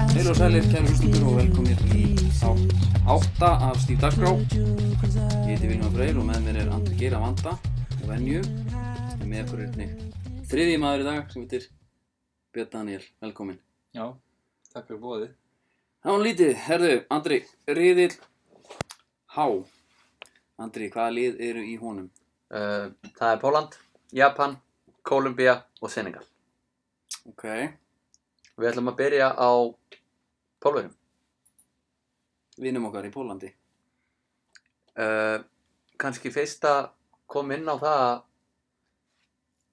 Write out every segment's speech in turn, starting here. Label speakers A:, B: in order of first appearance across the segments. A: sælir, kæru hlustendur og velkomnir í þátt átta af Stíf Dagskrá. Ég heiti Viljóðan Freyr og með mér er Andri Geir að vanda og venju. Og með okkur er einnig þriðji maður í dag sem heitir Björn Daniel, velkomin.
B: Já, takk fyrir bóðið.
A: Það var lítið, herðu, Andri, riðil Há. Andri, hvaða lið eru í honum?
C: Uh, það er Póland, Japan, Kólumbía og Senegal.
A: Ok,
C: Við ætlum að byrja á Pólverjum.
A: vinnum okkar í Pólandi.
C: Uh, Kanski fyrst að koma inn á það að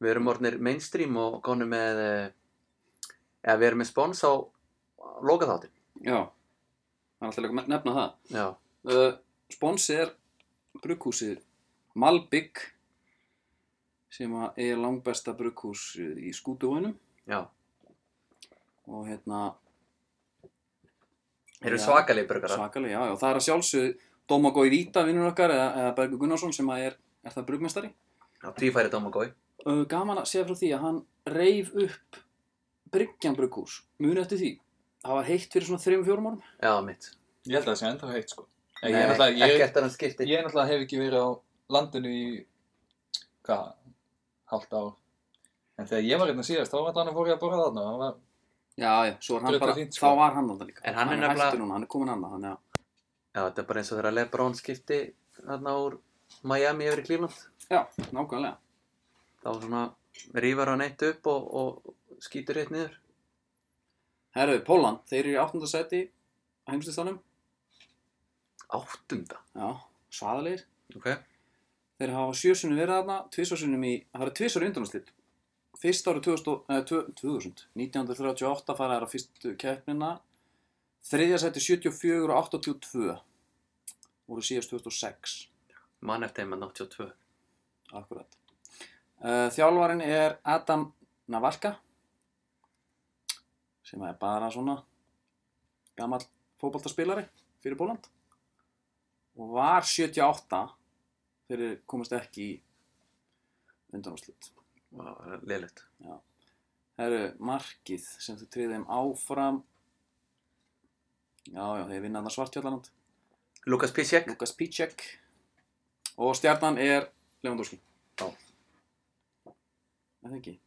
C: við erum orðnir mainstream og konum með, uh, eða við erum með spons á lokaþáttin.
A: Já, það er alltaf leik að nefna það.
C: Já,
A: uh, spons er brugghúsið Malbygg sem að er langbesta brugghús í skútuóinum
C: já.
A: og hérna
C: Þeir eru
A: Já.
C: svakalegi burgarar.
A: svakalega, já, já, það er að sjálfsög Dómagói Víta, vinnur okkar, eða, eða Bergur Gunnarsson sem að er, er það brugmestari
C: Já, tvífæri Dómagói.
A: uh, gaman að segja frá því að hann reif upp Bryggjan brugghús, muni eftir því það var heitt fyrir svona 3-4 árum
C: Já, mitt.
B: Ég held að það sé ennþá heitt sko. Nei, ég,
C: Nei,
B: er náttúrulega-
C: ekki
B: ég,
C: eftir hann skipti.
B: ég er náttúrulega hef ekki verið á landinu í, hvað, hálft ár. En þegar ég var hérna síðast, þá var þannig fór ég að borða þarna. Það var,
A: já, já, svo er hann
B: Drulla
A: bara,
B: fínt, sko.
A: þá var hann þarna líka
C: En hann er
A: er
C: nefnilega-
A: hættur núna, hann er komin annað hann, já.
C: Já, þetta er bara eins og þegar Lebrón skipti þarna úr Miami yfir í Cleveland.
A: já, nákvæmlega
C: þá svona rýfar hann eitt upp og, og skýtur eitt niður.
A: Herru, Póland, þeir eru í 8. seti á heimslistanum.
C: Áttunda.
A: Já, svaðalegir.
C: Ok.
A: Þeir hafa sjösunni verið þarna, tvisvarsunum í, það eru tvisvar undanúrslit. Fyrst árið 2000, og- eh, 2000, 1938 fara þær á fyrstu keppnina. Þriðja seti 74 og 82 voru síðast 2006,
C: Mann eftir þeim að 82.
A: akkurat. Eh, Þjálfarinn er Adam Navarka sem er bara svona gamall fótboltaspilari fyrir Póland og var 78 fyrir komast ekki í undanúrslit.
C: Vá, liðlegt.
A: Það eru markið sem þau triðið þeim áfram Já, já, þeir vinna þarna svartfjallaland
C: Lukas Pisek.
A: Lukas Picek og stjarnan er Lewandowski
C: Já.
A: Er Það ekki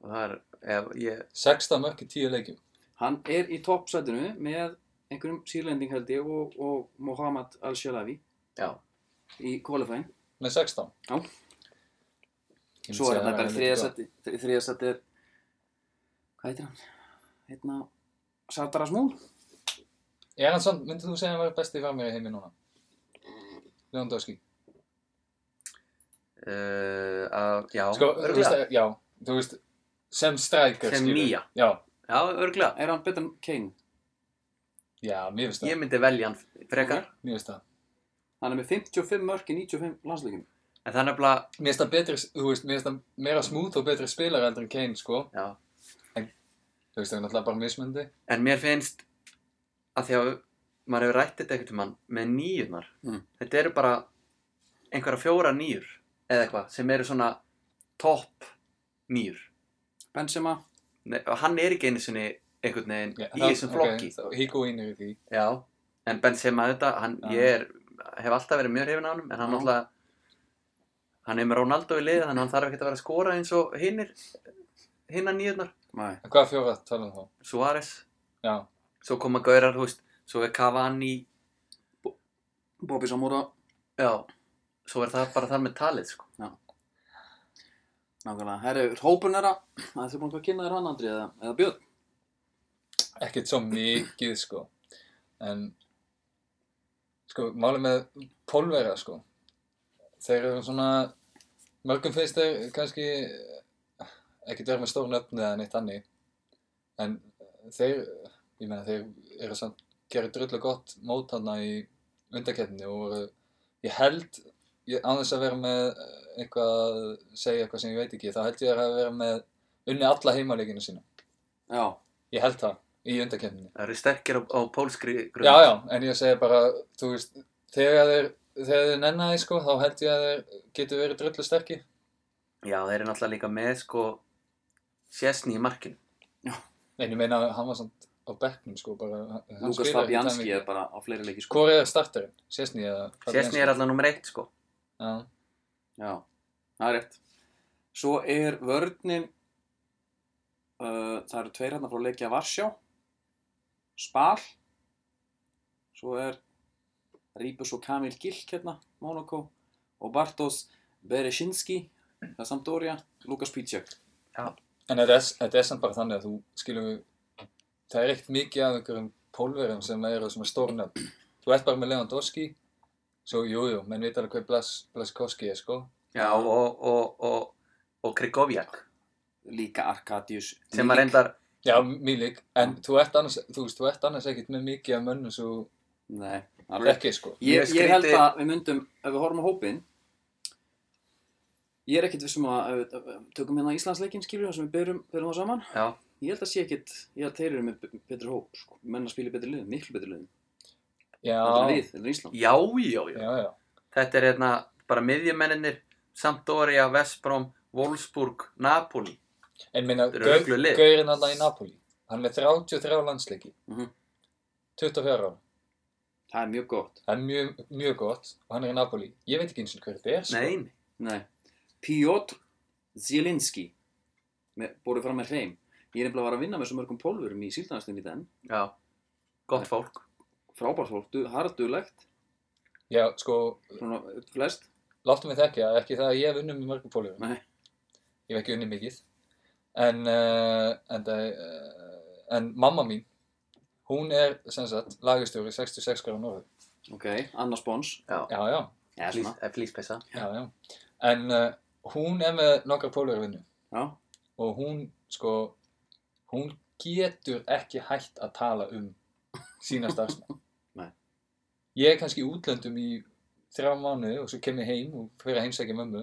C: Það er, ef ég,
B: sexta mörk í tíu leikjum.
A: Hann er í toppsætinu með einhverjum sírlending held ég og, og Mohamed Al-Shalavi
C: já.
A: í kvalifæn
B: Nei, sextán.
A: Já.
B: Ég myndi
A: Svo er
B: segja
A: þetta bara
B: að
A: þriðja
B: líka-
A: seti Þriðja seti er Hvað heitir hann? Hérna Sardar Asmúl
B: Er hann sann, myndir þú segja að hann verið besti framverið heimi núna? Lewandowski.
C: Uh, að, já,
B: Sko, þú veist,
C: örglega.
B: að- já, þú veist, sem strækar.
C: Sem nýja.
B: Já,
C: Já, örglega.
A: Er hann betur en Kane?
B: já, mér finnst
C: Ég
B: það.
C: myndi velja hann frekar.
B: Mér finnst það.
A: Hann er með 55 mörk í 95 landsleikum.
C: En það er nefnilega,
B: Mér finnst það betri, þú veist, mér finnst það meira smúð og betri spilar heldur en Kane, sko.
C: já.
B: Þú veist, það er náttúrulega bara mismundi.
C: En mér finnst að því að maður hefur rætt þetta eitthvað mann með nýjurnar.
A: Mm.
C: Þetta eru bara einhverja fjóra nýjur eða eitthvað sem eru svona topp nýjur.
A: Benzema,
C: Nei, og hann er ekki einu sinni einhvern veginn í
B: það-
C: þessum flokki
B: Ok, þá- Higuaín er í því.
C: já, en Benzema þetta hann,
B: Já.
C: ég er, hef alltaf verið mjög hrifin á hann en hann
A: Já.
C: náttúrulega hann er með Ronaldo í liði þannig að hann þarf ekkert að vera að skora eins og hinnir hinnar nýjurnar,
A: nei,
B: En hvað fjóra tala um þá?
C: Suárez
B: Já,
C: svo koma Gaurar, þú veist, svo er Cavani
A: Bobby Samora,
C: já, svo er það bara þar með talið sko.
A: nákvæmlega. Herru, hópurinn er að, að þið búin að kynna þér hann Andri eða, eða Björn.
B: ekkert svo mikið, sko. En, sko, málið með pólverja, sko. Þeir eru svona, mörgum finnst þeir kannski eh, ekkert vera með stór nöfn eða neitt annir. En þeir, ég meina, þeir eru samt, gerir drullu gott mót hana í undarkeppni og voru, ég held, ég, án þess að vera með eh, eitthvað, segja eitthvað sem ég veit ekki, þá held ég að vera með unni alla heimaleginu sína.
A: Já,
B: Ég held það, í undarkeppninni.
C: það eru sterkir á, á pólskri grunn
B: Já, já, en ég segi bara, þú veist, þegar þeir, þegar þeir nenna því, sko, þá held ég að þeir getur verið drullu sterkir.
C: já, þeir eru náttúrulega líka með sko, sésni í markinu
B: En ég meina, hann var samt, á bekknum sko bara, hann hann
A: Lukas
B: spilar ekki
A: Fabianski
B: þannig.
A: er bara á fleiri leiki sko.
B: Hvor er starterinn? Sessni eða
C: Sessni er alltaf nummer eitt sko
B: Já,
A: Já, það er rétt. Svo er vörnin, uh, það eru tveir hérna frá leikja Varsjá, Spal, svo er Ríbus og Kamil Gilk hérna, Monaco, og Bartosz Bereshinski, það er Sampdoria, Lukas Pítsjök.
B: en þetta er- þetta er samt bara þannig að þú skilum það er ekkert mikið af einhverjum pólverum sem eru sem er stórnöfn Þú ert bara með Lewandowski Svo jújú, jú, menn veit alveg hver Blas, Blaskowski er sko
C: Já, og, og, og, og Krikovjak
A: Líka Arkadius.
C: sem að reyndar
B: Já, Milik, en þú ert annars, þú veist, þú ert annars ekkert með mikið af mönnum svo
A: Nei, það er rétt.
B: ekki, sko.
A: Ég,
C: Mjög
A: ég held
C: skrítið-
A: að við myndum, ef við horfum á hópinn, ég er ekkert vissum að, ef við tökum hérna Íslandsleikinn skilur, þar sem við byrjum, byrjum það saman,
C: Já,
A: Ég held að sé ekkit, ég held að þeir eru með be- betri hóp, sko. menn að spila í betri liðum, miklu betri liðum,
B: Já,
A: betri lið, en Ísland.
C: já, já, já.
B: já, já.
C: Þetta er hérna bara miðjumennir Sampdoria, Vestbrom, Wolfsburg, Napoli
B: En minna,
C: Þetta eru öflug lið.
B: Gaurin alltaf í Napoli, hann er með 33 landsleiki,
A: Mhm.
B: 24 ára.
A: Það er mjög gott.
B: Það er mjög, mjög gott og hann er í Napoli. Ég veit ekki eins og hver þetta er, sko.
C: Nein,
A: Nei. Piotr Zielinski, með- borið fram með hreim. Ég er nefnilega að var að vinna með svo mörgum pólverum í síldanastunni í den.
C: já, gott fólk
A: Frábært fólk, du- harðdulegt,
B: Já, sko,
A: svona uh, flest.
B: láttu mig þekki að ekki það að ég hef unnið með mörgum pólverum.
A: Nei.
B: Ég hef ekki unnið mikið. En, uh, en, það, uh, en mamma mín, hún er, sem sagt, lagastjóri 66 gráður norður.
A: Ok, annars spons.
C: Já,
B: Já, já.
A: Já, svona.
C: flýspessa
B: Já, já. En uh, hún er með nokkra pólvervinnu
A: Já,
B: og hún, sko, hún getur ekki hægt að tala um sína starfsmenn.
A: Nei.
B: Ég er kannski í útlöndum í þrjá mánuði og svo kem ég heim og fyrir að heimsækja mömmu.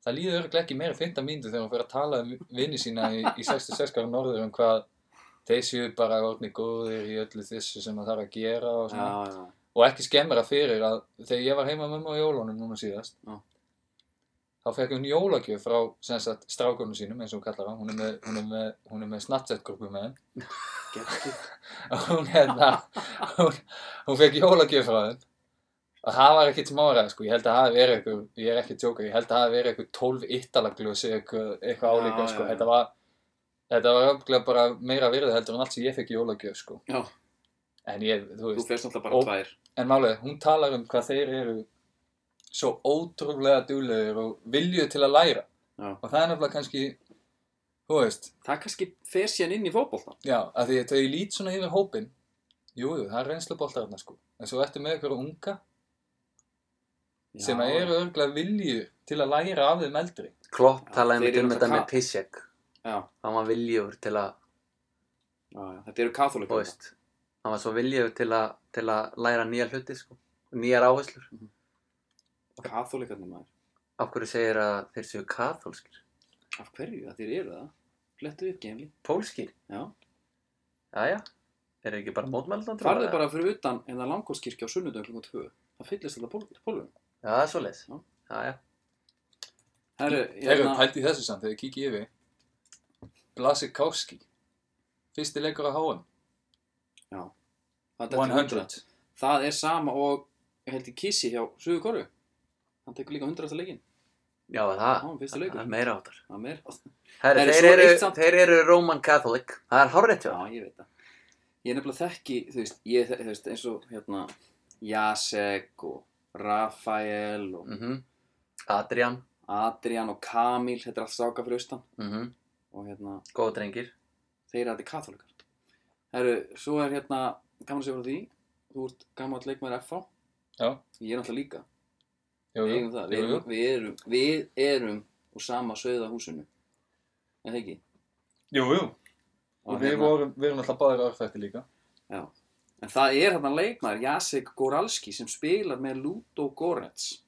B: Það líður örglega ekki meira en 15 mínútur þegar hún fyrir að tala um vinni sína í, í 66 gráður norður um hvað þeir séu bara orðni góðir í öllu þessu sem það þarf að gera og
A: já,
B: svona
A: já.
B: og ekki skemmra fyrir að þegar ég var heima með mamma á jólunum núna síðast
A: Já.
B: þá fekk hún jólagjöf frá sem sagt strákunum sínum eins og hún kallar hann hún er með, hún er með, hún er með snapchat-grúpu með henn
A: Gekkið.
B: og hún hérna hún, hún fekk jólagjöf frá henn og það var ekkert smára sko, ég held að það hafi verið eitthvað, ég er ekki að tjóka, ég held að það hafi verið eitthvað 12 ittalaglösi eitthvað, eitthvað
A: Já,
B: álíka
A: já,
B: sko,
A: já.
B: þetta var þetta var öfnilega bara meira virði heldur en allt sem ég fekk í jólagjöf sko
A: Já,
B: en ég, þú
A: þú
B: veist,
A: flest náttúrulega bara
B: Og-
A: tvær.
B: En málega, hún talar um hvað þeir eru svo ótrúlega duglegir og vilju til að læra.
A: Já.
B: Og það er nefnilega kannski, þú veist,
A: Það kannski fer síðan inn í fótbolta.
B: já, að því að þegar ég lít svona yfir hópinn, jú, jú, það er reynsluboltar þarna sko. En svo ertu með einhverja unga sem
A: Já.
B: að eru örgulega vilju til að læra af þeim eldri.
C: Klopp
A: Já,
C: talaði
A: þeir
C: einmitt um
A: eru
C: þetta
A: náttúrulega
C: með Pisek
A: Já,
C: hann var viljur til að,
A: já, já. Þetta eru katholikar.
C: þú veist hann var svo viljur til að, til að læra nýja hluti sko, nýjar áherslur
A: Katholikarnir maður.
C: af hverju segir að þeir séu kathólskir
A: Af hverju? Að þeir eru það? Flettu upp geimli.
C: pólskir,
A: Já.
C: jæja þeir eru ekki bara mótmældan
A: Farðu bara fyrir utan en það langkóðskirkja á sunnudum klukkan 2. Það fyllist alltaf pól- pólvum.
C: já, það er svo leis,
A: Já.
C: jæja
A: Herru,
B: Þeir eru
A: hérna,
B: pælt í þessu samt, þegar ég kíkja yfir. Blasikowski, fyrsti leikur á HM,
A: það, 100.
B: 100.
A: það er sama og ég held í Kissi hjá Suðu Kóru. Hann tekur líka 100. leikinn.
C: já, það,
A: Já, fyrsti
C: það
A: leikur.
C: er meira áttar
A: Það meir.
C: Herri,
A: Herri,
C: þeir,
A: svo
C: eru,
A: eitt samt-
C: þeir eru Roman Catholic það er hárrétt hjá
A: Já,
C: þér.
A: ég veit það. Ég er nefnilega þekki, þú veist, ég, þú veist, eins og hérna Jasek og Rafael og
C: Mhm. Adrian
A: Adrian og Kamil, þetta er allt stráka fyrir austan.
C: mm
A: Og hérna,
C: góða drengir
A: þeir eru allir katholikar. Herru, svo er hérna, gaman að segja frá því, þú ert gaman að leikmaður FH.
B: Já,
A: Ég er náttúrulega líka.
B: jú,
A: Við
B: jú,
A: eigum það. Við
B: jú, jú.
A: erum, við erum, við erum úr sama söða húsinu. Er það ekki?
B: Jú, jú. Og
A: hérna-
B: við vorum, við erum alltaf báðir orðfætti líka.
A: Já. En það er þarna leikmaður, Jacek Goralski, sem spilar með Ludo Gorets.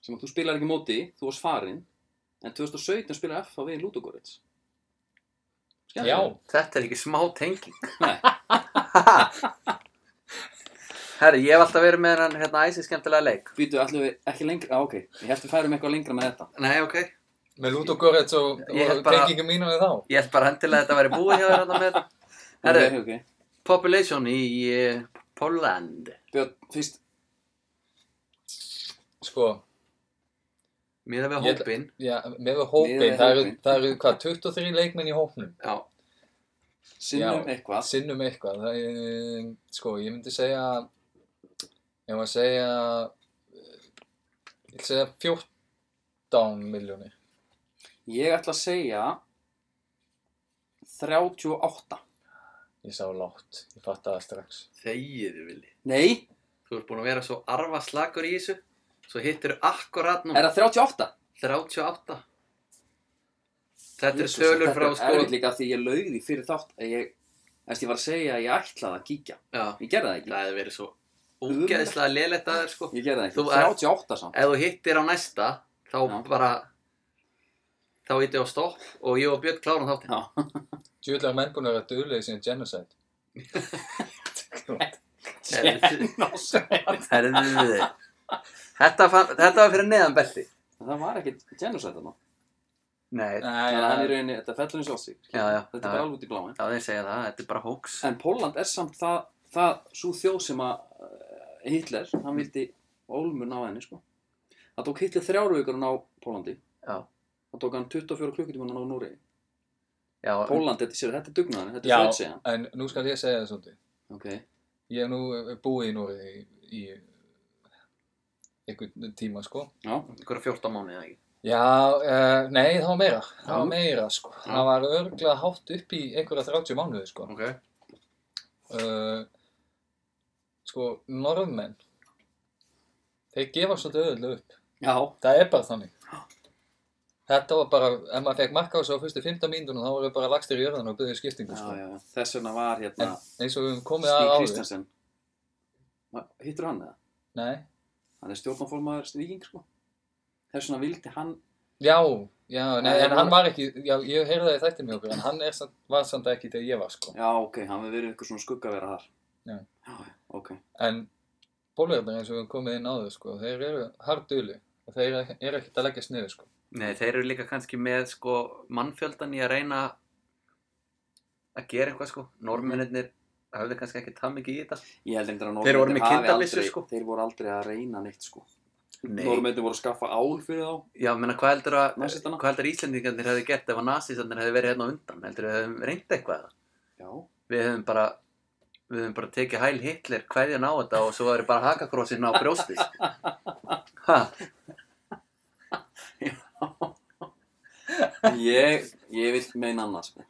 A: Sem að þú spilar ekki á móti, þú varst farinn. En 2017 spilar FH við Ludo Gorets.
B: Já,
C: þetta er ekki smá tenging
A: Nei.
C: Herri, ég hef alltaf verið með hann hérna æsi skemmtilega leik
A: Býtu, allir við ekki lengra, á, ok. Ég held við færum eitthvað lengra með þetta.
C: Nei, ok Ég
B: með Ludo Goretz og,
C: Ég held
B: og
C: bara-
B: tengingum mínu við þá.
C: held bara endilega að þetta væri búið hjá þér hérna með Herru.
A: Ok, ok.
C: Population í eh, Poland
A: Björn, fyrst,
B: Sko,
C: Mér við
B: Ég-
C: hópin
B: já, með við
A: Miðað
B: hópin,
A: við
B: það eru,
A: hópinn.
B: það eru hvað, 23 leikmenn í hópnum.
C: Já,
A: sinnum
B: Já.
A: eitthvað.
B: Sinnum eitthvað, það er, sko, ég myndi segja, ég maður segja, eh, ég vil segja 14 miljónir.
A: Ég ætla að segja 38.
B: Ég sá látt, ég fatt það strax.
C: þegiðu vilji
A: Nei,
C: Þú ert búin að vera svo arfa slagur í þessu Svo hittir akkurat nú
A: er það 38?
C: 38 Þetta er
A: Jesus,
C: tölur
A: Þetta
C: frá
A: er
C: sko
A: erfitt líka því ég laugði fyrir þátt að ég, eftir ég var að segja að ég ætlaði að kíkja.
C: Já,
A: Ég gerði það
C: það
A: ekki.
C: hefði verið svo ógeðslega lélegt að þér sko
A: Ég gerði það ekki.
C: Þú ert-
A: 38 samt.
C: Ef þú hittir á næsta þá
A: Já.
C: bara þá hittir á stopp og ég og Björn klárum þáttinn
A: Já,
B: Djúðlega menn búin að vera döðlega síðan genocide.
A: genocide.
C: Herðu Þetta, fann, þetta var fyrir neðan belti
A: það var ekkit genocide þarna.
C: Nei, já,
B: Nei,
A: Þannig að hann
B: já,
A: er rauninni, þetta fellur eins og sig. sko.
C: já, já,
A: Þetta er bara
C: já,
A: alveg út í bláin.
C: þeir segja það, þetta er bara hoax
A: En Pólland er samt það, það svo þjóð sem að uh, Hitler, hann
C: Mm.
A: vildi ólmun á henni, sko. Það tók Hitler þrjáru vikur að ná Pólandi.
C: Já,
A: Það tók hann 24 klukkutíman að ná Núri.
C: já,
A: Pólandi, þetta, sér, þetta er dugnaðan, þetta
B: Já.
A: er frötsegjan.
B: en nú skal ég segja það svolítið.
A: Ok,
B: Ég hef nú eh, búið í Nóri í, í einhvern tíma, sko.
A: já,
C: einhverja 14 mánuði eða ekki
B: Já, uh, nei, það var meira. Það var
A: Já.
B: meira, sko. Það var örglega hátt upp í einhverja 30 mánuði, sko.
C: Ok
B: Uh, sko, norðmenn, þeir gefa svolítið auðvitað upp.
A: já,
B: Það er bara þannig. Þetta var bara, ef maður fekk marka á þessu á fyrstu 15 mínútunum, þá voru við bara lagstir í jörðan og byrjuðu
A: já,
B: skiptingu, sko.
A: já, þess vegna var hérna
B: En eins og við höfum komið að
A: Stíg
B: áður.
A: Kristjansen. Hittur hann eða?
B: Nei.
A: Hann er stjórnarformaður Stíking, sko. Þess vegna vildi hann,
B: Já, já, nei,
A: Nei,
B: en hann var ekki, já, ég heyrði það í þættinni hjá okkur, en hann er, samt- var samt ekki þegar ég var, sko.
A: já, ok, hann hefur verið eitthvað svona skuggavera þar.
B: Já.
A: Já, já, ok.
B: En pólverðarnir eins og við höfum komið inn á þau sko, þeir eru harduli og þeir eru ekkert að leggja sniðu sko.
C: Nei, þeir eru líka kannski með sko mannfjöldan í að reyna að gera eitthvað sko Norminirnir höfðu kannski ekki það mikið í þetta
A: Ég held einhvern
C: Þeir voru með kindabyssu,
A: aldrei,
C: sko.
A: Þeir voru aldrei að reyna neitt sko
C: Nei,
A: Norðmennir voru að skaffa ál fyrir þá
C: já, menna hvað heldur að
A: Nasistana?
C: hvað heldur að Íslendingarnir hefði gert ef að nasistarnir hefði verið hérna á undan heldur við hefðum reynd eitthvað
A: Já,
C: við hefðum bara við hefðum bara tekið hæl Hitler hverjan á þetta og svo hefur bara hakakrossin á brjóstið sko. ha,
A: ég, ég vil meina annað sko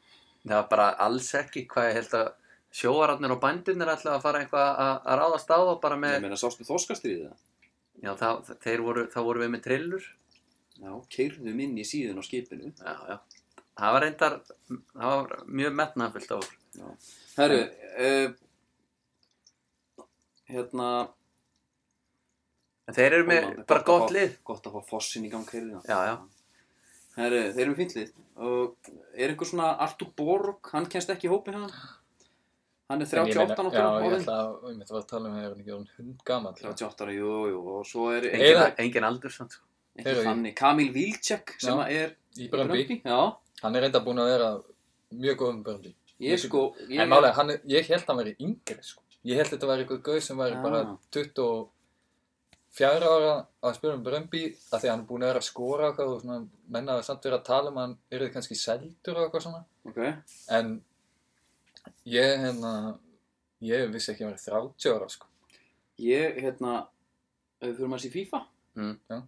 C: það var bara alls ekki hvað ég held að sjóararnir og bændunir ætla að fara eitthvað að, að ráðast á þá bara með
A: Ég meina sástu þorskastriðið það
C: Já, það, þeir voru, þá voru við með trillur.
A: Já, keirðum inn í síðun á skipinu
C: Já, já. Það var reyndar, það var mjög metnafyllt á okkur.
A: Herru, uh, hérna
C: En þeir eru með
A: Pólland,
C: bara
A: að
C: gott
A: fá-
C: lið.
A: Gott að fá fossin í gang keirðina
C: Já, já.
A: Herru, þeir eru fínt lið og er einhver svona Artur Borg, hann kennst ekki í hópi hann Hann er
B: En ég
A: 38
B: meina- Já, ég
A: náttúrulega orðinn.
B: ætla að, ég myndi að tala um að það er ekki orðin hund gammal.
A: 38 ára, jú, jú, og svo er
C: Engin,
B: Eiginlega-
C: engin aldur samt. sko.
A: ekki
B: Eru í-
A: þannig, Kamil Vilcek sem
B: Já.
A: að er
B: Í Brömbi,
A: já,
B: hann er reynda búin að vera mjög góðum Brömbi.
A: ég sko ég,
B: En málega, hann, er- ég held að hann væri yngri sko. Ég held þetta væri eitthvað gauð sem væri
A: Ah.
B: bara 24 ára að spila um Brömbi af því að hann er búin að vera að skora og eitthvað og svona, menna að samt vera að tala um að hann yrði kannski seldur og eitthvað svona.
A: ok,
B: En ég, hérna, ég vissi ekki að vera 30 ára, sko.
A: ég hérna ef við fyrir maður sér FIFA
C: Mm,
B: já.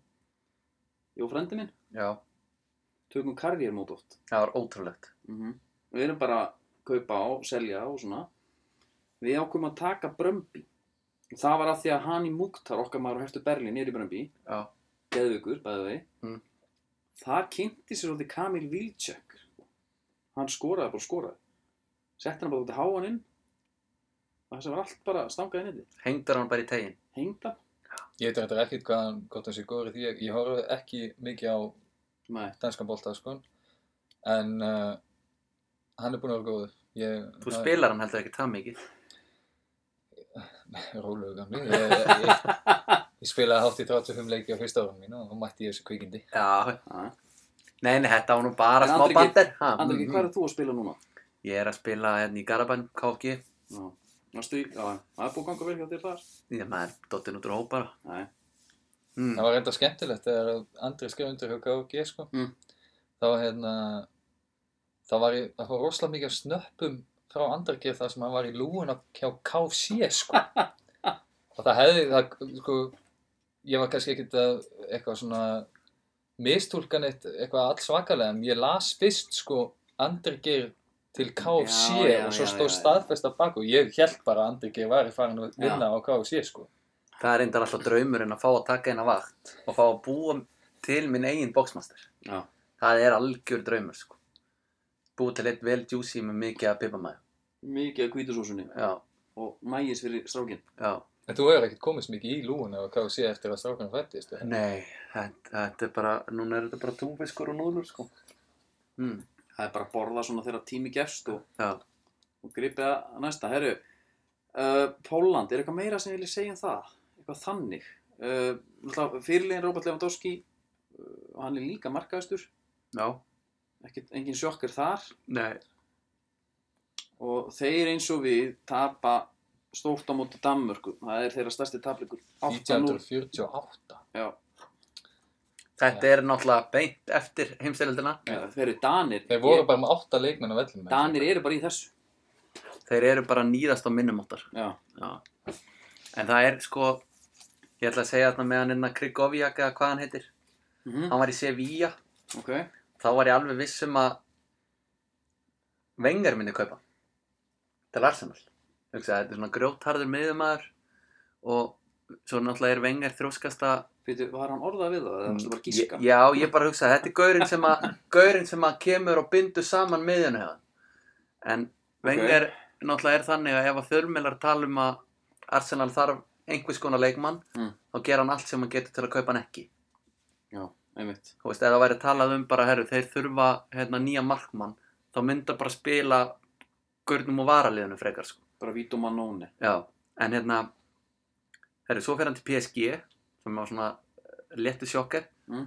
A: ég og frendi minn,
C: Já,
A: tökum karriérmót oft
C: það var ótrúlegt.
A: mm við erum bara að kaupa á, selja og svona við ákveðum að taka Brömbi það var að því að hann í Múktar okkar maður á Hertu Berlin er í Brömbi
C: Já.
A: geðvökur, bæði vei
C: Mm.
A: það kynnti sér svolítið Kamil Vilcek hann skoraði bara og skoraði setti hann bara út í háan inn og þess að var allt bara stangað inn í þetta
C: Hengdur hann bara í tegin.
A: hengda
B: Ég veit reyndar ekkert hvað hann, hvort hann sé góður í því. Ég, ég horfði ekki mikið á
A: Nei.
B: danskan bolta, sko. En uh, hann er búinn að vera góður. Ég,
C: Þú spilar hann heldur ekki það mikið.
B: Rólegu gamli. Ég, ég, ég, ég spilaði hátt í 35 leiki á fyrsta árum mínu og þá mætti ég þessu kvikindi.
C: Já,
A: Já.
C: nei, nei, þetta var nú bara
A: En
C: smá
A: Andri-
C: bander. Ha,
A: Andri,
C: mm,
A: hvað er þú að spila núna?
C: Ég er að spila hérna í Garabann, KFG.
A: Já. Varstu í, já, það er búið að ganga vel hjá þér þar.
C: Ég maður dottinn út úr hóp bara.
A: Nei,
C: Mm.
B: Það var reynda skemmtilegt þegar að Andri skrev undir hjá KG sko.
A: Mm.
B: Þá hérna, þá var ég, það var rosalega mikið af snöppum frá Andri Geir þar sem hann var í lúuna hjá KC sko. og það hefði, það sko, ég var kannski ekkert að eitthvað svona mistúlka neitt eitthvað allsvakalega en ég las fyrst sko Andri Geir til
A: Já,
B: KC
A: já,
B: og svo
A: já, já,
B: stóð
A: já.
B: staðfest að baku og ég held bara að Andri Geir væri farin að vinna á KC sko.
C: Það er reyndar alltaf draumurinn að fá að taka eina vakt og fá að búa til minn eigin boxmaster.
A: já.
C: Það er algjör draumur, sko. Búið til eitt vel juicy með mikið að pipa maður.
A: Mikið að hvítusósunni
C: Já,
A: og mægis fyrir strákinn.
C: já.
B: En þú hefur ekkert komist mikið í lúuna og hvað þú sé eftir að strákunum fættist eða?
C: Nei, þetta, þetta er bara, núna er þetta bara túnfiskur og núðlur, sko. Mm,
A: Það er bara að borða svona þegar tími gefst og,
C: já.
A: og gripið að næsta. Herru, uh, Pólland, er eitthvað meira sem ég vil segja um það? Eitthvað þannig? Uh, Fyrirlegin Róbert Lewandowski, uh, hann er líka markaðistur,
C: Já.
A: ekkit, engin sjokkar þar
C: Nei.
A: og þeir eins og við tapa stórt á móti Danmörku. Það er þeirra stærsti tapleikur. 8-0.
B: 1948.
A: Já,
C: Þetta er náttúrulega beint eftir heimstyrjöldina.
A: já, þeir eru Danir.
B: Þeir voru
A: Ég-
B: bara með 8 leikmenn á vellinu.
A: Danir eru bara í þessu.
C: Þeir eru bara nýðast á minnum áttar.
A: Já,
C: Já. En það er, sko, ég ætla að segja þarna með hann innan Krigoviak eða hvað hann heitir.
A: mhm,
C: Hann var í Sevilla.
A: ok.
C: þá var ég alveg viss um að Vengar myndi kaupa hann til Arsenal Hugsa, þetta er svona grjótharður miðumæður og svo náttúrulega er Vengar þróskasta
A: Fyrir, var hann orðað við það eða varstu bara að gíska?
C: já, ég bara hugsa, þetta er gaurinn sem að gaurinn sem að kemur og bindur saman miðjunu hefðan en Vengar náttúrulega er þannig að ef að þörmilar tala um að Arsenal þarf einhvers konar leikmann
A: Mm.
C: þá gera hann allt sem hann getur til að kaupa hann ekki
A: Já, einmitt.
C: þú veist, ef það væri talað um bara, herru, þeir þurfa hérna nýja markmann, þá mynda bara spila gurnum og varaliðinu frekar, sko.
A: Bara vítum að nóni.
C: Já. En hérna, herru, svo fer hann til PSG, sem var svona letu sjokker,
A: Mm.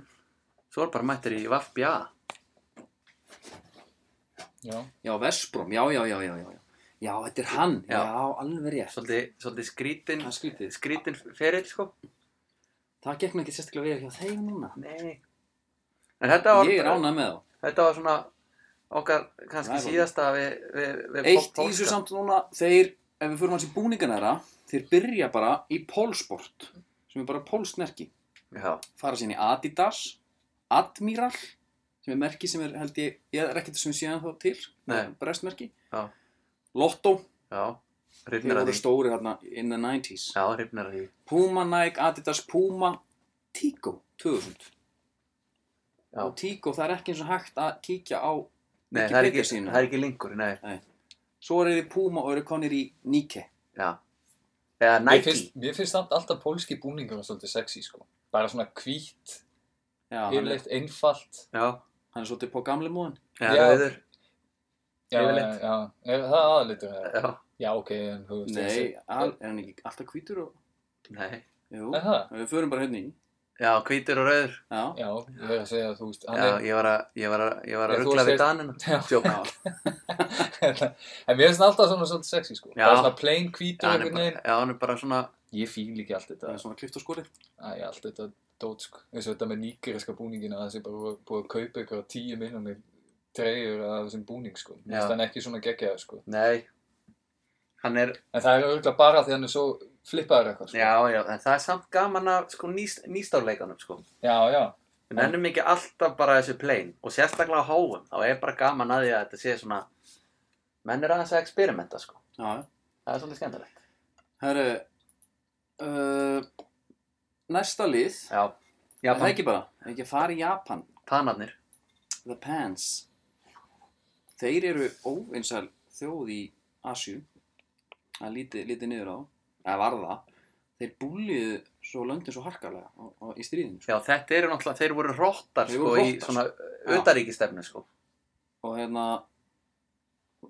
C: svo er bara mættir í Vafbja.
B: Já.
A: Já, Vespróm, já, já, já, já, já. já. Já, þetta er hann, já,
C: Já.
A: alveg rétt.
C: Svolítið, svolítið skrítin,
A: Það er skrítið.
C: skrítin feril, sko.
A: Það gekk mér ekki sérstaklega vel hjá þeim núna.
C: Nei. En þetta var,
A: Ég er ánað með þá.
C: þetta var svona okkar kannski
A: Ræfaldið.
C: síðasta við, við, við
A: Eitt
C: Pol-
A: í þessu
C: Polska.
A: samt núna, þeir, ef við fyrir hans í búningan þeirra, þeir byrja bara í pólsport, sem er bara pólsnerki.
C: Já,
A: Fara sín í Adidas, Admiral, sem er merki sem er, held ég, ég er ekkert sem séðan þá til,
C: Nei.
A: brestmerki.
C: Já.
A: Lotto,
C: já,
A: þeir
C: hrifnar að
A: voru
C: því.
A: stóri þarna in the 90s.
C: Já, hrifnar að því.
A: Puma, Nike, Adidas, Puma, Tico 2000
C: Já.
A: og Tico það er ekki eins og hægt að kíkja á
C: Nei,
A: Ekki
C: það er
A: Peter
C: ekki,
A: sínu.
C: það er ekki lingur, nei.
A: svo eru þið Puma og eru konir í Nike
C: Já. Eða
B: Mér
C: Nike.
B: finnst, mér finnst samt alltaf pólski búningur svolítið sexy, sko. Bara svona hvít,
A: já, hann er,
B: yfirleitt, einfalt.
C: Já.
A: hann er svolítið på gamle móðin
C: Já,
B: Já.
C: rauður.
B: Já,
C: Yfirleitt.
B: Já, er það aðalitur það?
C: Já.
B: Já, ok, en þú veist þessi.
A: nei, al, er hann ekki alltaf hvítur og,
C: Nei.
A: jú,
B: Er það?
A: við förum bara hérna í
C: Já, hvítur og rauður.
A: já,
B: Já, ég er að segja að þú veist, hann
C: Já,
B: er...
C: ég var að, ég var að, ég var
B: Nei,
C: að
B: þú
C: ruggla við
B: segir-
C: danina.
B: Já,
C: Jók.
A: já,
B: en mér finnst alltaf svona svolítið sexy, sko.
C: Já.
B: Bara svona plain
C: Já,
B: hvítur
C: hann er
B: einhvern
C: bara,
B: veginn.
C: já, hann er bara svona,
B: Ég fíl ekki allt
A: það
B: þetta.
A: er svona klift og skorið
B: Æ, allt þetta dót, sko. Eins og þetta með nýgeriska búningina, það sé bara búið- búið að kaupa ykkur á tíu minnum treyjur af þessum búning, sko. Mér finnst
C: Já.
B: hann ekki svona geggjaður, sko.
C: nei. Hann er,
B: En það er auðvitað bara því hann er svo flippaður eitthvað, sko.
C: já, já, en það er samt gaman að, sko, nýst, nýstárleikanum, sko.
B: Já, já.
C: Við nennum ekki alltaf bara þessu plain og sérstaklega á háum. Þá er bara gaman að því að þetta sé svona, menn er aðeins að experimenta, sko.
A: já,
C: Það er svolítið skemmtilegt.
A: herru uh, næsta lið
C: Já.
A: er það
C: Japan,
A: ekki bara, er ekki að fara í Japan
C: panarnir.
A: The Pants Þeir eru óvinsæl þjóð í Asju að líti, líti niður á eða varða þeir búliðu svo löndin svo harkalega á, á, í stríðinu sko.
C: Já, þetta eru náttúrulega, þeir voru róttar
A: Þeir
C: sko
A: voru
C: í
A: rottar,
C: svona
A: Já.
C: auðaríkistefnu sko.
A: og hérna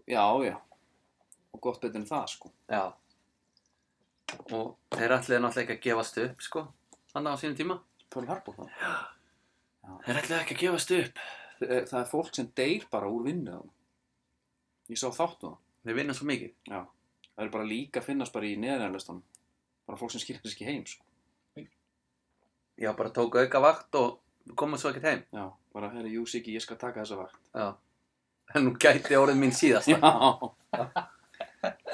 A: já, já og gott betur en það sko
C: Já. Og þeir ætluðu náttúrulega ekki að gefast upp sko, þannig á sínum tíma.
A: Pearl Harbor það
C: Þeir ætluðu ekki að gefast upp.
A: Eh, það er fólk sem deyr bara úr vinnu þarna. Ég sá þáttu það.
C: Þeir vinna svo mikið.
A: Já. Það eru bara líka að finnast bara í neðanæðarlistanum. Bara fólk sem skilja þess ekki heim, sko.
C: Já, bara tók auka vakt og koma svo ekkert heim.
A: Já, bara, herri, jú, Siggi, ég skal taka þessa vakt.
C: Já. En nú gæti orðið mín síðast.
A: Já.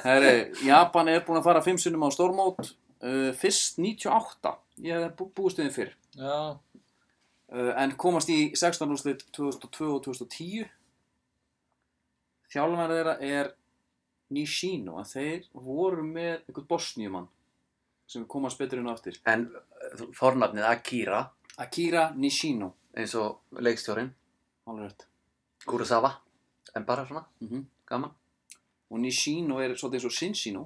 A: herri, Japan er búin að fara fimm sinnum á stórmót. Uh, fyrst 98. Ég hefði bú- búist við þeim fyrr.
B: Já,
A: Uh, en komast í 16 úrslit 2002 og 2010 þjálfæri þeirra er Nishino en þeir voru með einhvern bosníumann sem komast betur inn á aftur
C: En uh, fornafnið Akira,
A: Akira Nishino
C: eins og leikstjórin,
A: alveg rétt
C: Kurosawa, en bara svona,
A: Mhm.
C: gaman,
A: og Nishino er svolítið eins og Shinshino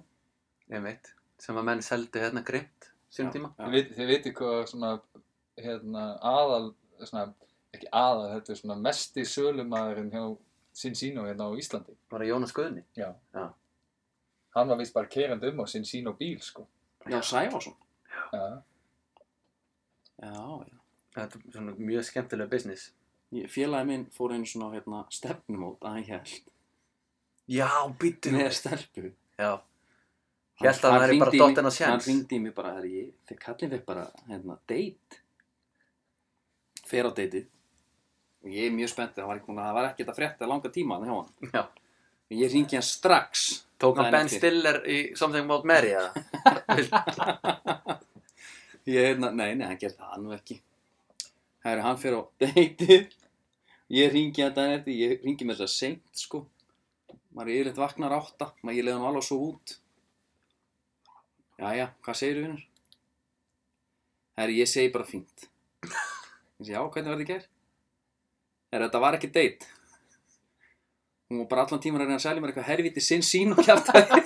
C: ég veit, sem að menn seldu hérna grimt, sínum tíma.
A: Já.
B: þið viti, þið viti hvað svona, hérna, aðal, svona, ekki aðal, þetta er svona mesti sölumæðurinn hjá Sinsino hérna á Íslandi.
C: Bara Jónas Guðni.
B: Já.
C: Já.
B: Hann var vist bara kerandi um á Sinsino bíl, sko.
A: Já, Sæfarsson
B: Já.
A: Já, já
C: Þetta er svona mjög skemmtilega business.
A: Ég- Félagi minn fór einu svona hérna, stefnumót að hann held
C: Já, býttu
A: með stelpu
C: Já, Hélt að hann væri bara
A: hringdi í mig-
C: dottinn á séns.
A: Hann ringdi í mig bara, herri, ég, þeir kallið þig bara, hérna, date. Fer á dateið. Og ég er mjög spenntið, það var, ekki búinn að- það var ekkert að frétta langa tíma hann hjá hann.
C: já.
A: En Ég ringi hann strax.
C: Tók hann
A: daginn
C: Ben
A: eftir.
C: Stiller í Something About Mary, eða?
A: Ég, hérna, nei, nei, hann gerði það nú ekki. Herri, hann fer á dateið. Ég ringi hann daginn eftir, ég ringi með þess að seint, sko. Maður er yfirleitt vaknar átta, maður ég leiði hann alveg svo út. Jæja, hvað segirðu, vinnur? Herri, ég segi bara fínt. Ég segi, já, hvernig var þetta í gær? Herri, þetta var ekki date. Hún var bara allan tíman að reyna að selja mér eitthvað herviti sinn sín og kjartaði.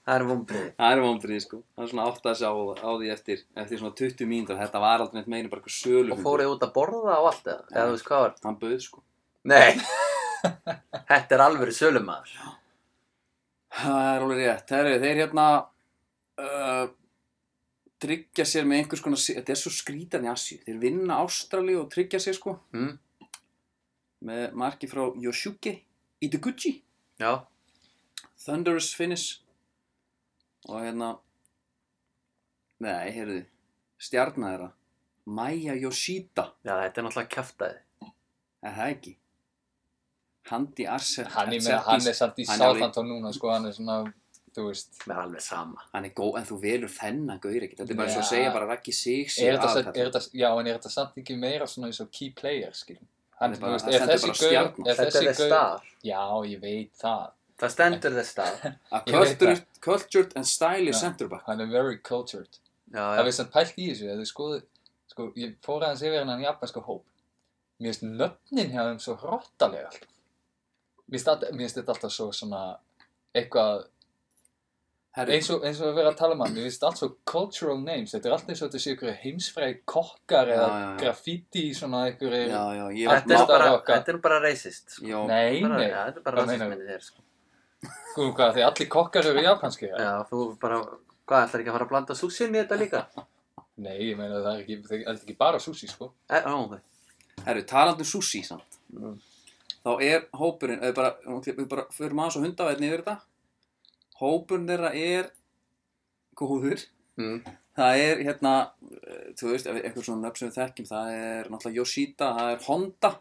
C: Það er vombriði.
A: það er vonbrið, sko. Það er svona átt að sjá á því eftir, eftir svona 20 mínútur. Þetta var aldrei neitt meina bara eitthvað sölu.
C: Og fóruð út að borða á allt, eða? Eða þú veist hvað var?
A: Hann bauð, sko.
C: Nei. Þetta er alveg sölumæður.
A: Það er alveg rétt. Herri, þeir hérna uh, tryggja sér með einhvers konar, þetta er svo skrítan í Asju. Þeir vinna Ástrali og tryggja sér, sko,
C: Mm?
A: með marki frá Yoshiki Itaguchi.
C: Já.
A: Thunderous finish og hérna nei, heyrðu stjarnar þeirra Maya Yoshida,
C: Já, þetta er náttúrulega kjaftaði.
A: er það ekki Handi Arset
B: Hann, ég meina, hann er samt í
A: hann er alveg-
B: Southampton núna, sko, hann er svona, þú veist,
C: Mér er alveg sama.
A: hann er góð, en þú velur þennan gaur ekki þetta er bara eins og
B: Ja.
A: að segja bara Raggi Sig hérna.
B: er þetta, samt- er þetta, já, en er þetta samt ekki meira svona eins og key player, skil?
A: Hann
B: Hann,
A: er
B: þú
A: bara-
B: veist,
A: hann
B: er
A: stendur
B: þessi
A: bara
B: gaur,
A: stjarnan.
B: er
C: Þetta er
B: þessi
C: þess
B: gaur,
C: staðar.
B: já, ég veit það,
C: Það stendur þess staðar.
A: a
B: Ég veit
A: cultured, cultured and stylish
B: Ja.
A: center back
B: hann er very cultured.
C: Já,
B: Það
C: já.
B: er samt pælt í þessu, eða skoðu, sko, ég fór aðeins yfir hennan japanska hóp. Mér finnst nöfnin hjá þeim svo hrottalega alltaf. Mér finnst alltaf- mér finnst þetta alltaf svo svona, eitthvað,
A: Herri,
B: eins og, eins og við verðum að tala um hann, mér finnst allt svo cultural names, þetta er allt eins og þetta sé ykkur heimsfræði kokkar eða
A: Já, já, já.
B: graffiti svona ykkur
A: já, já, ég
C: Þetta er nú bara,
B: Máttar um okkar.
C: þetta er nú bara racist. sko.
A: já,
B: Nei,
C: Bara-
B: nei,
C: Já, þetta er bara
B: Hvað meinar
C: rasisminni þér, sko.
B: þú hvað, því allir kokkar eru japanski ja?
C: Já, þú bara, hvað, ætlar ekki að fara að blanda súsin í þetta líka?
B: Nei, ég meina það er ekki, það er ekki bara sushi sko
C: Eh, Ó, ok.
A: herri, talandi um sushi samt
C: Mm.
A: þá er hópurinn eða bara, við bara förum aðeins og hundavæðin yfir þetta hópurinn þeirra er góður
C: Mm.
A: Það er hérna, eh, þú veist, ef við- einhver svona nöfn sem við þekkjum, það er náttúrulega Yoshida, það er Honda,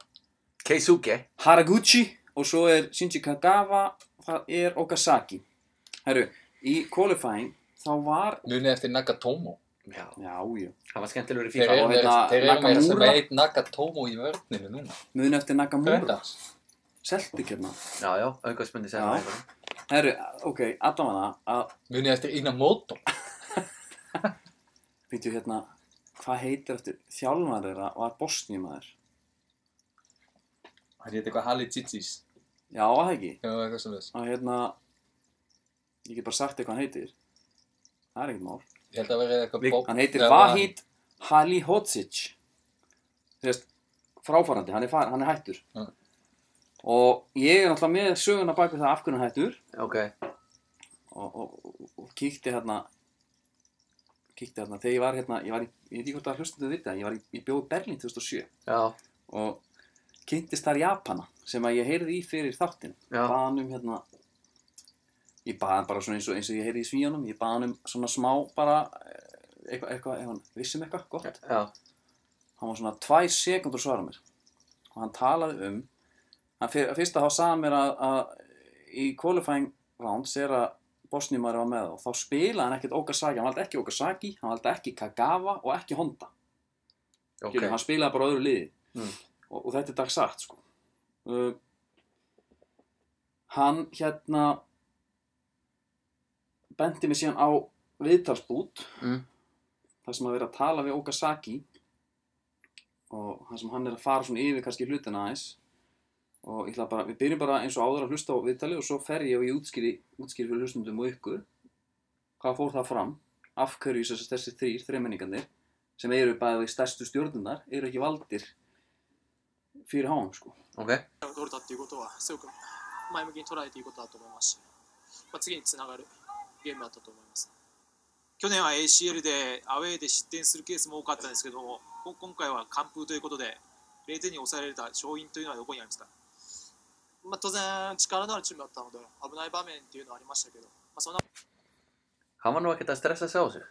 C: Keisuke.
A: Haraguchi og svo er Shinji Kagawa, það er Okazaki. Herru, í qualifying þá var,
B: Munið eftir Nagatomo
C: Já,
A: já, já,
C: það var skemmtilegur í
B: Þeir
C: FIFA.
B: eru
A: og
B: meira
A: hérna
B: þeir eru meira sem
A: Nakamura.
B: eitt Nagatomo í vörninu núna
A: mun eftir Nakamura,
B: Gröndans
A: selti kjörna.
C: Já, já, aukvæðsmyndi
A: Já.
C: segja það.
A: Herru, ok, allavega að,
B: Munið eftir Inamoto
A: veitum hérna, hvað heitir eftir þjálfar þeirra var Bosníumaður.
B: Það er eitthvað Hali Tsitsis
A: Já, var það ekki.
B: Já, eitthvað sem þess
A: Að hérna, ég get bara sagt eitthvað hann heitir. Það er ekkert mál.
B: Ég held að verið eitthvað
C: Við-
B: Bob-
A: Hann heitir
B: Já,
A: Vahid Halihocic Þú veist, fráfærandi, hann er, far, hann er hættur
B: Já.
A: Og ég er náttúrulega með söguna bak við það af hvernig hann er hættur
C: Ok,
A: og, og, og, og kíkti hérna kíkti hérna, þegar ég var hérna ég, var í, ég veit ekki hvort að hlustu þau vita, ég var í, ég bjóði Berlín 2007
C: já,
A: og kynntist þar Japana sem að ég heyrði í fyrir þáttinn
C: Já.
A: baðan um hérna ég baðan bara svona eins og, eins og ég heyrði í svíjanum ég baðan um svona smá bara eh, eitthvað, eitthvað, eitthvað, vissum um eitthvað, gott
C: já,
A: hann var svona tvær sekundur að svara mér og hann talaði um hann fyr, fyrst að þá sagði hann mér að, að í qualifying rounds er að Bosniumari var með og þá spilaði hann ekkert Okasaki, hann valdi ekki Okasaki hann valdi ekki Kagawa og ekki Honda
C: ok,
A: okay. hann spilaði bara á öðru liði
C: Mm.
A: og, og þetta er dagsagt sko. uh, hann hérna bendi mig síðan á viðtalsbút
C: Mm.
A: þar sem að vera að tala við Okasaki og þar sem hann er að fara svona yfir kannski hlutina aðeins og ég ætla bara, við byrjum bara eins og áður að hlusta á viðtali og svo fer ég og ég útskýri, útskýri fyrir hlustundum og ykkur hvað fór það fram af hverju þess að þessi þrýr, þremenningarnir sem eru bæði stærstu stjórnunar eru ekki valdir fyrir háum sko.
C: ok,
D: 取れたっていうことはすごく前向きに捉えていいことだと思いますし、まあ、次につながるゲームだったと思います去年は ACL でアウェーで失点するケースも多かったんですけどもこ今回は完封ということで0点に抑えられた勝因というのはどこにありますか、まあ、当然力のあるチームだったので危ない場面っていうのはありましたけど、まあ、そんな
C: hann var nú ekkert að stressa sig á sig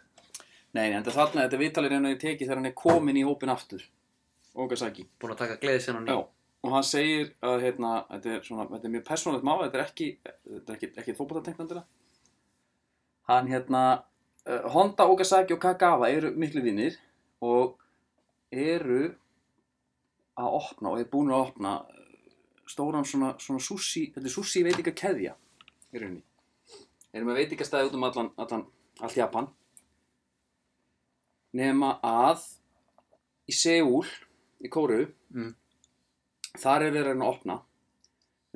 A: Nei, nei, en þarna, þetta viðtalir hann er tekið þegar hann er komin í hópin aftur Okasaki
C: búin að taka gleði sinna
A: Já,
C: ný
A: og hann segir að hérna, þetta er svona, þetta er mjög persónlegt mál þetta er ekki, þetta er ekki, ekki fótboltatengt endilega Hann hérna uh, Honda, Okasaki og Kagawa eru miklu vinnir og eru að opna og er búin að opna eh, stóran svona, svona sushi, þetta er sushi veitinga keðja í rauninni erum með veitingastæði út um allan, allan allt Japan nema að í Seúl í Kóru
C: Mm.
A: þar er verið að reyna að opna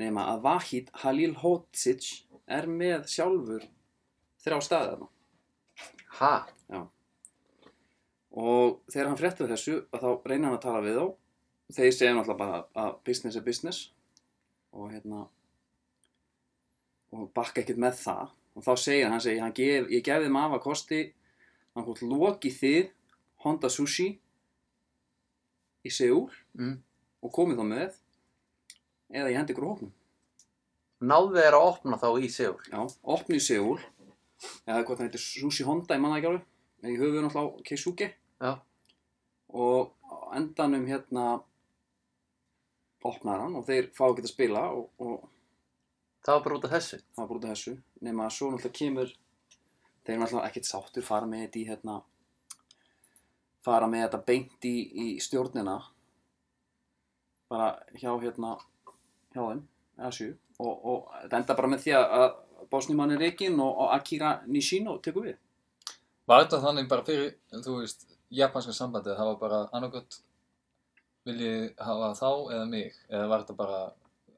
A: nema að Vahid Halil Hotsic er með sjálfur þrjá staði þarna
C: ha,
A: og þegar hann fréttir þessu að þá reynir hann að tala við þá þeir segja náttúrulega bara að business er business og hérna og bakka ekkert með það og þá segir hann, hann segir, hann gef, ég gefið þeim af að kosti hann hvort loki þið Honda Sushi í Seúl
C: mm.
A: og komið þá með eða ég hendi ykkur úr hóknum
C: náðu þeir að opna þá í sigur
A: Já, opni í Seúl eða hvað það heitir Sushi Honda, ég manna ekki alveg en ég höfum náttúrulega á Keisuke
C: Já.
A: og á endanum hérna opnar hann og þeir fá ekki að spila og, og
C: það var bara út af þessu
A: það var bara út af þessu nema að svo náttúrulega kemur þeir eru náttúrulega ekkert sáttur fara með þetta í hérna fara með þetta beint í, í stjórnina bara hjá hérna hjá þeim, eða sjú og, og þetta enda bara með því að- að Bosnimann er reikinn og, og Akira Nishino tekur við
B: Var þetta þannig bara fyrir, þú veist, japanska sambandið, það var bara annarkot viljið hafa þá eða mig, eða var þetta bara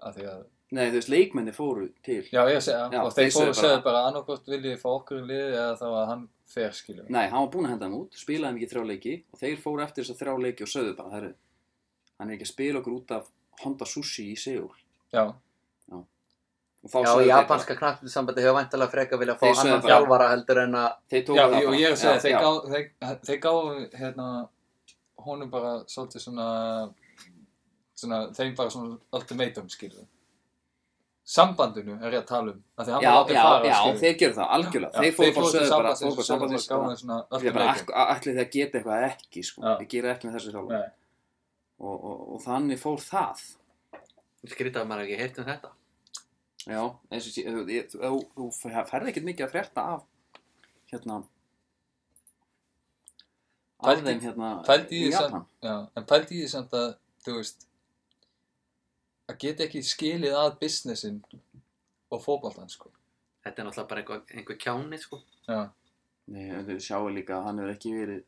B: að því að,
A: Nei, þú veist, leikmenni fóru til
B: já ég að segja,
A: Já,
B: og þeir
A: þeir sögðu
B: fóru
A: bara-
B: að segja bara annarkot viljið fá okkur í liðið eða þá að hann fer skilur.
A: Nei, hann var búinn að henda þeim út, spilaði þeim ekki í þrjá leiki og þeir fóru eftir þess að þrjá leiki og sögðu bara herru, hann er ekki að spila okkur út af Honda Sushi í Seúl
B: Já,
A: og þá
C: já,
A: sögðu þeir,
C: japanska knappinsambandi hefur væntalega frekar vilja fá
A: Þeir sögðu
C: annan
A: bara-
C: þjálfara heldur en að
A: bara- þeir
B: já,
A: tóku
B: og ég er að segja, þeir,
A: já,
B: gá, þeir, þeir gáðu, hérna, honum bara svolítið svona, svona, þeim bara svona ultimatum skilur. Sambandinu er ég að tala um, að því hann
A: já,
B: var látið
A: já,
B: fara
A: já,
B: skilur.
A: þeir gerðu það, algjörlega þeir fóru bara að sögðu bara, fóru bara sambandsins bara,
B: svona
A: ég bara, ak- ætli þeir geta eitthvað eða ekki, sko,
B: Já.
A: ég gera ekki með þessu þjálfur
B: Nei.
A: og, og, og þannig fór það
C: skrýta að maður ekki heyrt um þetta
A: Já, eins og sé, þú, ég- þú, þú, þú ferði ekkert mikið að frétta af hérna af
B: Pældi-
A: þeim hérna
B: pældi í
A: í
B: því samt-
A: Japan
B: já, en pældi í því samt að þú veist að geta ekki skilið að businessin og fótboltan sko
C: þetta er náttúrulega bara einhver, einhver kjáni sko
B: já,
A: Nei, en þau sjáu líka að hann hefur ekki verið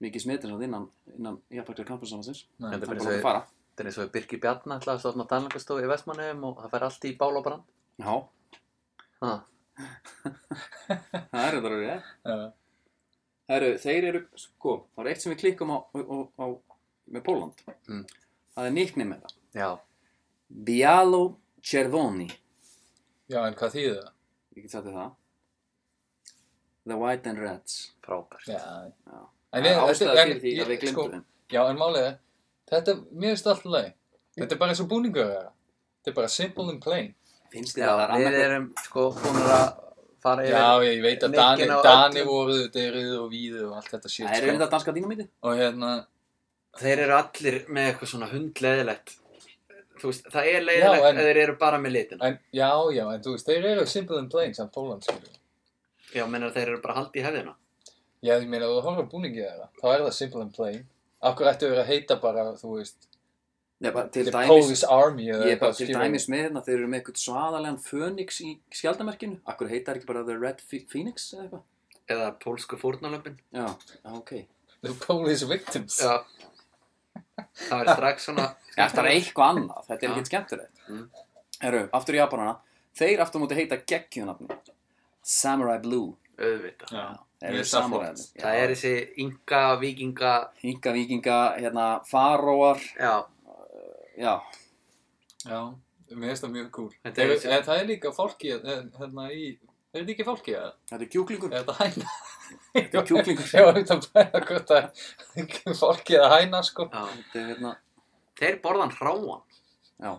A: mikið smitin hann innan, innan Japanska kampansamansins
B: nei,
A: hann
C: Þetta er bara
A: bara að
C: svo-
A: fara
C: þetta er eins og Birkir Bjarni ætlaði að stofna tannlækastofu í Vestmannum og það fær allt í bál og brand
A: Já,
C: ha.
A: það er þetta rauðið ja.
B: já,
A: Herru, þeir eru, sko, það er eitt sem við klikkum á, á, á með Póland
C: Mm.
A: það er nýknir með það
C: já,
A: Bialo Cervoni
B: já, en hvað þýðir það?
A: ég get sagt þér það The White and Reds
C: frábært
B: já,
A: Já. Það er
B: en ég-
A: ástæða
B: þetta- en
A: fyrir því að
B: ég-
A: við glemdum
B: sko,
A: þeim
B: já, en málið er Þetta, mér finnst allt í lagi. Þetta er bara eins og búningur að vera. Þetta er bara simple and plain.
A: Finnst þér
C: Já,
A: að það er
C: við
A: annað
C: erum sko búin að fara
B: Já,
C: yfir
B: ég veit að
C: leikinn
B: Dani,
C: á
B: Dani
C: öllum.
B: voruð, Derið og Víðu og allt þetta shit.
A: Það er
B: sko.
A: auðvitað að danska dýnamíti
B: Og hérna,
C: Þeir eru allir með eitthvað svona hundleðilegt Þú veist, það er leiðilegt
B: Já, en-
C: að þeir eru bara með litina
B: en, já, já, en þú veist, þeir eru simple and plain samt sko. Póland, skilju.
C: Já, mennar þeir eru bara haldið í hefðina
B: Já, ég meina, þú horfður búningi þeirra, þá er það simple and plain. Akkur ættu að vera að heita bara, þú veist,
A: Nei, bara til
B: The
A: dæmis
B: Polish Army eða
A: Ég er bara til
B: skilurðu.
A: dæmis með hérna Þeir eru með eitthvað svaðalegan Phoenix í skjaldamerkinu Akkur heitar ekki bara The Red Phe- Phoenix eða eitthvað
C: Eða pólsku fórnalömpin
A: Já, já, ok Já,
B: The Polish Victims.
C: Já Það er strax svona
A: þetta er eitthvað annað Þetta er
C: Já.
A: ekkert skemmtilegt
C: Mm.
A: Herru, aftur í Japanana Þeir aftur á móti heita geggjunafni Samurai Blue
C: auðvitað
B: Já.
A: Þeir
B: Mér
A: eru
B: finnst það
A: samurai
B: flott.
C: Það er þessi ynga, vikinga
A: Hinga vikinga, hérna, faróar
C: Já,
A: Já,
B: Já, mér finnst það mjög cool.
C: En
B: Þeir,
C: þeir-
B: en það er líka fólki, hérna í, er þetta ekki fólki eða?
A: þetta er kjúklingur
B: Er þetta hæna?
A: Þetta er kjúklingur
B: Ég var auðvitað að bæða hvort að fólki eða hæna, sko.
C: já
A: Þetta er hérna
C: Þeir borðan hráan
A: Já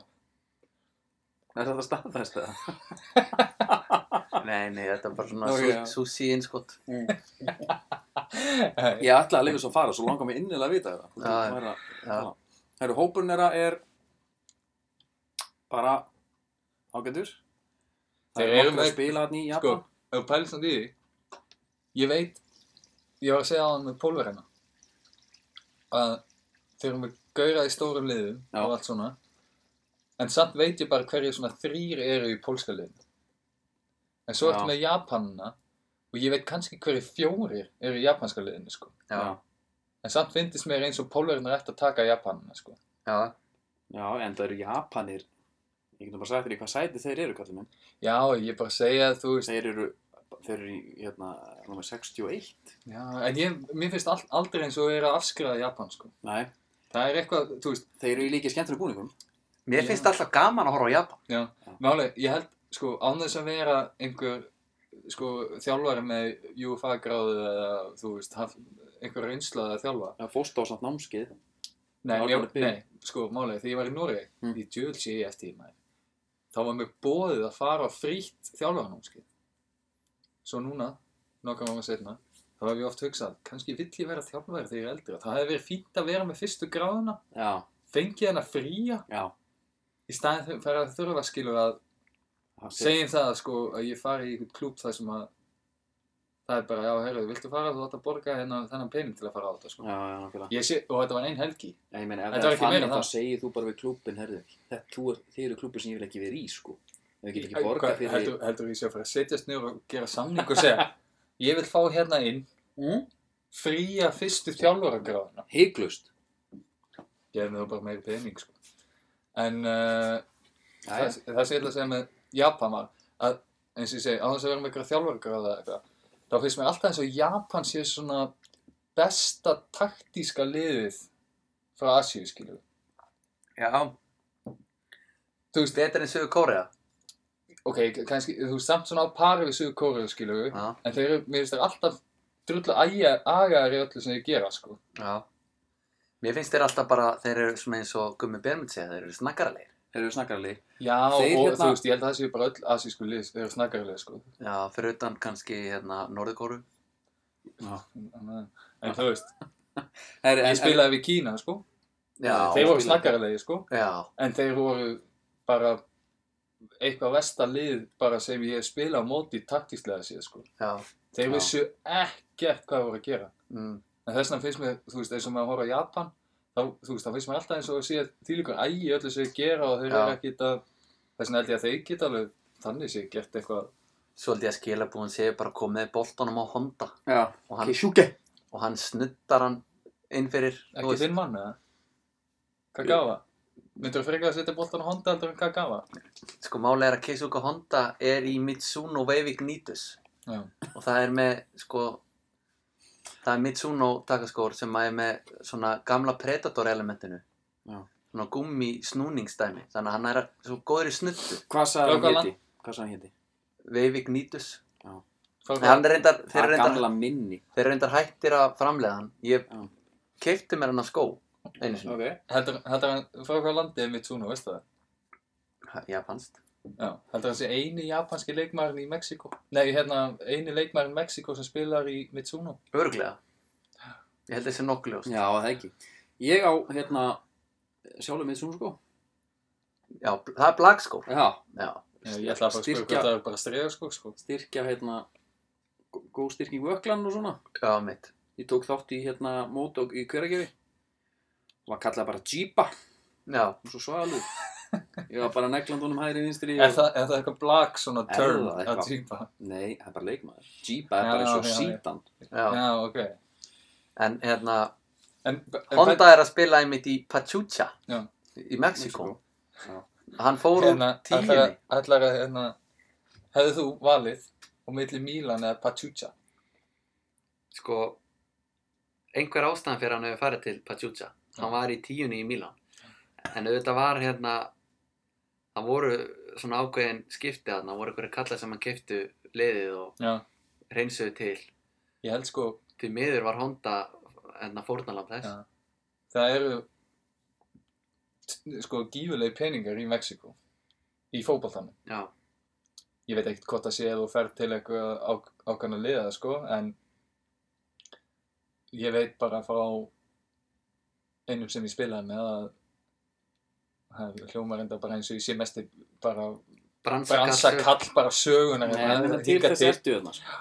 A: Er þetta staðfæst eða?
C: Nei, nei, þetta er bara svona
A: Ok,
C: okay,
A: já.
C: sushi innskott
B: Nei,
A: Ég ætlaði að lifa svo að fara, svo langar mig innilega að vita þetta.
C: Já, já.
A: Það er að
C: Já,
A: tala. Herru, hópurinn þeirra er bara ágætur. Það
B: Þeir
A: eru
B: eru
A: nokkur að
B: með-
A: spila hann í
B: Sko,
A: Japan.
B: ef þú pælir samt í því, ég veit, ég var að segja á hann með pólverina, að þeir eru með gaura í stórum liðum
A: Já.
B: og allt svona, en samt veit ég bara hverju svona þrýr eru í pólska liðinu. En
A: Já.
B: svo ertu með Japanina og ég veit kannski hverju fjórir eru í japanska liðinu, sko.
C: já, já,
B: En samt fyndist mér eins og pólverina ætti að taka Japanina, sko.
A: Já, en það eru Japanir. Ég getum bara sagt þér í hvað sæti þeir eru, kallum minn.
B: Já, ég er bara að segja að þú veist,
A: Þeir eru, þeir eru í, hérna, nummer 61.
B: já, en ég, mér finnst al- aldrei eins og þeir eru að afskrifa Japan, sko.
A: Nei,
B: Það er eitthvað, þú veist,
A: þeir eru í líki skemmtileg búningum.
C: Mér finnst alltaf gaman að horfa á Japan
B: Já, máli, ég held, sko, án þess að vera einhver, sko, þjálfari með UFA gráðu eða, þú veist, haf, einhver reynsla að þjálfa.
A: Það fórst á samt námskeið.
B: Nei,
A: Já,
B: ég,
A: alveg byrjun.
B: nei sko, máli, þegar ég var í Noregi,
A: Mm.
B: í djöl sé ég eftir í maður, þá var mér bóðið að fara á frítt þjálfarnámskeið. Svo núna, nokkar máma setna, þá hef ég oft hugsað, kannski vill ég vera þjálfari þegar ég er eldri. Það hefði verið fínt að vera með fyrstu gráðuna,
A: Já,
B: fengið hana fría,
A: já.
B: í staðin fyrir að fara að þurfa skilur að
A: Það sé-
B: segjum það sko að ég fari í einhvern klúb þar sem að það er bara, já, heyrðu, viltu fara þú átt að borga hérna þennan pening til að fara á þetta sko.
A: Já, já, nákvæmlega.
B: Ég sé, og þetta var ein helgi.
A: Ég meina, ef
B: Þetta
A: það
B: var
A: er
B: ekki meira
A: þannig
B: en
A: þá
B: það.
A: segir þú bara við klúbin, herðu, þetta, þú er, þið eru klúbin sem ég vil ekki vera í, sko. Þau get ekki
B: Hvað,
A: borgað fyrir
B: heldur, heldur ég sé að fara að setjast niður og gera samning og segja, ég vil fá hérna inn
A: Mm?
B: fría fyrstu þjálfaragráðuna.
A: Hygglust.
B: Ég hef með þú bara meiri pening sko. En uh,
A: Jæja.
B: það, það sem ég ætla að segja með Japan var að eins og ég segi, á þess að vera með einhverja þjálfargráða eða eitthvað, þá finnst mér alltaf eins og Japan sé svona besta taktíska liðið frá Asíu, skilju.
C: Já,
B: Þú veist,
C: betur en Suður Kórea
B: ok, kannski, þú veist, samt svona á pari við Suður Kóriðu, skilju,
C: Já,
B: en þeir eru, mér finnst þeir alltaf drullu agaðar í öllu sem þeir gera, sko.
C: já Mér finnst þeir alltaf bara, þeir eru svona eins og Gummi Bermund segja, þeir eru snakkaraleir
A: Þeir eru snakkaralegi.
B: Já,
A: Þeir
B: og
A: hérna-
B: þú veist, ég held að það séu bara öll asísku lið, þeir eru snakkarlega, sko.
C: Já, fyrir utan kannski hérna Norðurkóru
B: En, en þú veist,
A: Her,
B: ég spilaði við Kína, sko.
C: Já,
B: þeir voru
A: spilaði-
B: snakkarlega, sko.
C: já,
B: En þeir voru bara eitthvað versta lið bara sem ég spila á móti taktíslega séð sko.
C: já
B: Þeir
A: Já.
B: vissu ekkert hvað þeir voru að gera.
C: mm.
B: En þess vegna finnst mér, þú veist, eins og maður horfa á Japan, þá, þú veist, þá finnst mér alltaf eins og að sé þýlíkur ægi í öllu sem þeir gera og þeir
C: Já.
B: eru ekki þetta, þess vegna held ég að þeir geta alveg þannig sé gert eitthvað.
C: Svolítið að skilabúin segja bara komið boltanum á Honda
A: Já,
C: og hann,
A: Kishuke.
C: og hann snuttar hann inn fyrir þú
B: Ekki
C: veist.
B: þinn mann eða? Kagawa? Myndur þú frekar að setja boltan á Honda heldur en Kagawa?
C: Sko máli er að Keisuke Honda er í Mitsuno Veivignitus
B: Já.
C: og það er með, sko það er Mitsuno takaskór sem er með svona gamla Predator elementinu
A: Já.
C: svona gummi snúningsdæmi þannig að hann er að- svo góður í snuttu
A: Hvað sagði hann
B: Frá hvaða
A: héti? Hvað sagði hann héti?
C: Veivignitus
B: Frá
C: en hann er reyndar, þeir
A: Það
C: eru
A: er
C: reyndar,
A: gamla minni.
C: þeir eru reyndar hættir að framlega hann ég
A: Já.
C: keipti mér hann að skó einu sinni,
A: Ok.
B: Heldur, heldur hann, frá hvað landið er Mitsuno, veistu það?
C: Ha- japanskt.
B: Já, heldur hann sé eini japanski leikmærin í Mexiko? Nei, hérna, eini leikmærin í Mexiko sem spilar í Mitsuno.
C: Örglega. Ég held þessi nokkuljóst.
A: Já, það ekki. Ég á, hérna, sjálfur mitt svona sko.
C: Já, bl- það er blagskór.
A: Já,
C: Já,
B: Já, ég ætla að fara að spyrja
A: Styrkja-
B: hvað það er bara strega sko, sko.
A: styrkja, hérna, gó- góð styrking vöklan og svona.
C: já, mitt.
A: Ég tók þátt í, hérna, mót og í hveragefi. Það var kallað bara Jeepa,
C: Já,
A: og svo svalur. Ég var bara neglandunum hægri vinstri.
B: Er það, er það eitthvað blag svona
A: Er
B: turn
A: það
B: að
A: eitthvað?
B: týpa?
A: Nei, það er bara leikmaður. Jeepa er
B: Já,
A: bara eins og
B: já, já.
A: sítan.
C: já.
B: Já, ok.
C: En hérna,
B: En, en
C: Honda er að spila einmitt í Pachuca
B: Já.
C: í Mexiko.
A: Mexíkó. Já.
C: Hann fór úr
B: hérna,
C: tíunni.
B: ætlar- ætlar að, hérna, hefðu þú valið og milli Milan eða Pachuca?
C: Sko, einhver ástæðan fyrir hann hefur farið til Pachuca. Hann
B: Já.
C: var í tíunni í Milan. En auðvitað var hérna, hann voru svona ákveðin skiptið hann, voru einhverju kallar sem hann keftu liðið og
B: Já.
C: reynsuðu til.
B: Ég held sko,
C: Því miður var Honda hérna fórnalamb þess.
B: Já. það eru t- sko gífulegi peningar í Mexiko í fótballtanum.
C: Já,
B: Ég veit ekkert hvort það sé að þú ferð til eitthvað á, ákvæmna liða, sko, en ég veit bara frá einum sem ég spilaði með að það hljómar enda bara eins og ég sé mest bara bransa
C: bransakassu.
B: kall bara sögunar
A: Nei,
B: hérna,
A: það er til
B: hingað
A: þess ertu þarna. sko.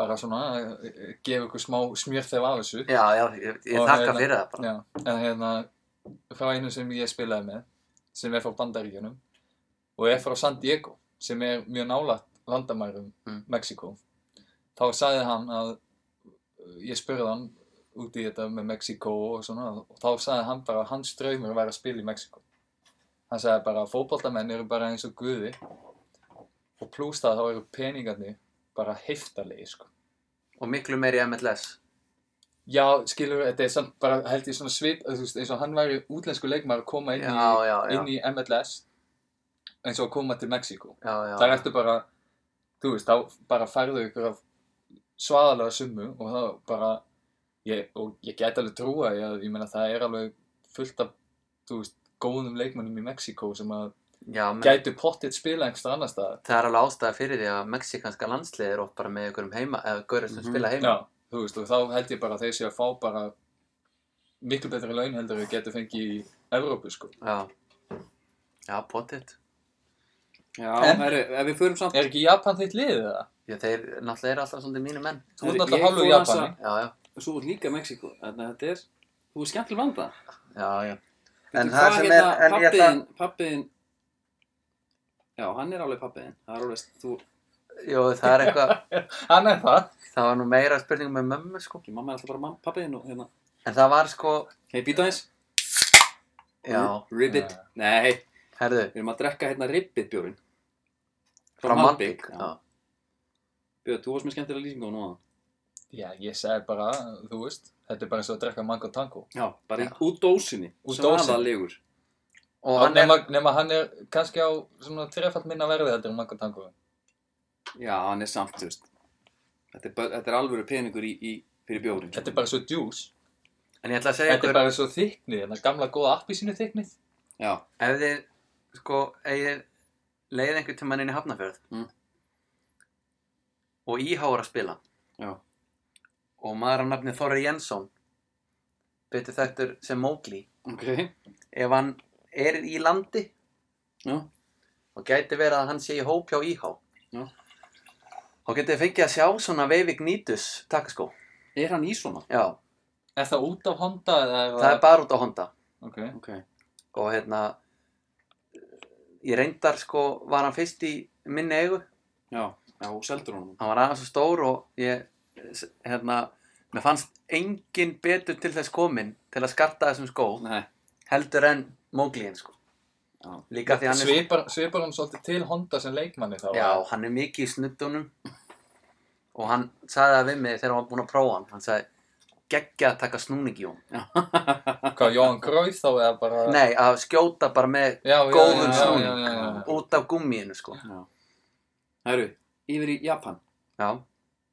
B: bara svona eh, gefa ykkur smá smjörþef af þessu
C: Já, já, ég, ég
B: Og
C: þakka
B: hérna-
C: fyrir það bara.
B: Já, en hérna frá einu sem ég spilaði með sem er frá Bandaríkjunum og er frá San Diego sem er mjög nálægt landamærum
C: Mm.
B: Mexíkó þá sagði hann að ég spurði hann út í þetta með Mexíkó og svona og þá sagði hann bara að hans draumur væri að spila í Mexíkó hann sagði bara að fótboltamenn eru bara eins og guði og plús það þá eru peningarnir bara heiftarlegi sko
C: Og miklu meiri MLS.
B: Já, skilur, þetta er samt bara held ég svona svip, þú veist, eins og hann væri útlensku leikmar að koma inn,
C: Já, já, já.
B: í, inn í MLS eins og að koma til Mexíkó.
C: Já, já.
B: Það er eftir bara, þú veist, þá bara færðu ykkur af svaðalega summu og þá bara, ég, og ég get alveg trúa, ég, ég meina það er alveg fullt af, þú veist, góðum leikmannum í Mexíkó sem að
C: Já, menn,
B: gætu pottitt spila einhversta annar staðar.
C: það er alveg ástæða fyrir því að mexikanska landslið er oft bara með einhverjum heima, eða gaurið sem
A: Mhm.
C: spila heima.
B: Já, þú veist, og þá held ég bara að þeir séu að fá bara miklu betri laun heldur en þeir getur fengið í Evrópu, sko.
C: Já. Já, pottitt.
A: Já,
B: En-
A: herru, ef við förum samt
B: Er ekki Japan þitt liðið eða?
C: Já, þeir náttúrulega eru alltaf svona mínu menn.
B: Þú ert
A: Ég
B: náttúrulega hálfur
A: fór aðeins
B: Japani.
C: Já, já.
A: Svo er líka Mexíkó, þannig að þetta er, þú er skemmtileg vanda.
C: Já, já. En
A: Veitu
C: það
A: hvað
C: sem er,
A: hérna,
C: en ég ætla,
A: pappiðin, pappiðin, já, hann er alveg pappiðin, það er alveg, þú,
C: jú, það er eitthvað,
B: Hann er það.
C: það var nú meira spurning með mömmu, sko.
A: ekki, mamma er alltaf bara mamma, pappiðin og hérna,
C: En það var sko,
A: hei, býta eins, Mhm.
C: já,
A: ribbit,
B: Já.
A: nei,
C: herðu,
A: við erum að drekka hérna ribbit bjórin,
C: frá Malbík.
A: já.
C: Já,
A: Björn, þú varst með skemmtilega lýsingu á núna,
B: Já, ég segi bara, þú veist, þetta er bara eins og að drekka mango tango.
A: já, bara
C: Já.
A: í út dósinni,
B: Úr dósinni.
A: svaðalegur,
C: og
B: Og
C: hann er,
B: nema, nema hann er kannski á svona trefalt minna verði heldur en mango tango.
A: já, hann er samt, þú veist, þetta er, bara- þetta er alvöru peningur í, í fyrir sko. bjórin,
B: Þetta er bara svo djús.
C: en ég ætla að segja
B: Þetta
C: ykkur,
B: er bara svo þyknið, þannig gamla góða appisínu þyknið.
A: já,
C: ef þið, sko, eigið leið einhvern tímann inn í Hafnarfjörð
A: Mm.
C: og íháar að spila
A: já,
C: og maður á nafni Þorri Jensson betur þekktur sem Mowgli
A: ok,
C: ef hann er í landi
A: já,
C: og gæti verið að hann sé í hóp hjá IH
A: Já.
C: þá getið þið fengið að sjá svona Veivik Nýtus takkaskó
A: er hann í svona,
C: Já,
B: Er það út af Honda eða er
C: það er bara út á Honda
B: Ok.
A: ok,
C: og hérna ég reyndar sko var hann fyrst í minni eigu
A: já, já, og seldur honum,
C: hann var aðeins svo stór og ég s- hérna mér fannst engin betur til þess komin til að skarta þessum skó
A: nei,
C: heldur en Mowgliin sko
A: já,
C: líka því hann er
B: Svipar, svipar hann svolítið til Honda sem leikmanni þá?
C: Já, hann er mikið í snuddunum og hann sagði það við mig þegar hann var búinn að prófa hann hann sagði geggja að taka snúning í hún
B: Hvað, Jóhann Gráð þá eða bara...
C: Nei, að skjóta bara með
B: já, já,
C: góðum
B: já, já,
C: snúning.
B: já, já, já.
C: út af gummiðinu sko
A: já, herru, yfir í Japan,
C: Já,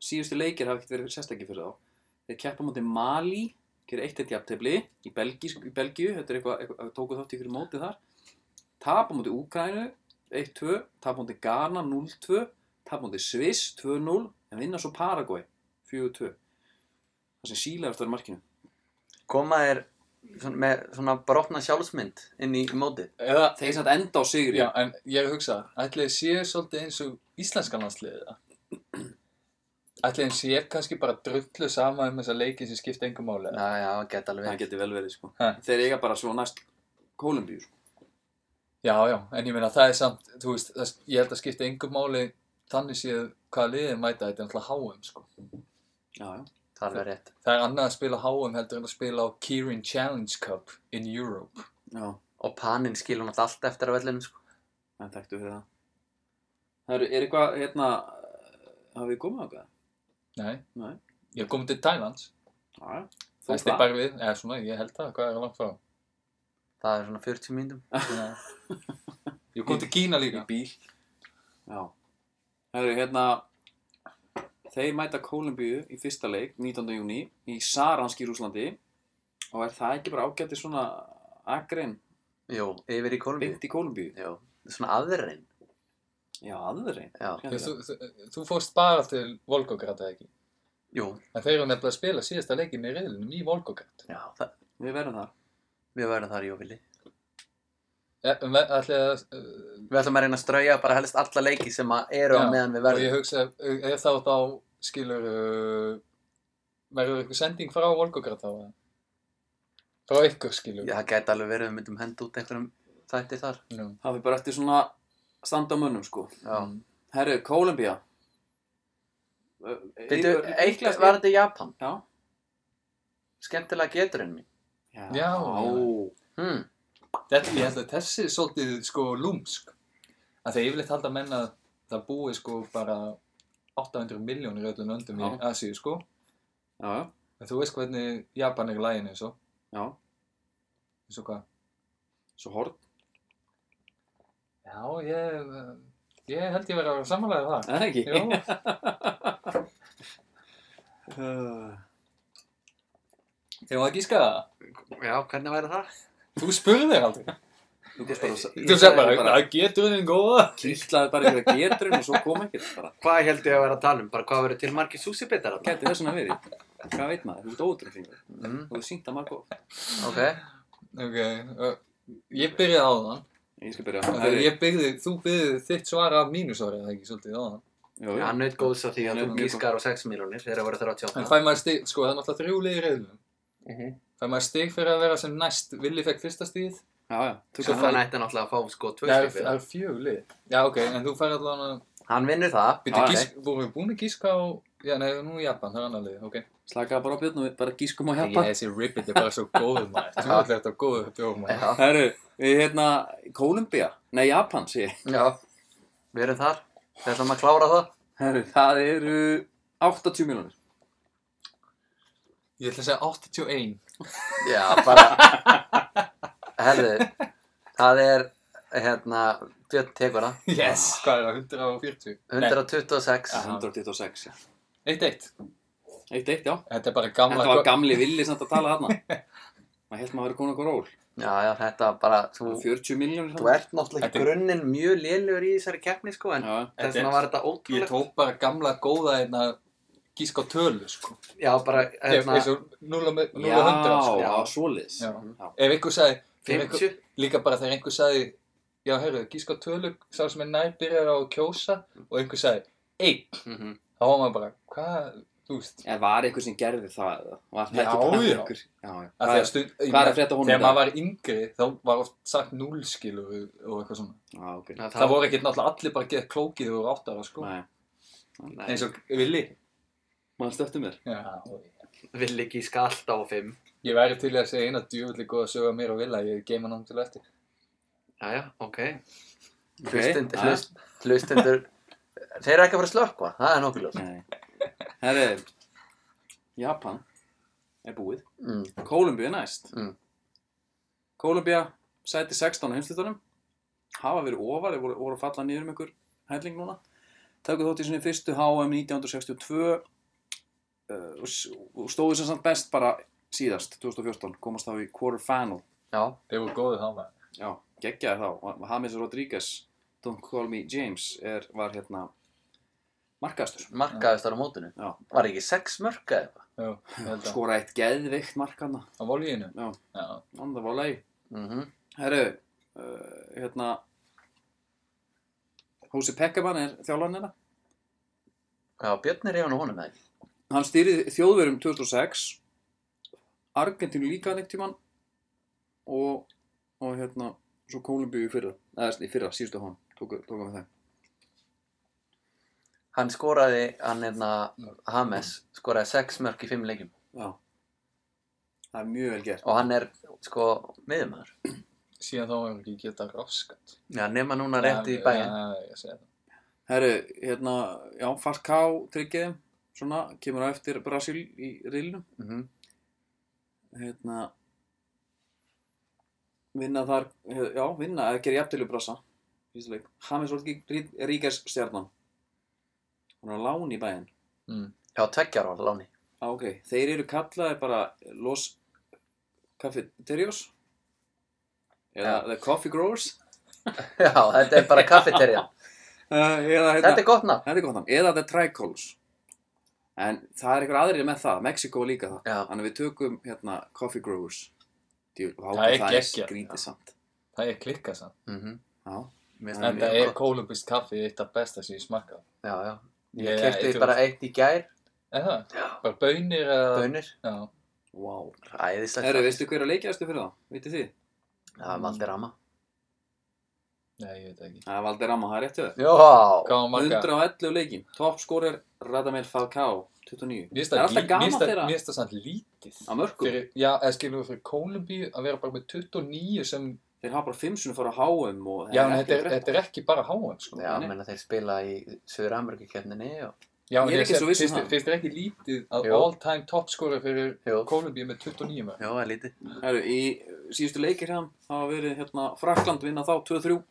A: síðustu leikir hafa ekkert verið sérstakki fyrir þá þeir keppa mútið Mali gerir eitt eitt jafntefli í, Belgís, í Belgíu, þetta er eitthvað, eitthvað tóku þátt í ykkur móti þar tapa móti Úkrænu 1-2, tapa móti Ghana 0-2 tapa móti Sviss 2-0 en vinna svo Paraguay 4-2 það sem síla eftir markinu
C: Koma er svona, með svona brotna sjálfsmynd inn í mótið.
B: Eða,
A: þeir sem þetta enda á sigri
B: já, en ég er að hugsa, ætli þið séu svolítið eins og íslenska landsliðið það? Ætli þeim sé kannski bara drullu sama um þessa leiki sem skipta engum máli?
C: Já, já, gett alveg.
A: það getur vel verið sko.
B: Ha.
A: þeir eiga bara svo næst Kolumbíu sko.
B: Já, já, en ég meina það er samt, þú veist, það, ég held að skipta engum máli þannig séu hvaða liðið mæta þetta er náttúrulega háum, sko.
A: já, já.
C: Það er alveg rétt.
B: Það er annað að spila háum heldur en að spila á Kirin Challenge Cup in Europe.
A: Já,
C: Og paninn skilur náttúrulega allt eftir að vellinu, sko.
A: en þekktu fyrir það það eru- er eitthvað hérna hafið þið komið á hvað?
B: Nei,
A: Nei.
B: ég kom til Thailands,
A: Já, já.
B: það
A: það
B: stið bara við, eða svona, ég held það, hvað er langt frá?
C: Það er svona 40 mínútum.
B: Já. Ég kom til Kína líka.
A: í bíl Já Það eru hérna Þeir mæta Kólumbíu í fyrsta leik 19. júni í Saransk í Rúslandi og er það ekki bara ágæti svona agrein
C: Jú, yfir í Kolumbíu.
A: beint í Kólumbíu
C: Jú, svona aðrein.
A: Já, aðrein
C: Já,
B: Þú, þú, þú- þú fórst bara til Volgograd eða ekki?
C: jú,
B: En þeir eru nefnilega að spila síðasta leikin í reyðlinum í Volgograd.
C: já, það,
A: Við verðum þar
C: við verðum þar, jú, vilji.
B: E, Ætli að, uh,
C: Við ætlum að reyna að strauja bara helst alla leiki sem að eru á
B: Já,
C: meðan við
B: og ég
C: verðum.
B: hugsa, ef ef þá þá skilur, uh, verður eitthvað sending frá Volgograd þá? eða? Frá ykkur skilur.
C: Já, það gæti alveg verið að við myndum henda út einhverjum þætti þar.
B: Nú.
A: Það fyrir bara eftir svona standa á mönnum sko
C: Já.
B: Mm.
A: Herru, Kólumbía e-
C: Býtu, eitthvað var þetta í Japan.
A: Já
C: Skemmtilega geturinn mín.
A: Já,
B: Já.
C: Hmm.
B: Þetta, ég held að þessi er svolítið sko lúmsk. Að þegar yfirleitt halda menn að það búi sko bara 800 miljónir öllum öndum í
A: Já.
B: Asíu sko.
A: Já, já,
B: En þú veist hvernig Japan er í læginu eins og,
A: já
B: eins og hvað?
A: Svo hort
B: Já, ég, eh, ég held ég verið að vera samanlega það.
A: Er það ekki?
B: Jú,
A: Uh,
B: þegar maður gíska það.
C: Já, hvernig væri það?
B: Þú spurðir aldrei.
A: Þú gast bara að-
B: Þú sagði bara, það getur þinn góða.
A: Kýtlaði bara ykkur að getur og svo kom ekkert bara.
C: Hvað heldur ég að vera að tala um? Bara hvað verður til margir súsibitar
A: Gæti þess vegna verið. Hvað veit maður? Þú ert ótrúð fyrir það.
C: Mm,
A: Þú ert sínt að margó.
C: ok.
B: Ok, ö, ég byrjaði á þann.
A: Ég skal byrja.
B: Ég byrði, þú byrði þitt svar af mínusvarið, það ekki svolítið á þann.
A: Jú, jú.
C: Hann naut góðs á því að
A: Hann
C: þú
A: naut mjög
C: gískar á 6 miljónir þegar það voru
B: En
C: 38.
B: fæ maður stig, sko það er náttúrulega þrjúlið í reyðunum.
C: Mhm.
B: Fæ maður stig fyrir að vera sem næst, Willi fekk fyrsta stigið.
A: Já, já. Þú
C: Svo
A: gæti
C: það nætti náttúrulega að fá sko 2
B: Það er-
C: stupið.
B: það er fjöglið. Já, ok, en þú fær allan að,
C: Hann vinnur það.
B: byrju,
A: Já,
B: gísk, voru við búin að gíska á, já, nei, nú Japan, það er annar lið, ok.
A: slakaði bara á björn og við bara gískum á
B: Ég,
A: hjapa.
B: þessi ribbit er bara svo góður maður. Það er allir þetta góður bjóður maður.
C: Já,
A: Herru, við hérna, Kólumbía. Nei, Japan, sé ég.
C: já. Við erum þar. Við ætlum að klára það.
A: Herru, það eru 80 miljonir.
B: Ég ætla að segja 81.
C: Já, bara. Herðu, það er, hérna, Björn tekur það.
B: Yes, hvað er það? 140?
C: 126.
A: 126, já.
B: 1-1.
A: Eitt, eitt, já.
B: Þetta er bara gamla...
A: Þetta var gamli villi samt að tala þarna. Maður held maður að vera komin okkur ról.
C: Já, já, þetta bara, þú,
A: 40 miljonir
C: þú ert náttúrulega
B: Þetta
C: í
B: er-
C: grunninn mjög lélugur í þessari keppni, sko, en
A: Já,
C: þess
B: Þetta er-
C: vegna var þetta
B: Ég
C: ótrúlegt.
B: tók bara gamla góða hérna gísk á tölu, sko.
C: Já, bara,
B: Hérna...
C: hérna,
B: Eins og 0 og 100,
A: já,
B: sko.
A: já,
C: Já.
A: svoleiðis.
B: Já.
A: Já.
B: Ef einhver sagði... þegar Einhver,
C: 50.
B: líka bara þegar einhver sagði, já, heyrðu, gísk á tölu, sá sem er nær byrjar á að kjósa og einhver sagði, einn,
C: Mhm.
B: þá var maður bara, hvað, þú veist,
A: En var einhver sem gerði það eða? Var það
B: Já,
A: ekki bara
B: já.
A: einhver? Já, já.
B: að
A: Hvað
B: þegar
A: er,
B: stund...
A: hvað er að frétta honum
B: Þegar
A: í dag?
B: maður var yngri, þá var oft sagt núlskil og, og eitthvað svona.
A: Já, ok.
C: Já,
B: Það voru ekkert náttúrulega allir bara að geta klókið og áttara, sko.
A: Nei,
C: Nei,
B: Eins og Willi.
A: maður stöftu mér.
B: Já,
C: vill ekki skalta á 5.
B: Ég væri til í að segja eina djúvillig góða sögu af mér og vilja, ég geima hann til eftir.
C: Já, já, ok.
A: Ok,
C: Hlustund,
A: já.
C: hlust, hlustundur, þeir eru ekki að fara að slökkva, það er nokkuð ljóst.
A: Nei. Herri, Japan er búið.
C: Mm.
A: Kólumbíu er næst.
C: Mm.
A: Kólumbía sæti 16 á heimslutunum. Hafa verið ofar, þeir voru, voru að falla niður um einhver helling núna. Tökur þótt í sinni fyrstu HM 1962 uh, og s- og stóðu sem samt best bara síðast, 2014, komast þá í quarterfinal.
C: já,
B: Þeir voru góðið þá maður.
A: Já, geggjaði þá. James Rodriguez, Don't Call Me James, er, var hérna markastur.
C: markaðist þar á mótinu
A: Já.
C: var ekki sex mörka eitthvað
B: Jú, ég held að.
A: Skora eitt geðveikt markana.
B: Á volíinu.
A: Sko. Já,
B: Já.
A: anda var leið.
C: mm
B: Mhm.
A: Herru, uh, hérna, Hósi Pekkaman er þjálfarinn hérna.
C: já, Björn er í hann og honum eða ekki
A: Hann stýrið þjóðverum 2006, Argentínu líka hann einhvern tímann og, og hérna, svo Kólumbíu í fyrra, eða í fyrra, síðustu hann, tók, tók hann með þeim.
C: hann skoraði, hann hérna Hames, skoraði sex mörk í fimm leikjum
A: Já, það er mjög vel gert.
C: og hann er sko miðumæður
B: Síðan þá hefur hann ekki getað rafskat.
C: já, nema núna rétt í bæinn
B: Já, ég segi það.
A: Herru, hérna, já, Falcao tryggið, svona, kemur á eftir Brasil í rilnum,
C: Mhm.
A: hérna, vinna þar, eh, já, vinna, eða gera jafntölu brasa, fyrsta leik, James Rodríguez stjarnan, hún er á lán í bæinn,
B: Mm.
C: já, tveggjar ára láni
A: á, ok, þeir eru kallaðir bara Los Cafeterios, eða The Coffee Growers,
C: já, þetta er bara kaffeterja
A: uh, eða, hérna,
C: þetta er gott nafn
A: Þetta er gott hann, eða The Tricols En það er einhver aðrir með það, Mexiko er líka það
C: Já.
A: Þannig að við tökum hérna Coffee Growers Djú, vá,
B: Það er
A: það er
B: geggjað.
A: skrítið samt
B: Það er klikkað samt.
C: Mhm.
A: Já,
C: Mér finnst
A: Það er
B: Þetta
C: mjög
B: er
C: gott.
B: kolumbist kaffi eitt af besta sem ég smakkað.
C: já, já ég
B: Ég- ég-
C: kefti bara eitt í gær
B: Er það? Bara bönir eða...
C: bönir
B: Já.
A: vá
C: æðislegt
A: Herru, veistu hver að leikjaðastu fyrir það? Vitið þið?
C: það er Maldi Rama
B: Nei, ég veit ekki.
A: Það er Valdir Amma, það er rétt hjá þér
C: já,
B: Hvað var marga?
A: 111 leikin, toppskórer Radamel Falcao, 29
B: Mér finnst
A: Það er alltaf
B: lí- mér
A: gaman
B: finnst það-
A: þeirra
B: mér finnst það samt lítið.
A: á sko. mörgum
B: Fyrir, já, eða skilum við fyrir Kolumbíu að vera bara með 29 sem...
A: Þeir hafa bara 5 sunni fara á HM og
B: Já,
A: það
B: en
A: er
B: þetta
A: ekki
B: er,
A: frétt
B: þetta er ekki bara háan, sko.
C: já,
A: Nei.
C: menna þeir spila í Suður-Ameríkakefninni og
B: Já,
A: Ég er ekki
B: seg-
A: svo viss um
B: finnst
A: það.
B: þér- Finnst þér ekki lítið að
C: Jú.
B: all-time topscorer fyrir
C: Jú.
B: Kolumbíu með 29 mörg?
C: já, það er lítið
A: Herru, í síðustu leikir hann hafa verið hérna Frakland vinna þá 2-3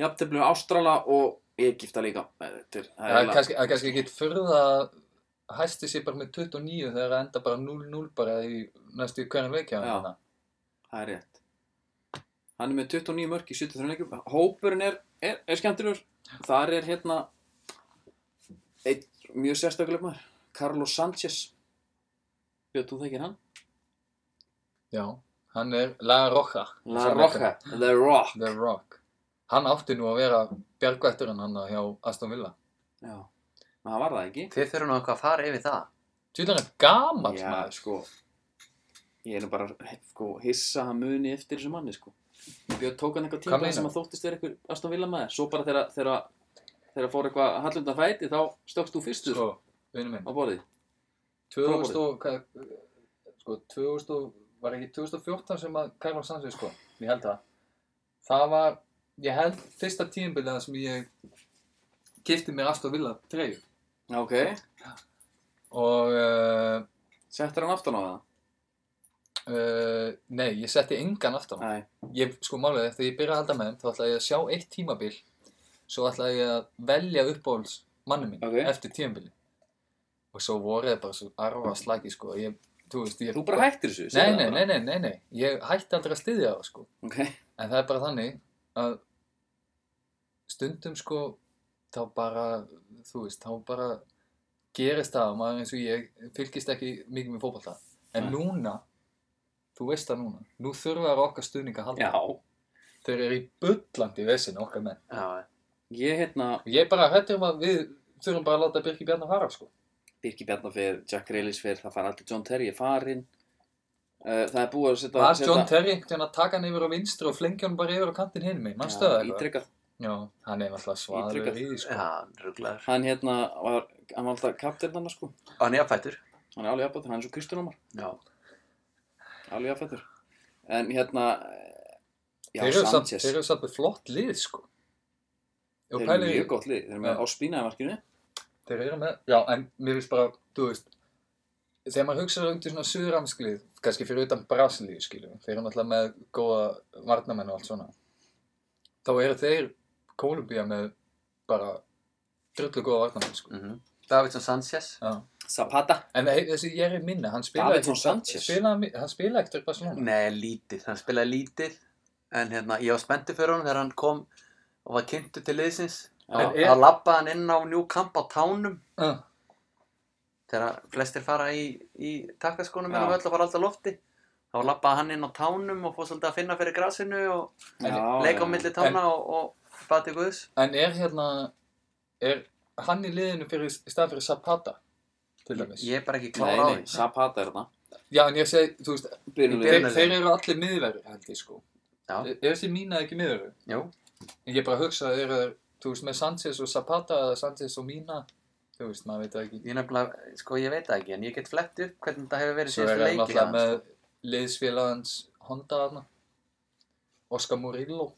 A: Jafntefli Ástrala og Egipta líka Þetta er
B: Það er
A: eiginlega-
B: kannski, það er kannski ekki fyrða að hæsti sér bara með 29 þegar það enda bara 0-0 bara í næstu hverjum leik hjá
A: Já.
B: hann. hérna.
A: það er rétt Hann er með 29 mörk í 73 leikjum Hópurinn er, er, er skemmtilegur Þar er hérna einn mjög sérstaklega maður Carlos Sanchez Björn, þú þekkir hann?
B: Já, hann er La Roja.
A: La Roca, The Rock
B: The Rock. Hann átti nú að vera bjargvætturinn hann hjá Aston Villa.
A: Já, en það var það ekki
C: þið þurfum nú eitthvað að fara yfir það
B: Tjóðan er gamall
A: Já,
B: maður.
A: sko Ég er nú bara sko, hissa að hann muni eftir þessu manni sko. Björn tók hann eitthvað
B: Hvað
A: tíma
B: meinar?
A: sem að þóttist vera eitthvað Aston Villa maður Svo bara þegar þegar- þegar fór eitthvað hallundan fæti þá stökkst þú fyrstur
B: Sko, vinnu minn.
A: á borðið
B: 2000 og, hvað, sko, 2000 og, var ekki 2014 sem að Carlos Sanchez sko, ég held það. Það var, ég held fyrsta tíðinbilið sem ég kipti mér aftur vilja treyju
A: Ok,
B: og, uh,
A: settir hann aftan á það?
B: uh, nei, ég setti engan aftur á.
A: Nei,
B: Ég, sko, málið, er, þegar ég byrjaði að halda með þeim, þá ætlaði ég að sjá eitt tímabil, svo ætlaði ég að velja uppbóls manni minn
A: Ok.
B: eftir tíðinbilið. Og svo voru þið bara svo arfa slagi sko, ég, þú veist, ég...
A: þú bara hættir þessu
B: Nei, nei, nei, nei, nei, nei, ég hætti aldrei að styðja það, sko.
A: Ok,
B: En það er bara þannig að stundum, sko, þá bara, þú veist, þá bara gerist það að maður eins og ég fylgist ekki mikið með fótballta. En
A: Nei.
B: núna, þú veist það núna, nú þurfa þær okkar stuðning að halda.
A: já
B: Þeir eru í bullandi vesinu okkar menn.
C: já,
A: Ég hérna,
B: Ég er bara hættur um að við þurfum bara að láta Birki Bjarnar fara, sko.
A: Birki Bjarnar fyrir, Jack Grealish fyrir, það fara allir John Terry er farinn uh, Það er búið að setja
B: Var John Terry einhvern veginn að taka hann yfir á vinstri og flengja hann bara yfir á kantinn hinn minn, mannstu það eitthvað?
A: Ítrekkað
B: Já, hann er alltaf svaður
A: Ítrekað.
B: í því, sko.
C: já, rugglaður
A: Hann hérna var, hann var alltaf kaptirn hann sko
C: og hann er jafnfættur
A: Hann er alveg jafnbættur, hann er svo Kristján Ómar
C: já,
A: Alveg jafnfættur. En hérna, eh, já,
B: þeir eru samt,
A: Sanchez,
B: þeir eru samt með flott lið sko og
A: þeir eru
B: pælir
A: mjög
B: ég
A: gott lið. Þeir eru með
B: Já.
A: Áspína í markinu.
B: þeir eru með, já en mér finnst bara þú veist, þegar maður hugsa út í svona suðramsklið, kannski fyrir utan Brasilíu skiljum, þeir eru náttúrulega með góða varnamenn og allt svona þá eru þeir Kólumbía með bara drullu góða varnamenn sko
C: mhm Davidson Sanchez
B: já,
A: Zapata
B: En e- þessi Jerry Minna, hann spilaði
A: Davidson Sanchez.
B: spilaði mi- hann spilaði ekkert upp að svona.
C: Nei, lítið, hann spilaði lítið en hérna, ég var spenntið fyrir honum þegar hann kom og var kynntu til liðsins
A: Já.
C: en það lappaði hann inn á njú kamp á tánum
B: Uh,
C: þegar flestir fara í, í takkaskónum
A: Já.
C: eða völl og fara alltaf lofti þá lappaði hann inn á tánum og fór svolítið að finna fyrir grasinu og leika á milli tána og, og bati guðs
B: en er hérna, er hann í liðinu fyrir, í stað fyrir Zapata, til dæmis?
C: ég er bara ekki
A: Nei,
C: klára á
A: nei,
C: því
A: Zapata er það
B: Já, en ég segi, þú veist,
A: Byrjum
B: þeir,
A: við
C: Byrjunarliðinu.
B: þeir eru allir miðverður, held ég sko.
C: Já,
B: Er er þessi Minna ekki miðverður?
C: jú,
B: En Ég bara hugsa, eru þeir, þú veist, með Sanchez og Zapata eða Sanchez og Minna, þú veist, maður veit það ekki.
C: ég nefnilega, sko ég veit það ekki en ég get flett upp hvernig það hefur verið
B: Svo er
C: síðustu
B: hann
C: leiki
B: náttúrulega
C: hann,
B: með
C: sko.
B: liðsfélagans Honda þarna, Oscar Murillo.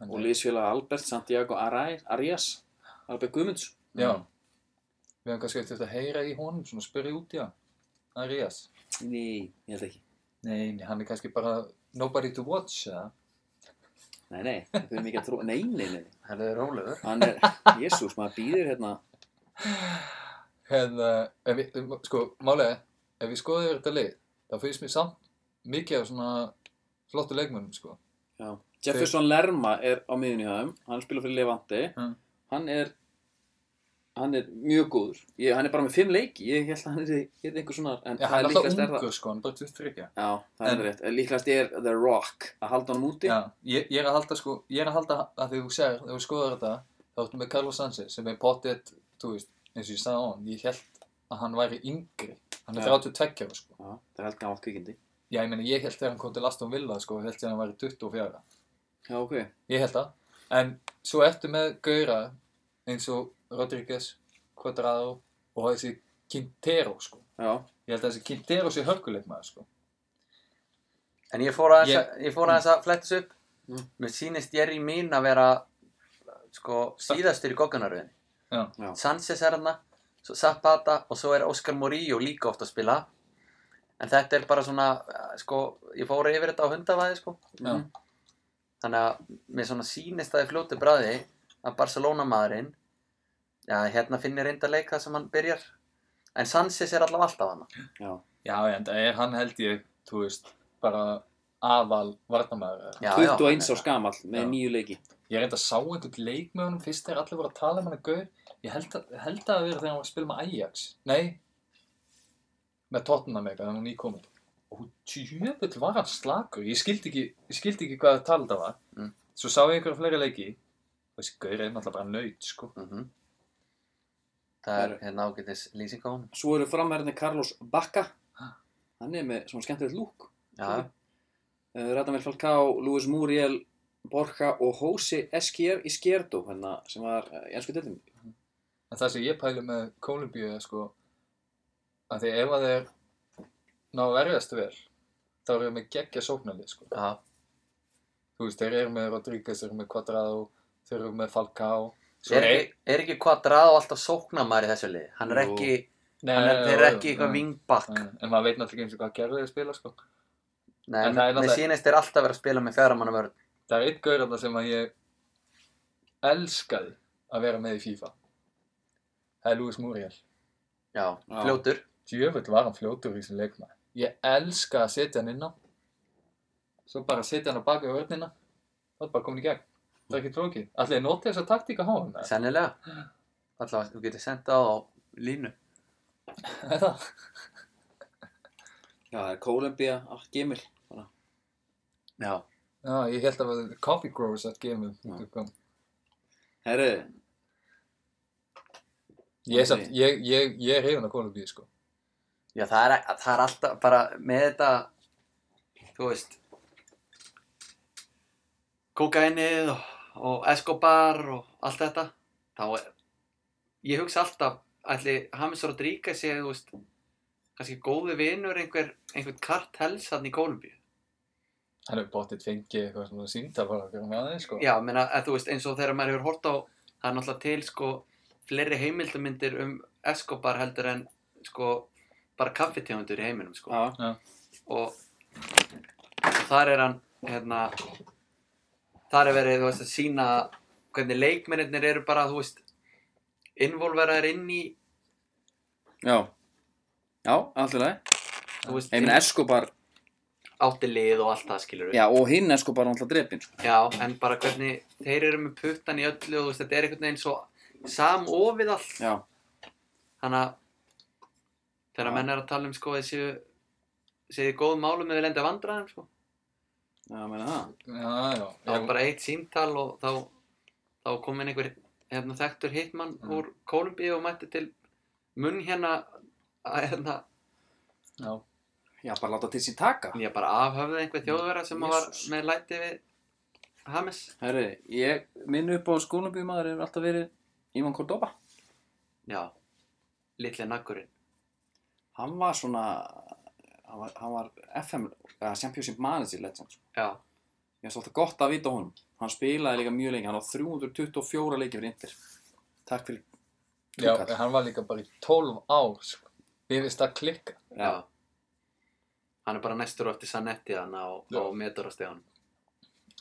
B: Hann
A: Og
B: er-
A: liðsfélag Albert Santiago Arai- Arias Albert Guðmunds
B: Já.
C: Mm.
B: Við höfum kannski eftir að heyra í honum, svona spyrja út í hann. Arias.
A: Nei, ég held ekki
B: Nei, nei, hann er kannski bara nobody to watch, eða?
A: Nei, nei, þau erum ekki að trúa Nei, nei, nei,
C: Hann er rólegur
A: hann er Jésús, maður býðir hérna
B: Hérna, ef við, um, sko, málega, ef við skoðum yfir þetta lið, þá finnst mér samt mikið af svona flottu leikmönnum, sko.
A: Já. Jefferson Lerma er á miðunni hjá þeim hann spila fyrir Levante
B: Mm.
A: hann er hann er mjög góður ég, hann er bara með fimm leiki ég held að hann er, er einhver svona en
B: Já,
A: það
B: hann er
A: líklegast
B: alltaf
A: er það
B: ungur, sko, hann er bara 23.
A: já, það
B: En-
A: er rétt En líklegast er The Rock að halda honum úti
B: Já, ég, ég er að halda, sko, ég er að halda að þegar þú sér, þegar þú skoðar þetta, þá ertu með Carlos Sanchez sem er potið, þú veist, eins og ég sagði á hann, ég held að hann væri yngri. Hann er
A: Já.
B: 32, ára, sko.
A: Já, það er held gamalt kvikindi
B: Já, ég meina, ég held þegar hann kom til Aston Villa, sko, held ég að hann væri 24.
A: já, ok
B: Ég held það. En svo ertu með Gaura eins og Rodríguez, Quadrado og þessi Quintero, sko.
A: já,
B: Ég held að þessi Quintero sé hörkuleikmaður, sko.
C: En ég fór aðeins
B: Ég-
C: að, ég fór aðeins að flettis upp.
A: Mm.
C: Mér sýnist Jerry mín að vera sko síðastur í goggunaröðin.
B: Já.
A: Já.
C: Sanchez er hann, svo Zapata og svo er Oscar Murillo líka oft að spila. En þetta er bara svona, eh, sko, ég fór yfir þetta á hundavaði, sko.
B: Já.
A: Mhm.
C: Þannig að mér svona sýnist að ég fljóti bræði að Barcelona maðurinn, já, hérna finnir reynda leika sem hann byrjar. En Sanchez er allavega alltaf hann.
A: já,
B: Já, en það er hann held ég, þú veist, bara aðal varnamæður. eða.
C: Já, já,
A: 21
C: hann
A: árs gamall
B: Já.
A: með nýju leiki
B: Ég reynda að sá einhvern leik með honum fyrst þegar allir voru að tala um hann að Gaur. Ég held að, held að það hafi verið þegar hann var að spila með Ajax. Nei, með Tottenham eitthvað, þannig að hann nýkominn. Og tjöfull var hann slakur. Ég skildi ekki, ég skildi ekki hvað að tala það var.
C: Mm.
B: Svo sá ég einhverja fleiri leiki. Og þessi Gaur er náttúrulega bara nöyt, sko.
C: Mhm. Það er hérna ágætis lýsing á honum.
A: svo eru framherðinni Carlos Bacca hann er með svona skemmtilegt lúk
C: Já,
A: Uh, Radamel Falcao, Luis Muriel, Borja og Jose Esquier í Skjerdo hérna, sem var uh, í ennsku deltum.
B: En það sem ég pæli með Kólumbíu er sko að því ef að þeir ná að verjast vel þá eru þeir með geggja sóknarlið sko.
C: já,
B: Þú veist, þeir eru með Rodríguez, þeir eru með Quadrado, þeir eru með Falcao. Svo
C: er ekki, er ekki Quadrado alltaf sóknamaður í þessu liði? Hann er
A: Jú.
C: ekki,
B: Nei,
C: hann er,
B: nei,
C: þeir eru
B: nei,
C: ekki
B: nei,
C: eitthvað
B: nei,
C: vingbakk.
B: nei, En maður veit náttúrulega ekki eins og hvað gerðu þeir spila sko.
C: Nei,
B: En það er
C: mér mér
B: náttúrulega-
C: sýnist þeir alltaf vera að spila með fjármannum vörð.
B: Það er einn gaur þarna sem að ég elskaði að vera með í FIFA. Það er Luis Muriel.
C: Já,
A: Já.
C: fljótur.
B: Djöfull var hann fljótur í þessum leikmaði. Ég elska að setja hann inn á. Svo bara setja hann á baki á vörnina. Það er bara komin í gegn. Það er ekki trókið. Allir notið þessa taktíka á hann. eða?
C: Sennilega. Alltaf, þú getur sendað á línu.
B: Er það?
A: Já, það er Kólumbía, ah, Gemil. Bara.
C: Já.
B: Já, ég held að það var Coffee Growers at Game. um
A: Herru,
B: Ég er samt, ég, ég, ég er hefðin á Kolumbíu sko.
C: Já, það er, það er alltaf bara með þetta, þú veist, kókainið og, og Escobar og allt þetta. Þá er, ég hugsa alltaf, ætli Hamis Rodríguez sé, þú veist, kannski góði vinur einhver, einhvern kartels hann í Kólumbíu.
B: Hann hefur bóttið fengið eitthvað svona síntal bara að gera með aðeins sko.
C: Já, menna, að, þú veist, eins og þegar maður hefur hort á, það er náttúrulega til, sko, fleiri heimildamindir um Escobar heldur en, sko, bara kaffitegundur í heiminum, sko.
A: já,
C: og þar er hann hérna þar er verið þú veist að sína hvernig leikmennir eru bara þú veist involveraðir inn í
A: já, Já, allt í lagi.
C: Þú veist,
A: Ég meina Escobar,
C: átti lið og allt það skilur við
A: já, og hinn Escobar er alltaf drepinn, sko.
C: Já, en bara hvernig þeir eru með puttan í öllu og þú veist, þetta er einhvern veginn svo samofið allt.
A: Já,
C: Þannig að þegar menn er að tala um sko þessi séu góð málum eða lenda vandraðum sko.
A: já, meina það.
B: Já, já.
C: Það var bara eitt símtal og þá, þá kom inn einhver hérna, þekktur hitmann
B: Mm.
C: úr Kólumbíu og mætti til munn hérna að hérna,
B: Já,
A: Já, bara láta til sín taka.
C: ég bara afhöfði einhver þjóðverða sem var
A: Jesus.
C: með læti við Hames.
A: Herri, ég, minn upp á skólabíumadur hefur alltaf verið Ívan Kordoba.
C: Já, litli naggurinn.
A: Hann var svona, hann var, hann var FM, eða Championship Manager Legend, sko.
C: Já,
A: Ég finnst alltaf gott að vita á honum. Hann spilaði líka mjög lengi, hann á 324 leiki fyrir Inter. Takk fyrir.
B: já
A: Túkall.
B: en hann var líka bara í 12 ár, sko. Við vist að klikka.
C: já. Hann er bara næstur á eftir Sanetti þarna og,
B: Já.
C: og metarasteghann.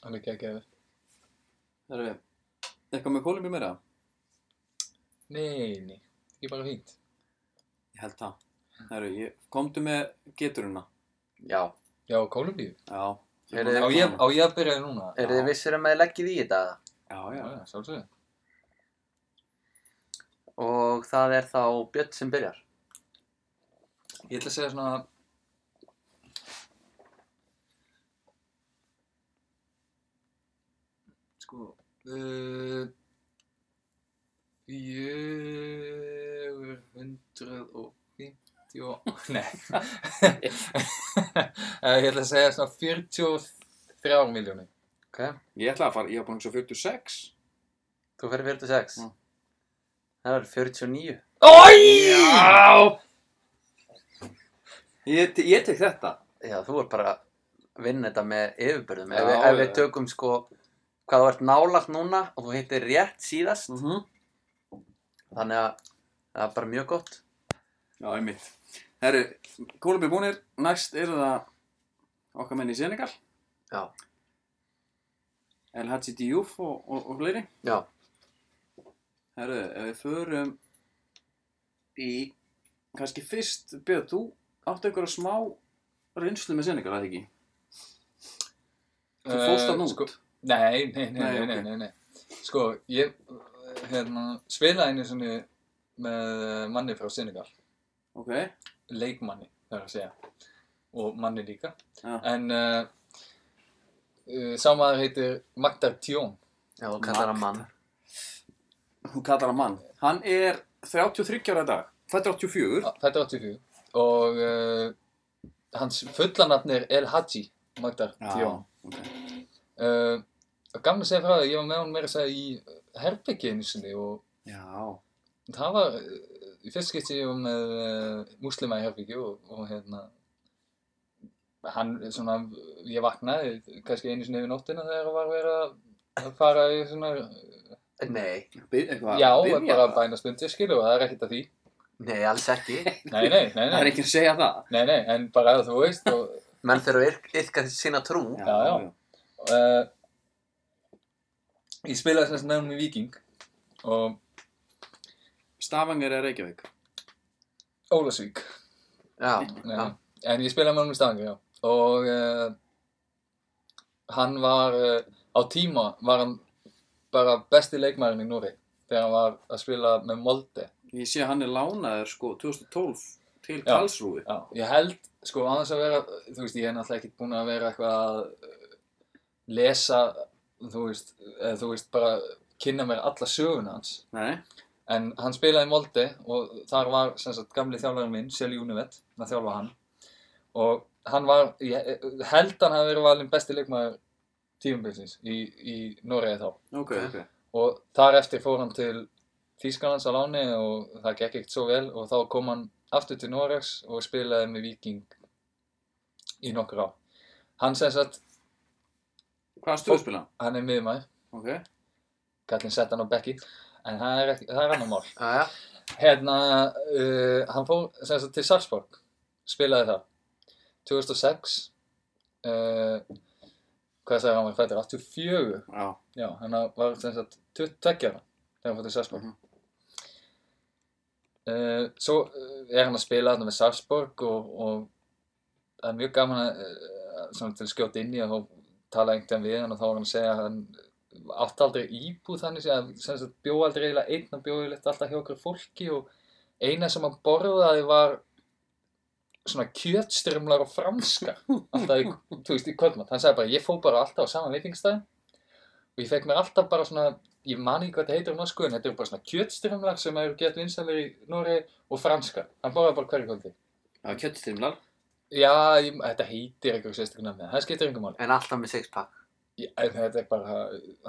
B: Hann er ekki að gefa.
A: Herri, eitthvað með kólum í meira?
B: Nei, nei. Ekki bara fínt.
A: Ég held það. Herri, ég, komdu með geturuna.
C: Já.
B: Já, Kólumbíu.
A: Já.
C: Eru þið-
B: Á ég, á ég að byrja núna?
C: Eru þið vissir um að ég leggið í
A: Já,
C: þetta?
A: já.
B: Já, já, sjálfsögðu.
C: Og það er þá Björn sem byrjar.
B: Ég ætla að segja svona... Sko... Uh, 450... Nei. Eh, ég ætla að segja svona 43 miljónir.
C: Ok,
A: Ég ætla að fara, ég var búin að hugsa 46.
C: þú fyrir 46.
A: Mm.
C: Það er 49.
B: Oi!
A: Ég, ég tek þetta.
C: Já, þú er bara að vinna þetta með yfirbörðum.
A: Já,
C: Ef, við- ef við
A: já.
C: tökum sko hvað þú ert nálagt núna og þú hittir rétt síðast.
A: Mm -hmm.
C: Þannig að það er bara mjög gott.
A: Já, einmitt. Herri, kólum er búinir. Næst eru það okkar menn í Senegal.
C: Já.
A: El Hadji Diouf og, og, og fleiri.
C: Já.
A: Herru, ef við förum í, kannski fyrst, Björn, þú áttu einhverja smá reynslu með Senegal, eða ekki? Þú fórst hann út.
B: Sko, nei, nei, nei,
A: Nei,
B: nei,
A: ok.
B: nei, nei, nei. Sko, ég eh, hérna, spilaði einu svona með manni frá Senegal.
A: Ok,
B: leikmanni, það er að segja og manni líka
A: Já.
B: en uh, uh, sá maður heitir Magdar Tjón
C: Já, þú kallar það mann.
A: hún kallar hann mann. Hann er 33 ára í dag, fættur 84.
B: þetta er 84 og uh, hans fullanafn er El Hadji Magdar Tjón
A: ok.
B: uh, gaman að segja frá það, ég var með hann meira að segja í herbyggi einu sinni og
A: Já,
B: það var uh, í fyrst skipti ég var með uh, muslima í herbyggi og, og hérna hann svona, ég vaknaði kannski einu sinni yfir nóttina þegar það var verið að- að fara í svona
C: Nei,
A: Bið, eitthvað,
B: Já,
A: biðja
B: er bara
A: það?
B: bænastundir, skilur, og það er ekkert að því.
C: nei, alls ekki.
B: Nei, nei, nei,
A: Það er
B: nei,
A: ekki að segja það.
B: nei, nei, en bara að þú veist, og,
C: Menn þurfa að yrk- yrka sína trú.
B: Já, já. uh, ég spilaði sem sagt með hún í Viking og
A: Stavanger er Reykjavík.
B: Ólasvík,
C: Já,
B: nei,
C: já.
B: en ég spilaði með hún í Stangur, já, og uh, hann var, uh, á tíma var hann bara besti leikmærin í Núri þegar hann var að spila með Molde.
A: Ég sé að hann er lánaður sko 2012 til
B: Já.
A: Karlsrúi.
B: Já, ég held, sko, án þess að vera, þú veist, ég er náttúrulega ekkert búinn að vera eitthvað að uh, lesa, þú veist, eða þú veist, bara kynna mér alla söguna hans.
A: Nei,
B: En hann spilaði í Molde og þar var, sem sagt, gamli þjálfarinn minn, Sjöli Júnivett, að þjálfa hann. Og hann var, ég ég held hann hafi verið valinn besti leikmaður tífumbilsins í, í Noregi þá.
A: ok, ok.
B: Og þar eftir fór hann til Þýskalands á láni og það gekk ekkert svo vel og þá kom hann aftur til Noregs og spilaði með Viking í nokkur á. Hann sem sagt,
A: Hvað stuðu spila?
B: hann er miðmæður,
A: Ok.
B: kallinn sett hann á bekki, en það er, ekki, það er annar mál.
C: Já, já.
B: Hérna, uh, hann fór sem sagt til Sarpsborg, spilaði það, 2006, uh, hvað sagði hann var fættur, 84,
A: Já.
B: já, hann var sem sagt 22 ára þegar hann fór til Sarpsborg. Uh, svo eh, er hann að spila þarna með Sarpsborg og, og það er mjög gaman að, uh, svona til að skjóta inn í að hún tala einhvern veginn við hann og þá var hann að segja að hann átti aldrei íbúð þannig að sem sagt bjó aldrei eiginlega einn, hann bjó eiginlega alltaf hjá okkur fólki og eina sem hann borðaði var svona kjötströmmlar og franskar alltaf í, þú veist, í kvöldmatt hann sagði bara, ég fó bara alltaf á sama veitingstæðin og ég fekk mér alltaf bara svona ég man ekki hvað þetta heitir á norsku en þetta eru bara svona kjötströmmlar sem eru gett vinsælir í Nóri og franska hann borðaði bara hverju kvöldi
A: Það er kjöttstrimlar.
B: já, ég, þetta heitir eitthvað sérstaklega nafni það skiptir engum máli
C: En alltaf með sixpack,
B: Ég- en þetta er bara,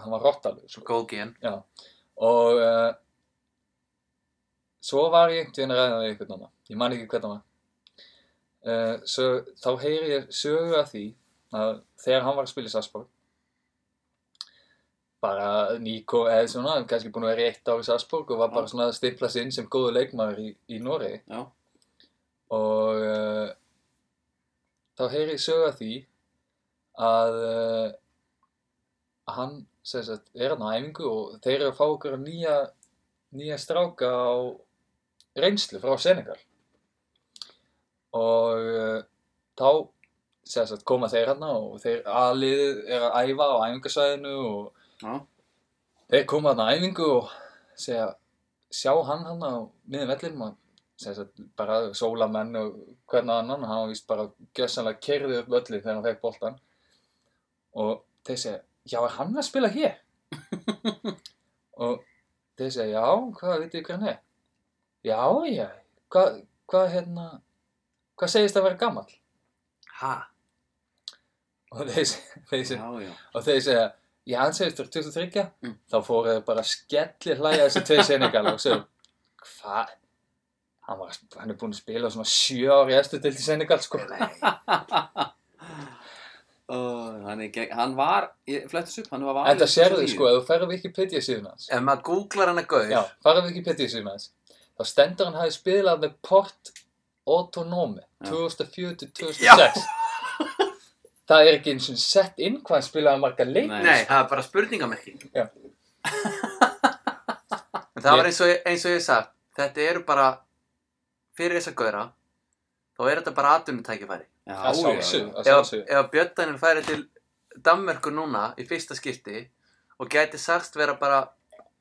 B: hann var rottalur sko.
C: góð gen
B: og uh, svo var ég einhvern veginn að ræða við einhvern annan ég man ekki hvernig hann var uh, svo, þá heyri ég sögu af því að þegar hann var að spila í Sarsborg bara Nico eða svona, kannski búin að vera í eitt ár í Sarsborg og var bara svona að stimpla sig inn sem góðu leikmaður í, í Noregi
A: Já.
B: og uh, þá heyri ég sögu af því að uh, hann sem sagt, er hann á æfingu og þeir eru að fá okkur nýja, nýja stráka á reynslu frá Senegal og uh, þá sem sagt, koma þeir hann og þeir aðlið er að æfa á æfingasvæðinu og
A: Já.
B: þeir koma þarna á æfingu og segja, sjá hann hann á miðum vellinum og segja satt, bara sólamenn og hvernig annan og hann var víst bara gjössanlega kerðið upp völlin þegar hann fekk boltan og þeir segja, já er hann að spila hér? og þeir segja, já, hvað vitið þið hver hann er? Já, já, hvað, hvað hérna, hvað segist að vera gammal?
C: Ha?
B: Og þeir, se- þeir segja,
A: Já, já.
B: og þeir segja já, hann segist þú 23
A: Mm.
B: þá fóru þeir bara skellir hlæja þessi tvei senegal og segja hvað hann, var, hann er búinn að spila svona sjö ári eftir til til senegal sko
C: Nei,
A: Uh, hann, er gegn, hann var, ég flettis upp, hann var valinn.
B: þetta sérðu
A: 2009.
B: sko, ef þú ferðu Wikipedia síðan hans
C: ef maður googlar hann að
B: já,
C: gauð,
B: farðu Wikipedia síðan hans þá stendur hann hafi spilað með Port Autonome
A: Já.
B: 2004-2006 það er ekki eins og sett inn hvað hann spilaði marga leik
A: Nei.
C: nei, það er bara spurningamerki.
B: Já.
C: en það var eins og, ég- eins og ég sagði, þetta eru bara, fyrir þess að gauðra, þá er þetta bara atvinnutækifæri.
A: Já,
B: að
A: já,
B: sjálfsögðu,
A: já.
B: að
C: ef,
B: sjálfsögðu
C: ef Björn Daniel færi til Danmörku núna í fyrsta skipti og gæti sagt vera bara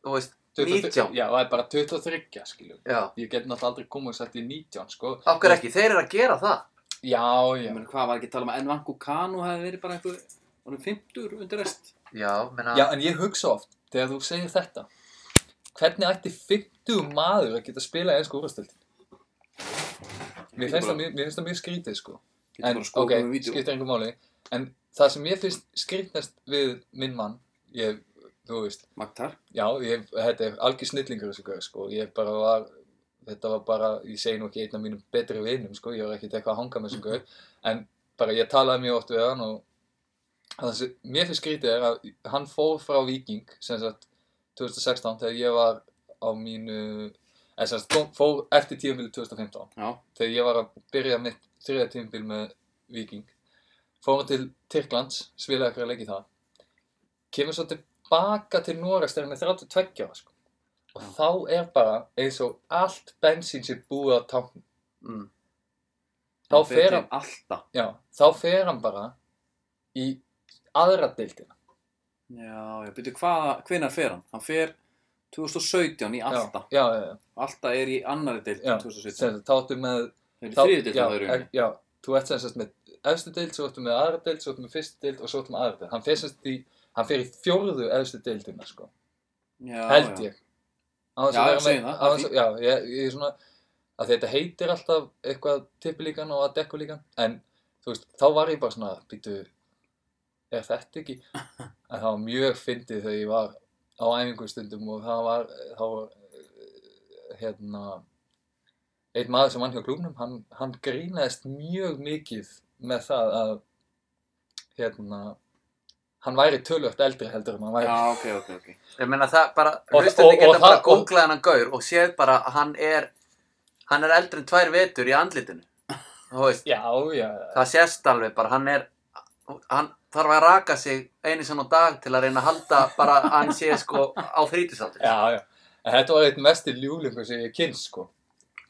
C: þú veist,
B: 23
C: 19
B: já, það er bara 23 skiljum
C: já,
B: Ég get náttúrulega aldrei komið og sett í 19, sko.
C: okkur ekki, þeir eru að gera það
B: Já,
A: Ég
B: já.
A: meina, hvað var ekki að tala um að Envanku Kanu hefði verið bara einhver, hann er 50 undir rest.
C: já, menna,
B: Já, en ég hugsa oft, þegar þú segir þetta, hvernig ætti 50 maður að geta spila ennsku úrvastöldin?
A: Getur
B: Mér finnst
A: bara-
B: það mjög- mér finnst það mjög skrítið, sko.
A: Getur
B: En,
A: bara að skoða
B: ok,
A: okay, um vídeo.
B: skiptir einhver máli. En það sem ég finnst skrítnast við minn mann, ég, þú veist,
A: Magtar.
B: já, ég, þetta er algjör snillingur þessu gauð, sko. Ég bara var, þetta var bara, ég segi nú ekki einn af mínum betri vinum, sko. Ég var ekkert eitthvað að hanga með þessu gauð. En bara ég talaði mjög oft við hann og það sem mér finnst skrítið er að hann fór frá Viking, sem sagt 2016 þegar ég var á mínu, eða sem sagt kom, fór eftir tíumbil 2015
A: Já.
B: þegar ég var að byrja mitt þriða tímabil með Viking fórum til Tyrklands, spilaði eitthvað leik í það kemur svo tilbaka til Noregs þegar hann er 32 ára sko. og þá er bara eins og allt bensín sem búið á tákn
C: mm,
B: þá
A: Hann
B: fer hann,
A: til Alltaf.
B: já, þá fer hann bara í aðra deildina
A: Já, ég byrju, hvað, hvenær fer hann? Hann fer 2017 í Alltaf.
B: já, já, já,
A: Alltaf er í annari deilt
B: Já,
A: 2017.
B: sem þetta áttu með
A: Það er í
B: þá-
A: þriði deilt
B: já,
A: það eru.
B: e- já, þú ert sem sagt með efstu deild, svo ertu með aðra deild, svo ertu með fyrstu deild og svo ertu með aðra deild hann fer sem sagt í, hann fer í fjórðu efstu deildina sko,
A: Já,
B: held
A: já.
B: ég á þess
A: Já,
B: að
A: já,
B: vera
A: segjum það,
B: með á
A: það er
B: þess að, já, ég, ég er svona að þetta heitir alltaf eitthvað tippilíkan og að dekkulíkan en þú veist, þá var ég bara svona býtu, er þetta ekki en það var mjög fyndið þegar ég var á æfingu stundum og það var, þá var eh, hérna einn maður sem vann hjá klubnum hann, hann grínaðist mjög mikið með það að hérna hann væri tölvögt eldri heldur en hann væri
A: Já, ok, ok, ok.
C: ég menna það bara,
B: Og-
C: hlustandi
B: og-
C: geta
B: og
C: bara
B: það- og-
C: googlað hann að gauð og séð bara að hann er hann er eldri en tvær vetur í andlitinu þú veist,
B: já, já, já,
C: það sést alveg bara hann er hann þarf að raka sig einu sinni á dag til að reyna að halda bara að hann sé sko á þrítisaldur
B: já, já. En þetta var eitt mesti ljúlingur sem ég kynst sko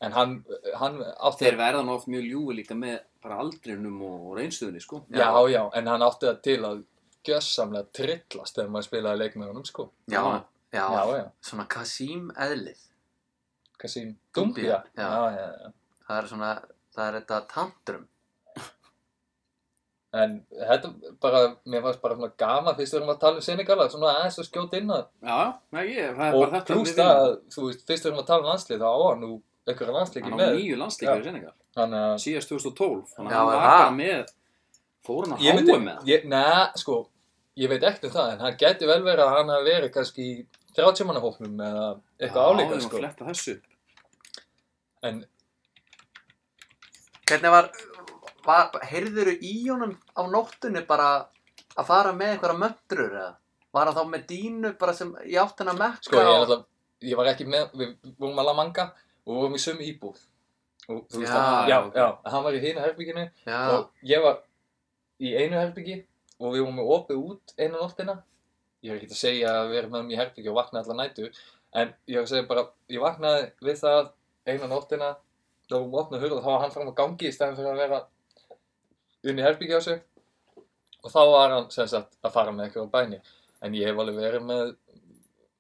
B: en hann, hann átti
A: Þeir verða nú oft mjög ljúi líka með bara aldrinum og og reynsluðinni sko.
B: já, já, en hann átti það til að gjössamlega trillast þegar maður spilaði leik með honum sko
C: já,
A: Já.
C: já,
B: já, já,
C: svona Kasim eðlið
B: Kasim
C: Dumbia,
B: Dumbia
C: já.
B: já, já, já,
C: það er svona, það er þetta tantrum
B: en þetta bara, mér fannst bara svona gaman fyrst við erum að tala um Senegala, svona aðeins að skjóta inn að
A: Já, nei, ég, það er
B: og
A: bara þetta
B: pluss það, að, þú veist, fyrst við erum að tala um landslið þá á hann nú einhverja landsleiki
A: Hann á
B: með
A: nýju landsleikar í Senegal.
B: þannig að
A: Síðast 2012. Þannig
C: Já,
A: að hann var
C: það.
A: bara með, fór hann að
B: ég
A: háa með.
B: ég, na, sko, ég veit ekkert um það en hann geti vel verið að hann hafi verið kannski í 30 manna hóknum eða eitthvað álíka
A: Já, við erum
B: sko.
A: að fletta þessu.
B: en
C: hvernig var, var heyrðuru í honum á nóttunni bara að fara með einhverja möndrur eða var hann þá með dínu bara sem í áttina að mekka
B: sko, ég, er
C: og-
B: alltaf, ég var ekki með, við vorum alveg að manga og vorum í sömu íbúð og þú veist
C: Já,
B: að, já,
C: ok.
B: já, hann var í hinu herbygginu
C: já,
B: og ég var í einu herbyggi og við vorum með opið út einu nóttina ég er ekki að segja að við erum með mér í herbyggi og vaknaði allar nætu en ég er að segja bara, ég vaknaði við það einu nóttina þá vorum við opnað hurð og þá var hann fram á gangi í stæðin fyrir að vera inn í herbyggi á sig og þá var hann sem sagt að fara með eitthvað á bæni en ég hef alveg verið með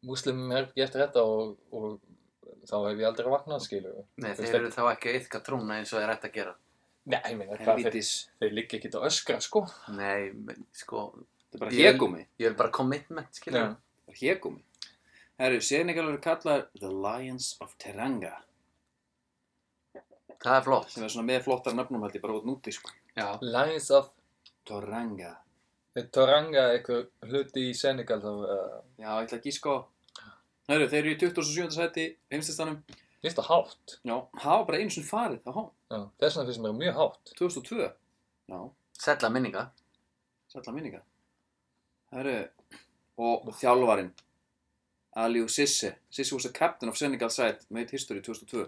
B: múslimum herbyggi eftir þetta og, og þá hef ég aldrei vaknað skilur
C: nei,
B: þú
C: þeir
B: veist
C: eru þá ekki að yfka trúna eins og þeir ætti að gera
B: Nei, ég meina, hvað þeir,
A: Helvítis.
B: þeir liggja ekki að öskra sko
C: nei, men- sko,
A: Þetta er bara
C: Ég-
A: hegumi.
C: ég er bara commitment skilur
B: Já.
A: Bara hegumi. Herru, Senegal eru kallaður The Lions of Teranga.
C: það er flott
A: Sem er svona með flottar nöfnum held ég bara út núti sko.
C: já,
B: Lions of
A: Teranga.
B: Þeir Toranga eitthvað hluti í Senegal þá uh,
A: Já, ég ætla að gíska á. Herru, þeir eru í 27. sæti í heimstistanum.
B: finnst það hátt
A: Já, hafa bara einu sinni farið á hón.
B: Já, þess vegna finnst mér mjög hátt
A: 2002. Já,
C: sella minninga
A: sætla minninga. Herru, og þjálfarinn. Aliou Sisse. Sisse was the captain of Senegal side, made history 2002.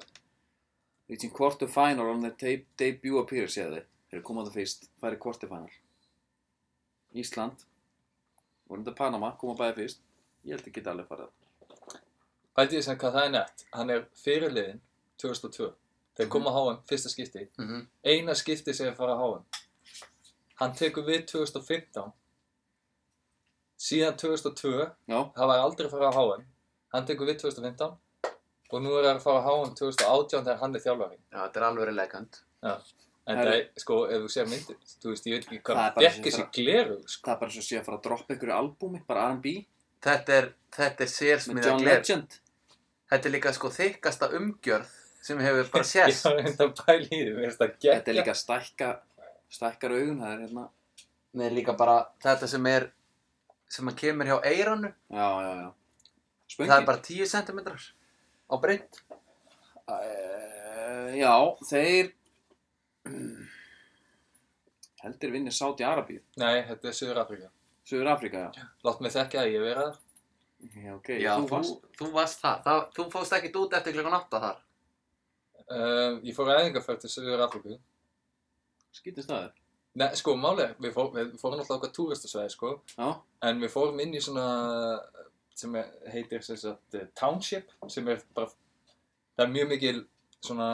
A: Reaching quarter final on their de debut appearance, ég þið. Þeir eru komað það fyrst, færi quarter final. Ísland. Voru þetta Panama, koma bæði fyrst. Ég held ekki geta alveg farið.
B: Bæti ég sem hvað það er nett Hann er fyrirliðin 2002
A: Mhm.
B: Þeir koma á HM fyrsta skipti
C: mm -hmm.
B: Eina skipti sem þeir fara á HM Hann tekur við 2015 Síðan 2002
A: Já,
B: Það var aldrei að fara á HM Hann tekur við 2015 Og nú er hann að fara á HM 2018 þegar hann er þjálfari
C: já, þetta er alveg legend
B: En
A: Herru.
B: það er, sko, ef þú sér myndir Þú veist, ég veit ekki hvað
A: Það er
B: hann
A: bara
B: fekk
A: þessi
B: þessi gleru sko.
A: það er bara eins og sé að fara að droppa ykkur í albúmi, bara R&B,
C: þetta er, þetta er
A: með
C: sérsmiða
A: John
C: gler
A: Legend.
C: þetta er líka sko þykkasta umgjörð sem hefur bara
B: Ég
C: sést
B: var reynda að bæla í því, mér finnst það geggja.
A: Þetta er líka að stækka, stækkar augun, það er hérna,
C: Nei, líka bara þetta sem er sem að kemur hjá eiranu
A: já, já, já. Spöngin?
C: það er bara 10 cm á breynd
A: Uh, já, þeir, heldur vinni Sáti Arabíu,
B: Nei, þetta er Suður-Afrika.
A: Suður Afríka, já.
B: Látt mig þekka að ég hef verið þar.
A: Já, ok, þú varst.
C: þú varst það. það þú fóst ekki út eftir klukkan 8 þar
B: Um, ég fór æðingarferð til Suður-Afriku.
A: Skítist það þér?
B: Nei, sko, málið, er, við, fór, við fórum alltaf okkar túristasvæði, sko.
A: Já,
B: En við fórum inn í svona, sem er, heitir sem sagt, eh, township, sem er bara, það er mjög mikil, svona,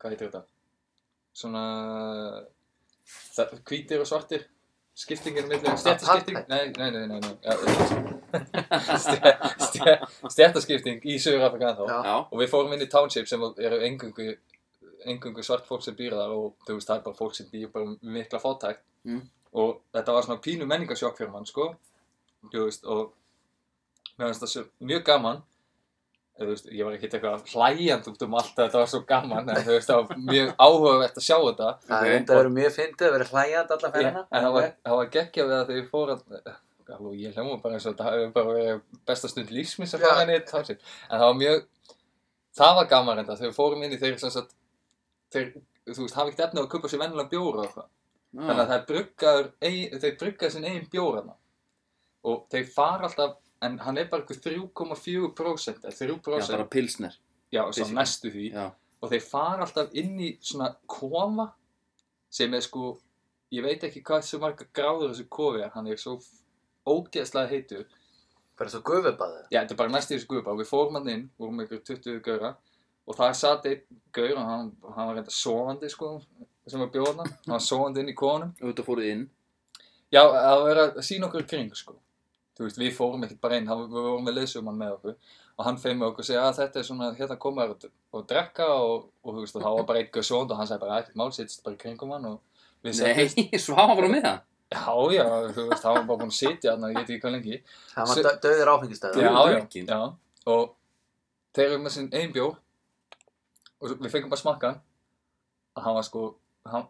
B: hvað heitir þetta? Svona, það, hvítir og svartir, skiptingin millir, stjættaskipting, nei, nei, nei, nei, nei, ja, stjættaskipting í Suður-Afrika ennþá.
C: Já.
A: já,
B: og við fórum inn í township sem eru engungu, engungu svart fólk sem býr þar og þú veist það er bara fólk sem býr bara við mikla fátækt
A: Mm.
B: og þetta var svona pínu menningasjokk fyrir mann sko þú veist og mér finnst það svo mjög gaman Eða, þú veist, ég var ekki eitthvað hlæjand út um allt að þetta var svo gaman en þú veist það var mjög áhugavert að sjá þetta
A: Ok.
C: það okay. er verið mjög fyndið að vera hlægjand alla
B: en
C: ferðina
B: það var, það var geggjað við að þegar ég fór að Halló, ég hljóma bara eins og þetta hefur bara verið besta stund lífsminn sem
C: Já.
B: fara henni þá sér. En það var mjög, það var gaman reynda þegar við fórum inn í þeir sem sagt, þeir, þú veist, hafa ekkert efni á að kupa sér vennilega bjóra og eitthvað. Þannig að
A: já,
B: þeir bruggaður, ein, þeir bruggaður sinn eigin bjóra þarna. Og þeir fara alltaf, en hann er bara eitthvað 3,4% eða 3%
A: bara pilsner,
B: já, svo
A: basically.
B: næstu því
A: já,
B: og þeir fara alltaf inn í svona kofa sem er sko ég veit ekki hvað sem marga gráður þessu kofi er, hann er svo ógeðslega heitur
C: bara svo gufubaðið
B: já, þetta er bara næst í þessu guðbá, við fórum hann inn vorum ykkur 20 gauðra og það satt einn gaur og hann, hann var reynda sofandi sko sem var bjóðna, hann var sofandi inn í konum
A: Auðvitað fóruð inn.
B: já, það var að sína okkur í kring sko þú veist, við fórum ekkert bara inn, hann, við vorum með leysjumann með okkur og hann feimur okkur og segja að þetta er svona, hérna koma þér og, og drekka og, og þú veist, og það var bara einn gaur sofandi og hann sagði bara ekkert mál, sittist bara í kringum hann og
A: Nei,
B: við settist-
A: Svava var á miðan.
B: já, já, þú veist, hann var bara búinn að sitja hann og ég veit ekki hvað lengi
C: Það
B: Se-
C: var dö- dauður áfengistöð.
A: Já.
B: já, já,
A: drukkinn.
B: já, og þeir eru með sinn einn bjór og svo- við fengum bara smakkan að hann var sko hann,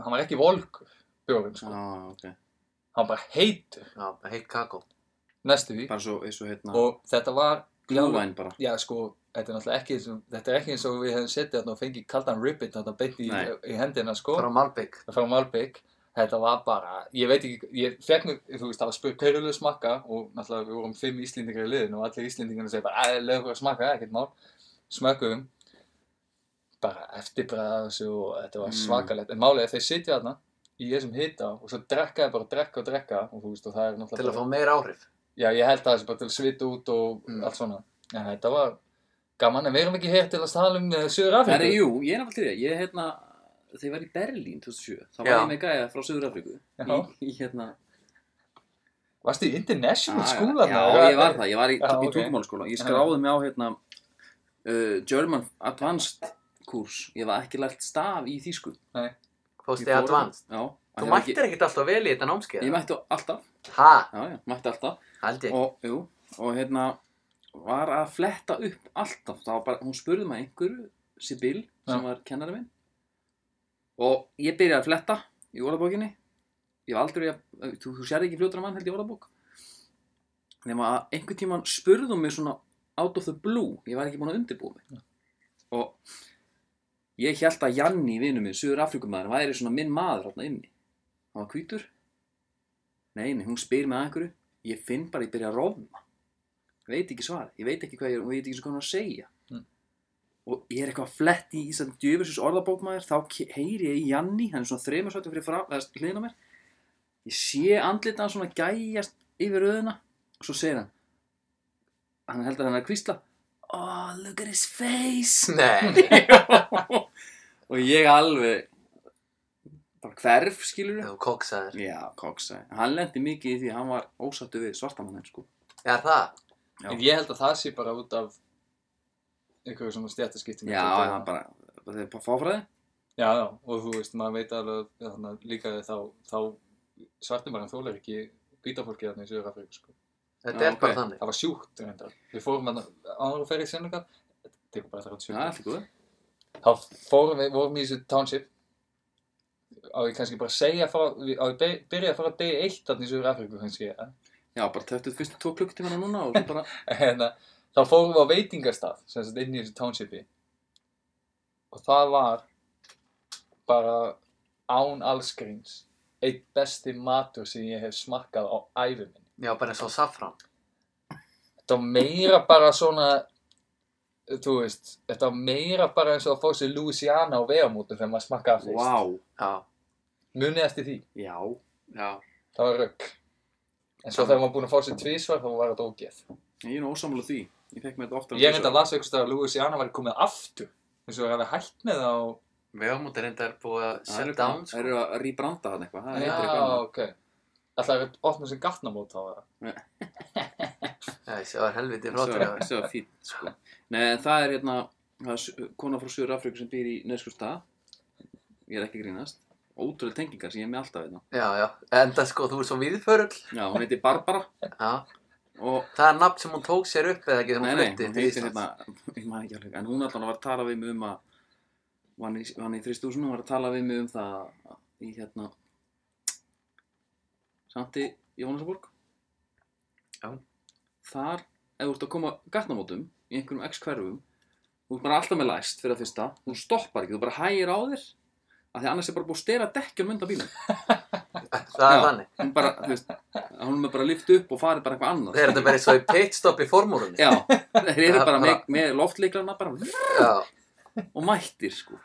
B: hann var ekki volkur bjórinn sko,
A: Já, ok.
B: hann var bara heitur
C: Já, heitt kakó.
B: næstu því
A: Bara svo, eins og hérna,
B: og þetta var
A: glúvæn bara.
B: já sko, þetta er náttúrulega ekki eins og- þetta er ekki eins og við hefum setið þarna og fengið kaldan ribbit þarna beint í,
A: Nei.
B: í hendina sko
C: Frá Malbygg.
B: frá Malbygg þetta var bara, ég veit ekki, ég fekk mér, þú veist, það var spurt hverju vilja smakka og náttúrulega við vorum fimm Íslendingar í liðinu og allir Íslendingarnir segi bara, að leiðu okkur að smakka, ekkert mál smökkuðum bara eftirbræða þessu og þetta var
A: Mm.
B: svakalegt, en málið er þeir sitja þarna í þessum hita og svo drekka þeir bara, drekka og drekka og þú veist, og það er náttúrulega
C: Til að
B: bara-
C: fá meira áhrif.
B: Já, ég held að þessi bara til að svita út og
C: Mm.
B: allt svona, en þetta var gaman, en við erum ekki hér til að tala um uh, Suður
A: Það er,
B: Afríku,
A: jú, ég er náttúrulega til í það. Ég, hérna, þegar ég var í Berlín 2007, þá var
C: Já.
A: ég með gæja frá Suður Afriku. Í, í hérna,
B: varstu í International
A: Já, já,
B: School þarna?
A: Ah, Já, ég var það, ég var í,
B: Já,
A: í
B: ok.
A: tungumálskóla Ég
B: Já.
A: skráði mig á hérna uh, German Advanced kurs Ég var ekki lært staf í þýsku
C: Fóst
A: Ég
C: í
A: fór-
C: advanced.
A: Já af því
C: Þú
A: að
C: mættir
A: ég-
C: ekkert alltaf vel í þetta námskeið.
A: Ég mætti alltaf,
C: Ha,
A: já, já, mætti alltaf
C: held ég.
A: Og, jú, og hérna var að fletta upp alltaf Það var bara, hún spurði mig einhverju Sibyl, sem
B: Já.
A: var kennari minn Og ég byrjaði að fletta í orðabókinni Ég var aldrei að, þú, þú sér ekki fljótur að mann held í orðabók Nefna að einhvern tímann spurðum mig svona out of the blue, ég var ekki búin að undirbúa mig og ég held að Janni, vinur minn, Suður Afrikumæður væri svona minn maður hérna inni hann var hvítur nei, nei, hún spyr mig að einhverju ég finn bara, ég byrja að róma ég veit ekki svar, ég veit ekki hvað ég er og ég veit ekki hvað hann er að segja
B: Mm.
A: og ég er eitthvað flett í Ísland djöfisins orðabókmaður, þá ke- heyri ég í Janni hann er svona þreymur svættum fyrir frá, eða, hliðina á mér ég sé andlita hann svona gæjast yfir röðina og svo segir hann hann heldur að hann er að kvísla oh, look at his face
C: Nei,
A: og ég alveg bara hverf skilur
C: þú koksaður.
A: já, koksa, hann lendi mikið í því hann var ósattu við svartamann sko.
C: Er það?
A: já,
B: En
A: já,
B: ég held að það sé bara út af einhverju svona stjættaskiptingu.
A: hann bara það er bara fáfræði
B: Já, já, og þú veist, maður veit alveg að þannig að líka þá, þá svartumærin þólar ekki býta fólki þarna í Suður Afríku, sko.
A: Já,
C: Þetta er
A: ok.
C: bara þannig.
B: Það var sjúkt, reyndar. Við fórum hann áður og ferið í Senegal, þetta er bara þar átt
A: já, allt
B: sjúkt.
A: er góð
B: Þá fórum við, vorum í þessu township, á ég kannski bara að segja, frá, á ég be- byrja að fara að degi eitt þarna í Suður Afríku, kannski, ja.
A: já, bara töttuð fyrstu tvo klukkutímana núna og svo bara
B: En að, þá fórum við á veitingastað, sem sagt inn í þessu townshipi. Og það var bara án allskrýns eitt besti matur sem ég hef smakkað á ævi minni.
C: Já, bara eins og safran.
B: Þetta var meira bara svona, þú veist, þetta var meira bara eins og að fá sér Louisiana á vegamótum þegar maður smakkaði fyrst.
A: wow,
C: Já,
B: Munið eftir því,
A: já,
C: já.
B: það var rögg. En svo þegar maður búinn að fá sér tvísvar þá var þetta ógeð.
A: ég er nú ósamlega því ég fekk mér þetta oftar en
B: Ég reyndi
A: tvisvar.
B: að lasa einhvers staðar að Louisiana var komið aftur. Eins og það hefði hætt með það á
C: Vegamóti reyndar er búið að
A: Það eru
C: shut down,
A: það
C: sko.
A: eru að rýbranda hann eitthvað það heitir eitthvað
B: Já,
A: annað.
B: ok. Ætlaði að opna sem gatnamót á það.
C: Nei, það var helviti
A: það
C: hrótur
A: er- það er fínt sko. Nei, en það er hérna það er s- kona frá Suður Afríku sem býr í Neskustad ég er ekki að grínast ótrúlega tengingar sem ég er með alltaf hérna
C: Já, já. Enda sko, þú er svo viðförull.
A: já, hún heitir Barbara
C: Já.
A: og
C: Það er nafn sem hún tók sér upp eða ekki þegar
A: nei,
C: hún
A: nei,
C: flutti
A: hún
C: til
A: heitir
C: Íslands.
A: hérna ég maður ekki alveg en hún alltaf var að tala við mig um að hann í, var hann í 3000 hún var að tala við mig um það í hérna samt í Jónasaborg
C: Já.
A: þar ef þú ert að koma gatnamótum í einhverjum x hverfum þú ert bara alltaf með læst fyrir að fyrsta þú stoppar ekki, þú bara hægir á þér af því annars er bara búið að stera dekkjum undan bílum
C: Það er
A: Já.
C: þannig.
A: hún bara, þú veist, hún er bara lift upp og farið bara eitthvað annað
C: Þeir eru þetta bara eins og í pitstop í formúlunni.
A: Já, þeir eru
C: Það
A: bara
C: bara-
A: með, með loftleiklana bara
C: Já.
A: og mættir sko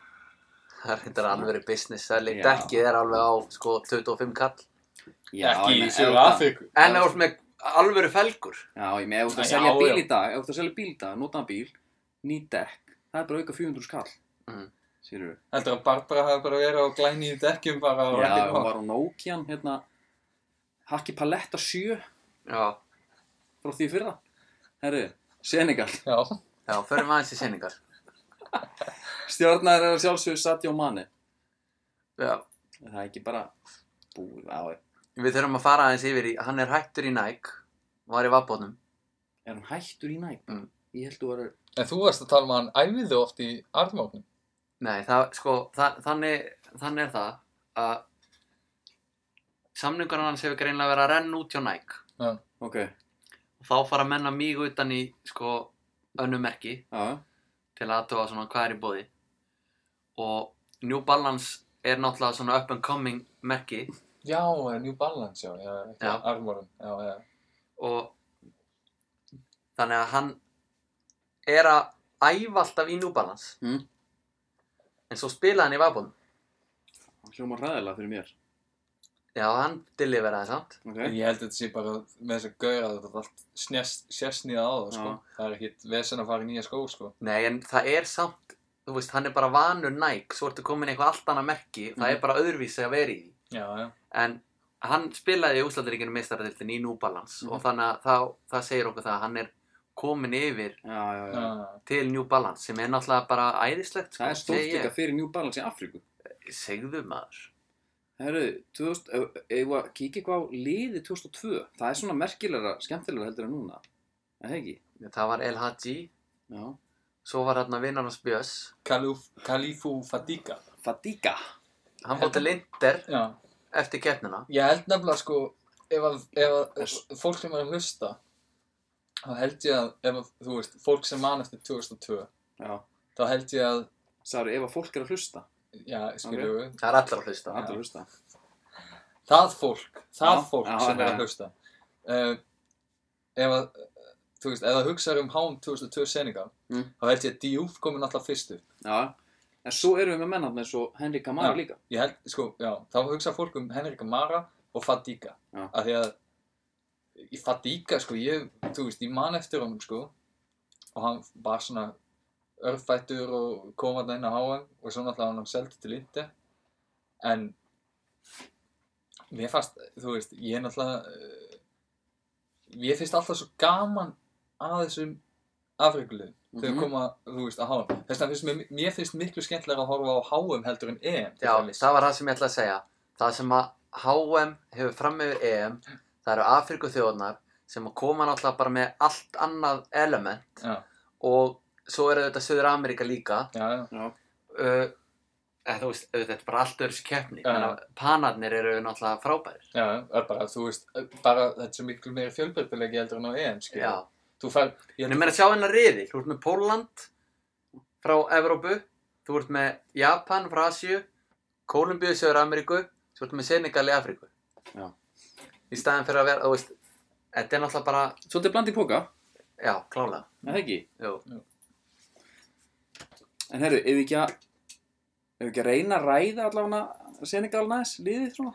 C: Það er reyndar alveg business. Það
A: Já.
C: líkt ekki, það er alveg á, sko, 25 kall.
A: Já, ég meina, ef
B: Suður
A: þú-
B: Afríku.
C: En ef þú ert með alvöru felgur.
A: Já, ég með, ef þú ert að
B: Já,
A: selja
B: já.
A: bíl í dag, ef þú ert að selja bíl í dag, notaðan bíl, ný dekk, það er bara auka 400 skall
C: Mm.
A: Sýrur
B: Heldur að Barbara hafi bara verið á glæni í dekkjum bara og
A: Já,
B: ekkert
A: hún
B: mál.
A: var á Nokian hérna Hakki Paletta 7
C: Já,
A: frá því fyrra Herri, Senegal
B: Já,
C: já, förum aðeins í sinningar
A: Stjórnar er að sjálfsögðu Sadio Mane
C: Já,
A: Er Það er ekki bara búið á
C: við þurfum að fara aðeins yfir í Hann er hættur í Nike Var í vabónum
A: Er hann hættur í næg?
C: Mm.
A: Ég held þú var
B: en þú varst að tala um að hann æfiði oft í armóknum.
C: Nei, það, sko, það, þannig, þannig er það að samningur hans hefur greinlega verið að renna út hjá Nike
A: Ok, já,
C: og þá fara menn að míg utan í sko önnu merki
A: já,
C: til að aðtöfa svona hvað er í bóði og New Balance er náttúrulega svona up and coming merki
B: Já, eh, New Balance, já, já, ekki
C: Já.
B: armórum, já, já.
C: og þannig að hann er að æfa alltaf í New Balance
A: Mm.
C: en svo spilaði hann í Vabon
A: hljóma ræðilega fyrir mér
C: já, hann deliveraði samt
A: Ok,
B: Ég held að þetta sé bara með þess að gauðra að þetta allt snest, sérsnýða á það, sko. Það er ekkit vesen að fara í nýja skó, sko.
C: nei, en það er samt þú veist, hann er bara vanur næk svo ertu komin í eitthvað allt annað merki það
A: Mhm.
C: er bara öðruvísi að vera í því
B: Já, já.
C: en hann spilaði í Úslandaríkinu meistaradildin í New Balance
A: Mhm.
C: og þannig að það, það segir okkur það að hann er komin yfir
A: já, já, já
B: já.
C: til New Balance sem er náttúrulega bara æðislegt
A: Það er stórt
C: segi ég.
A: líka fyrir New Balance í Afríku
C: segðu maður
A: Herru, 2000, ef- eigum við að kíkja eitthvað á liði 2002 Það er svona merkilegra, skemmtilegra heldur en núna Er Það ekki?
C: það var El Hadji
A: Já
C: svo var hérna vinnar hans Björns
B: Kalif, Kalifu Fadiga.
A: Fadiga
C: hann bóti Linder
B: Já.
C: eftir keppnina
B: Ég held nefnilega, sko, ef að, ef að fólk sem er að hlusta, þá held ég að, ef að, þú veist, fólk sem man eftir 2002,
A: Já,
B: þá held ég að,
A: sagður, ef að fólk er að hlusta
B: já, skilju,
C: það er allar að hlusta
A: Það er að hlusta
B: það fólk, það
A: Já,
B: fólk
A: já,
B: sem er
A: já.
B: að hlusta. Uh, ef að, þú veist, ef það hugsaður um hán 2002 seningar,
A: Mm.
B: þá held ég að Diouf komin alltaf fyrst upp.
A: Já, en svo erum við með mennarna eins og Henrik Kamara
B: Já.
A: líka
B: Ég held, sko, já, þá hugsa fólk um Henrika Mara og Fadiga.
A: Já.
B: Af því að í Fadiga, sko, ég, þú veist, ég man eftir honum, sko, og hann var svona örfættur og kom að inn á HM og svo náttúrulega var hann seldi til Inter. En mér fannst, þú veist, ég er náttúrulega, uh, mér finnst alltaf svo gaman að þessum afrikulum þegar
A: Mhm.
B: koma, þú veist, á HM. Þess vegna finnst mér, mér finnst miklu skemmtilega að horfa á HM heldur en EM. til
C: já,
B: dæmis.
C: það var það sem ég ætla að segja það sem að HM hefur fram yfir EM það eru Afriku þjóðnar sem að koma náttúrulega bara með allt annað element
B: Já.
C: og svo eru þetta Suður Ameríka líka
B: Já, já.
A: Já,
C: uh, eða þú veist, auðvitað, þetta er bara allt öðru keppni
B: Já.
C: þannig að panarnir eru náttúrulega frábærir
B: Já, það er bara, þú veist, bara þetta er svo miklu meiri fjölbreytilegi heldur en á EM, skilja.
C: já,
B: Þú fær, ég
C: en ég meina að sjá hennar riðil þú ert með Pólland frá Evrópu þú ert með Japan frá Asíu Kólumbíu, Söður Ameríku þú ert með Senegal í Afríku
A: Já.
C: í staðin fyrir að vera, þú veist þetta er náttúrulega bara,
A: svolítið bland í póka,
C: já, klálega
A: er það ekki?
C: Jú.
A: En herru, ef við ekki að ef við ekki að reyna að ræða allavega Senegal næs, liðið svona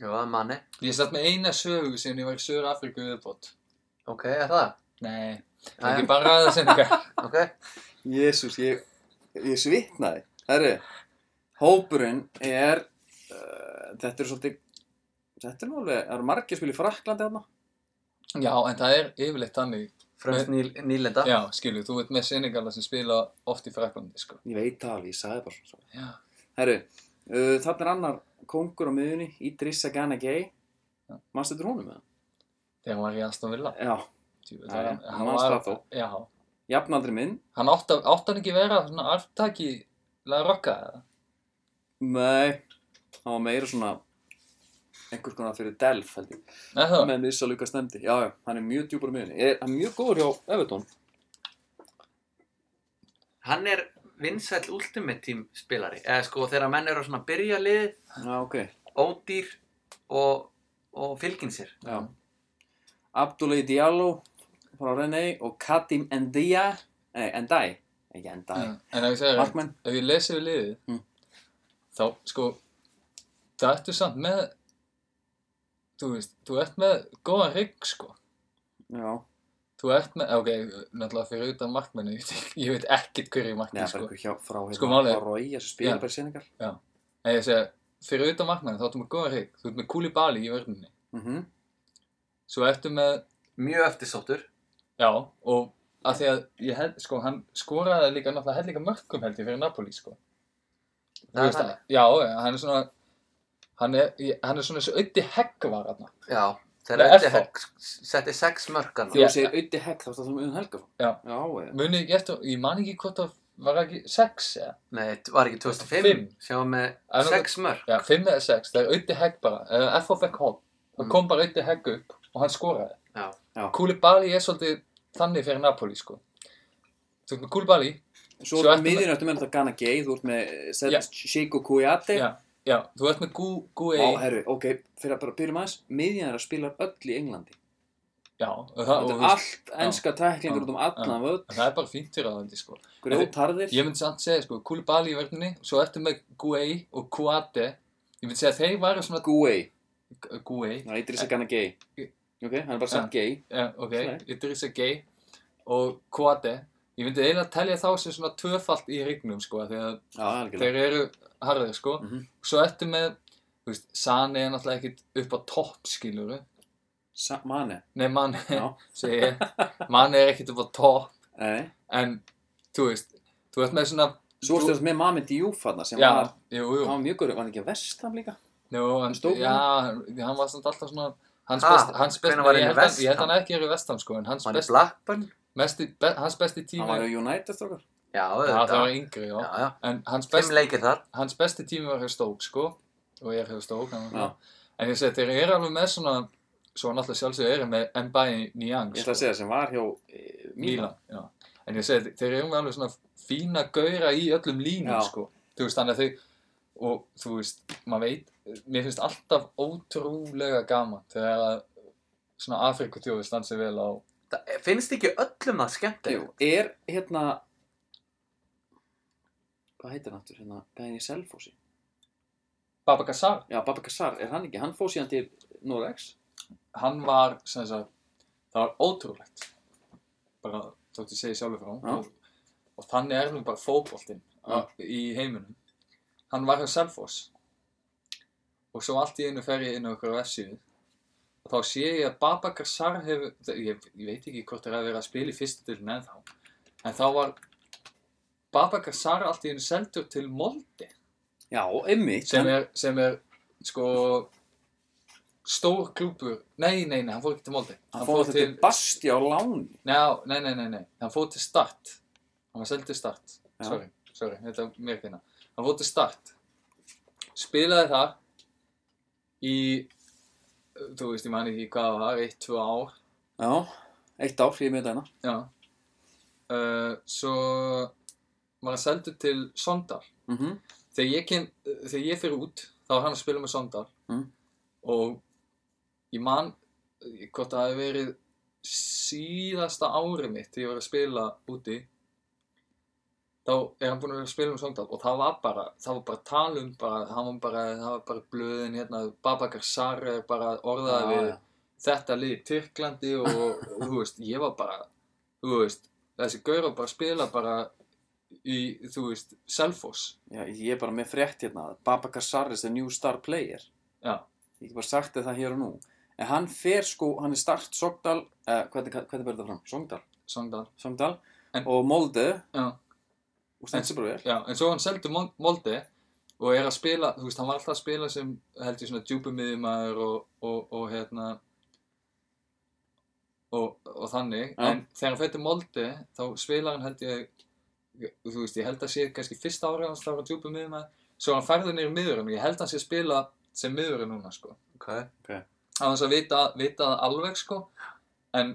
C: Jú, það er manni
B: ég satt með eina sögu sem ég var í Söður Afríku viðbót.
C: ok, er það?
B: Nei, það er
C: Jæja,
B: ekki bara aðeins enga.
C: ok,
A: Jésús, ég, ég svitnaði Herru, hópurinn er uh, þetta er svolítið þetta er nú alveg, það eru margir að spila í Fraklandi þarna
B: Já, en það er yfirleitt þannig.
C: fremst ný, nýlenda
B: Já, skilju, þú veit með Senegala sem spila oft í Fraklandi, sko.
A: Ég veit það alveg, ég sagði bara svona
B: Já.
A: Herru, uh, þarna er annar kongur á miðunni, Idrissa Gana Gay Manstu þetta honum með það?
B: Þegar hann var í Aston Villa.
A: Já,
B: Tjú,
A: Já,
B: það
A: já,
B: var-
A: hann var það þó.
B: Já,
A: jafnaldri minn
B: hann átti átt hann ekki vera svona arftaki laga rocka, eða?
A: Nei, það var meira svona einhvers konar fyrir Delf held ég
B: Nei, það var.
A: menn viss að Luka stemdi, já, já, hann er mjög djúpar í miðunni er, hann er mjög góður hjá Evertón
C: hann er vinsæll ultimate team spilari eða sko, þegar menn eru svona að byrja liðið
A: já, ok,
C: ódýr og, og fylgin sér.
A: já Abdoulaye Diallo frá René og Katim Endia nei, Endai, ekki Endai
B: En ef ég segir,
A: Markmann,
B: ef ég lesi við liðið
A: Mm.
B: þá sko það ertu samt með þú veist, þú ert með góðan rigg sko
A: já,
B: Þú Þú ert með, ok, náttúrulega fyrir utan markmennu, ég veit ekkert hverju
A: Nei,
B: markmennu,
A: það er
B: sko.
A: eitthvað hjá frá hérna
B: Sko, málið er-
A: frá Rói, þessu spilar
B: Já.
A: bara í Senegal
B: Nei, ég segja, fyrir utan markmennu, þá ertu með góðan reik, þú ert með kúli bali í vörninni.
A: Mhm.
B: Svo ertu með,
C: Mjög eftirsóttur.
B: já, og að því að, ég held, sko, hann skoraði líka, náttúrulega held líka mörgum held ég fyrir Napoli, sko. Þú
C: Það er
B: veist
C: þannig.
B: það? Já, já, hann er svona, hann er, ég- hann er svona þessu ötti heggvar, þarna.
C: Já,
B: Nei,
C: þegar
B: FH.
C: Öddi setti sex mörkan
A: Þegar
B: Já.
A: þú segir Öddi Hegg þá stáðum við um Helga
B: Já.
A: Já, eða
B: Munið ekki eftir, ég man ekki hvort það var ekki sex, eða,
C: Nei, var ekki 2005
B: Fimm.
C: Sjáum
B: Það
C: með
B: er
C: sex mörk
B: já, fimm eða sex, það er ötti hegg bara, eða FH fekk hot, það
C: Mm.
B: kom bara ötti hegg upp og hann skoraði.
C: Já,
B: Koulibaly er svolítið þannig fyrir Napoli sko. Þú ert með Koulibaly
A: Svo
B: Svo
A: ertu
B: ertu með-
A: miðinu ertu með þetta Gana Gay Þú ert með eh,
B: Já.
A: Sheiko Kuyate
B: Já, já, þú ert með Gu, Guei
A: Vá, herru, ok, fyrir að bara byrjum aðeins Miðinu er að spila öll í Englandi
B: Já, og það, og,
A: Þetta
B: þú
A: er
B: veist,
A: allt enska tæklingur
B: Já.
A: út um allan völd
B: það er bara fínt fyrir aðeins sko.
A: Grjótarðir
B: Ég myndi samt segja sko, Koulibaly í verðinni Svo ertu með Guei og Kuate Ég myndi segja að þeir væru svona
A: Guei,
B: Guei,
A: það heitir þess að Gana Gay Ok, hann er bara sagt gay
B: já, ok,
A: Nei.
B: Idrissa Guei Og Kuate Ég myndi eiginlega telja þá sem svona tvöfalt í hrygnum sko, Þegar
A: Já, algjörlega
B: þeir eru harðir sko
A: Mhm.
B: svo ertu með þú veist, Sani er náttúrulega ekkit upp á topp skilur
A: Sa- Mane,
B: nei mann
A: já
B: segi mann er ekkit upp á topp
A: Nei.
B: en þú veist þú ert með svona
A: Svo ertu þess með Mami Diouf hann sem
B: já,
A: var
B: jú,
A: Hann
B: jú
A: var mjög góður, var hann ekki að vestam líka?
B: Nú, hann,
A: Stór
B: já, hann var samt alltaf svona hans
C: Ha,
B: besti, hans besti,
C: hvenær var
B: nei, ég
C: hann í
B: held hann, ég held
C: Vestham?
B: hann ekki er í vestam sko, en hans
C: hann er
B: besti,
C: Blackburn
B: mesti, be, hans besti
A: Hann
B: tími,
A: var í United þokkar
C: Já,
B: já, það var
C: auðvitað
B: yngri, já,
C: Já, já,
B: en hans besti,
C: fimm leikir þar
B: hans besti tími var hjá Stók sko og ég er hjá Stók
A: Já.
B: ja. en ég segi þeir eru alveg með svona svo náttúrulega sjálfsögur eru með Mbaye Niang
A: Ég ætla að segja sem var hjá e, Mílan
B: Sko. Milan já. en ég segi þeir eru með alveg svona fína gauðra í öllum línum
A: Já.
B: sko þú veist þannig að þau og þú veist maður veit mér finnst alltaf ótrúlega gaman þegar að svona Afriku þjóði stansi vel á
C: það, eh, Finnst ekki öllum það skemmtilegt?
A: Jú, er hérna hvað heitir hann aftur hérna, gæðin í Selfossi
B: Babakassar
A: já, Baba Kassar, er hann ekki, hann fór síðan til Norex,
B: hann var sem sagt það var ótrúlegt bara þótt ég segi sjálfur frá
A: Já.
B: og, og þannig er nú bara fótboltinn
A: Já.
B: á- í heiminum hann var hjá Selfoss og svo allt í einu fer ég inn á okkur vefsíðu og þá sé ég að Babakar Sar hefur ég, ég veit ekki hvort það er að vera að spila í fyrstu dildin ennþá en þá var Babakar Sar allt í einu seldur til Molde
A: já, einmitt
B: sem
A: hann,
B: er, sem er sko stór klúpur nei, nei, nei, hann fór ekki til Molde
A: hann fór þetta til Basti á Láni
B: Njá, nei, nei, nei, nei, hann fór til start Hann var seldið til start
A: Já.
B: Sorry, sorry, þetta er mér finna Hann fór til start Spilaði það Í Þú veist, ég man ekki hvað það var, eitt, tvö ár
A: já, eitt ár, ég með þetta hérna.
B: Já uh, Svo Var hann seldið til Sondal
A: mm -hmm.
B: Þegar ég, kem, þegar ég fyrir út Þá var hann að spila með Sondal
A: Mm.
B: Og Ég man eh, Hvort það hefði verið síðasta árið mitt Þegar ég var að spila úti þá er hann búinn að vera að spila um Sogndal og það var bara, það var bara talum bara, það var bara, það var bara blöðin hérna, Babakar Sar er bara orðaði
A: Já,
B: við
A: já.
B: þetta lið í Tyrklandi og, og þú veist, ég var bara þú veist, þessi gaur var bara að spila bara í, þú veist, Selfoss
A: já, ég er bara með frétt hérna Baba Kassar is the new star player
B: Já.
A: ég get bara sagt þér það hér og nú en hann fer sko, hann er start Sogdal, eh, hvernig, hvernig verður það fram? Sogdal,
B: Sogndal,
A: Sogdal
B: En-
A: og Molde
B: já,
A: og stendur bara vel
B: já en svo hann seldi Molde og er að spila, þú veist, hann var alltaf að spila sem held ég svona djúpumiðjumæður og, og, og hérna og, og þannig
A: Já.
B: en þegar hann fætti Molde þá spilar hann held ég þú veist, ég held að sé kannski fyrsta árið hans þá var hann djúpumiðjumæður svo hann færði nýr miðurinn og ég held að hann sé að spila sem miðurinn núna, sko
C: Ok
B: á þess að vita, vita það alveg sko en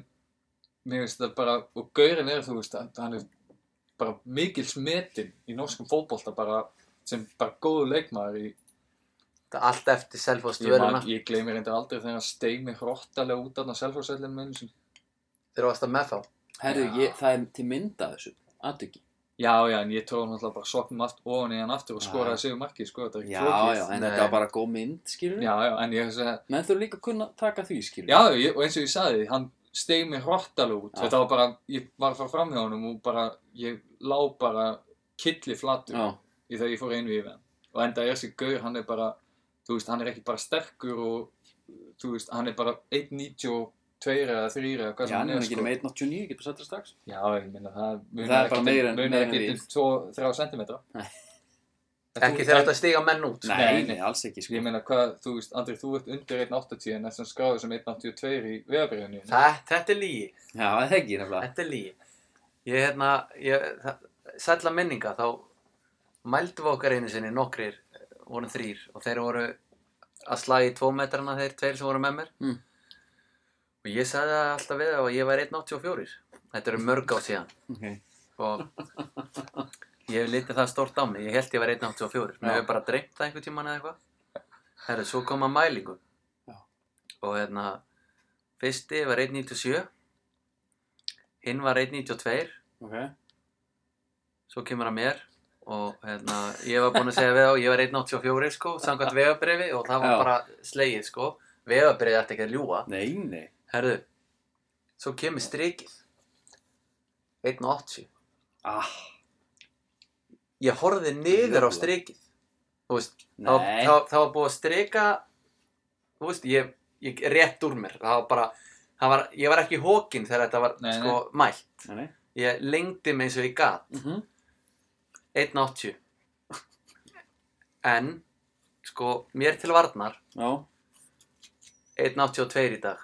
B: mér finnst það bara og Gaurin er þú veist að hann er bara mikil smetin í norskum fótbolta bara sem bara góðu leikmaður í,
C: Það er allt eftir
B: ég, man,
C: selfhóðstvöruna
B: ég gleymi reyndar aldrei þegar hann steig mig hróttalega út af selfhóðsællinu minn
C: Þeir eru alltaf með þá
A: herru,
B: Já.
A: ég, það er til mynda af þessu, aðtöki
B: já já en ég tróði náttúrulega bara soknum allt ofan í hann aftur og
A: Já.
B: skoraði sig um marki sko þetta er ekki
A: Já, já,
B: flókið
A: en
C: Nei.
A: þetta var bara góð mynd, skilur
B: já já en ég hef þess að
A: Menn þurfa líka að kunna taka því, skilur
B: já ég, og eins og ég sagði hann steig mér hróttalega út
A: Já.
B: þetta var bara, ég var að fara fram hjá honum og bara, ég lá bara killi flattur
A: já,
B: í þegar ég fór einu í hann og enda er þessi gaur, hann er bara þú veist, hann er ekki bara sterkur og þú veist, hann er bara 1.92 eða 3 eða hvað
A: já, hann er ekki
B: sko.
A: nema 1.89, getur sagt það strax
B: Já, ég minna það munar
A: Það er bara
B: ekkert
A: meira en-
B: um- munar
A: meira en
B: ekkert
A: við.
B: um 2-3 cm
A: Nei.
C: Ekki þegar þetta stiga menn út.
A: nei,
B: Nei,
A: nei,
B: nei.
A: alls ekki sko.
B: Ég meina hvað, þú veist, Andri, þú ert undir 1.80 en þessum skráður sem 1.82 í vegabriðunni
C: Það, þetta er lígi.
A: já, það er ekki nefnilega
C: Þetta er lígi. Ég, hérna, ég, það, sætla minninga, þá mældum við okkar einu sinni nokkrir, eh, vorum þrýr, og þeir voru að slagi tvo metrana þeir tveir sem voru með mér.
A: Mm.
C: Og ég sagði það alltaf við þá að ég væri 1.84. Þetta eru mörg á síðan.
A: okay.
C: Og Sko, ég hef litið það stort á mig. Ég held ég væri 1.84. Mér
A: Já.
C: hefur bara dreymt það einhvern tíman eða eitthvað. Herru, svo kom að mælingu.
A: Já.
C: Og hérna, fyrsti var 1.97. Hinn var 1.92
A: ok,
C: svo kemur að mér og hérna, ég var búinn að segja við þá, ég var 1.84 sko, samkvæmt vegabriði og það var
A: Já.
C: bara slegið sko, vegabriði ætti ekki að ljúa.
A: nei, nei
C: Herðu, svo kemur strikið, 1.80.
A: ah,
C: Ég horfði niður á strikið, þú veist, það,
A: Nei.
C: það, það var búið að strika, þú veist, ég, ég rétt úr mér, það var bara, það var, ég var ekki hókin þegar þetta var
B: Nei,
C: sko mælt.
A: nei, nei
C: Ég lengdi mig eins og ég gat.
A: mm -hmm.
C: 1.80 En sko, mér til varnar
A: já,
C: 1.82 í dag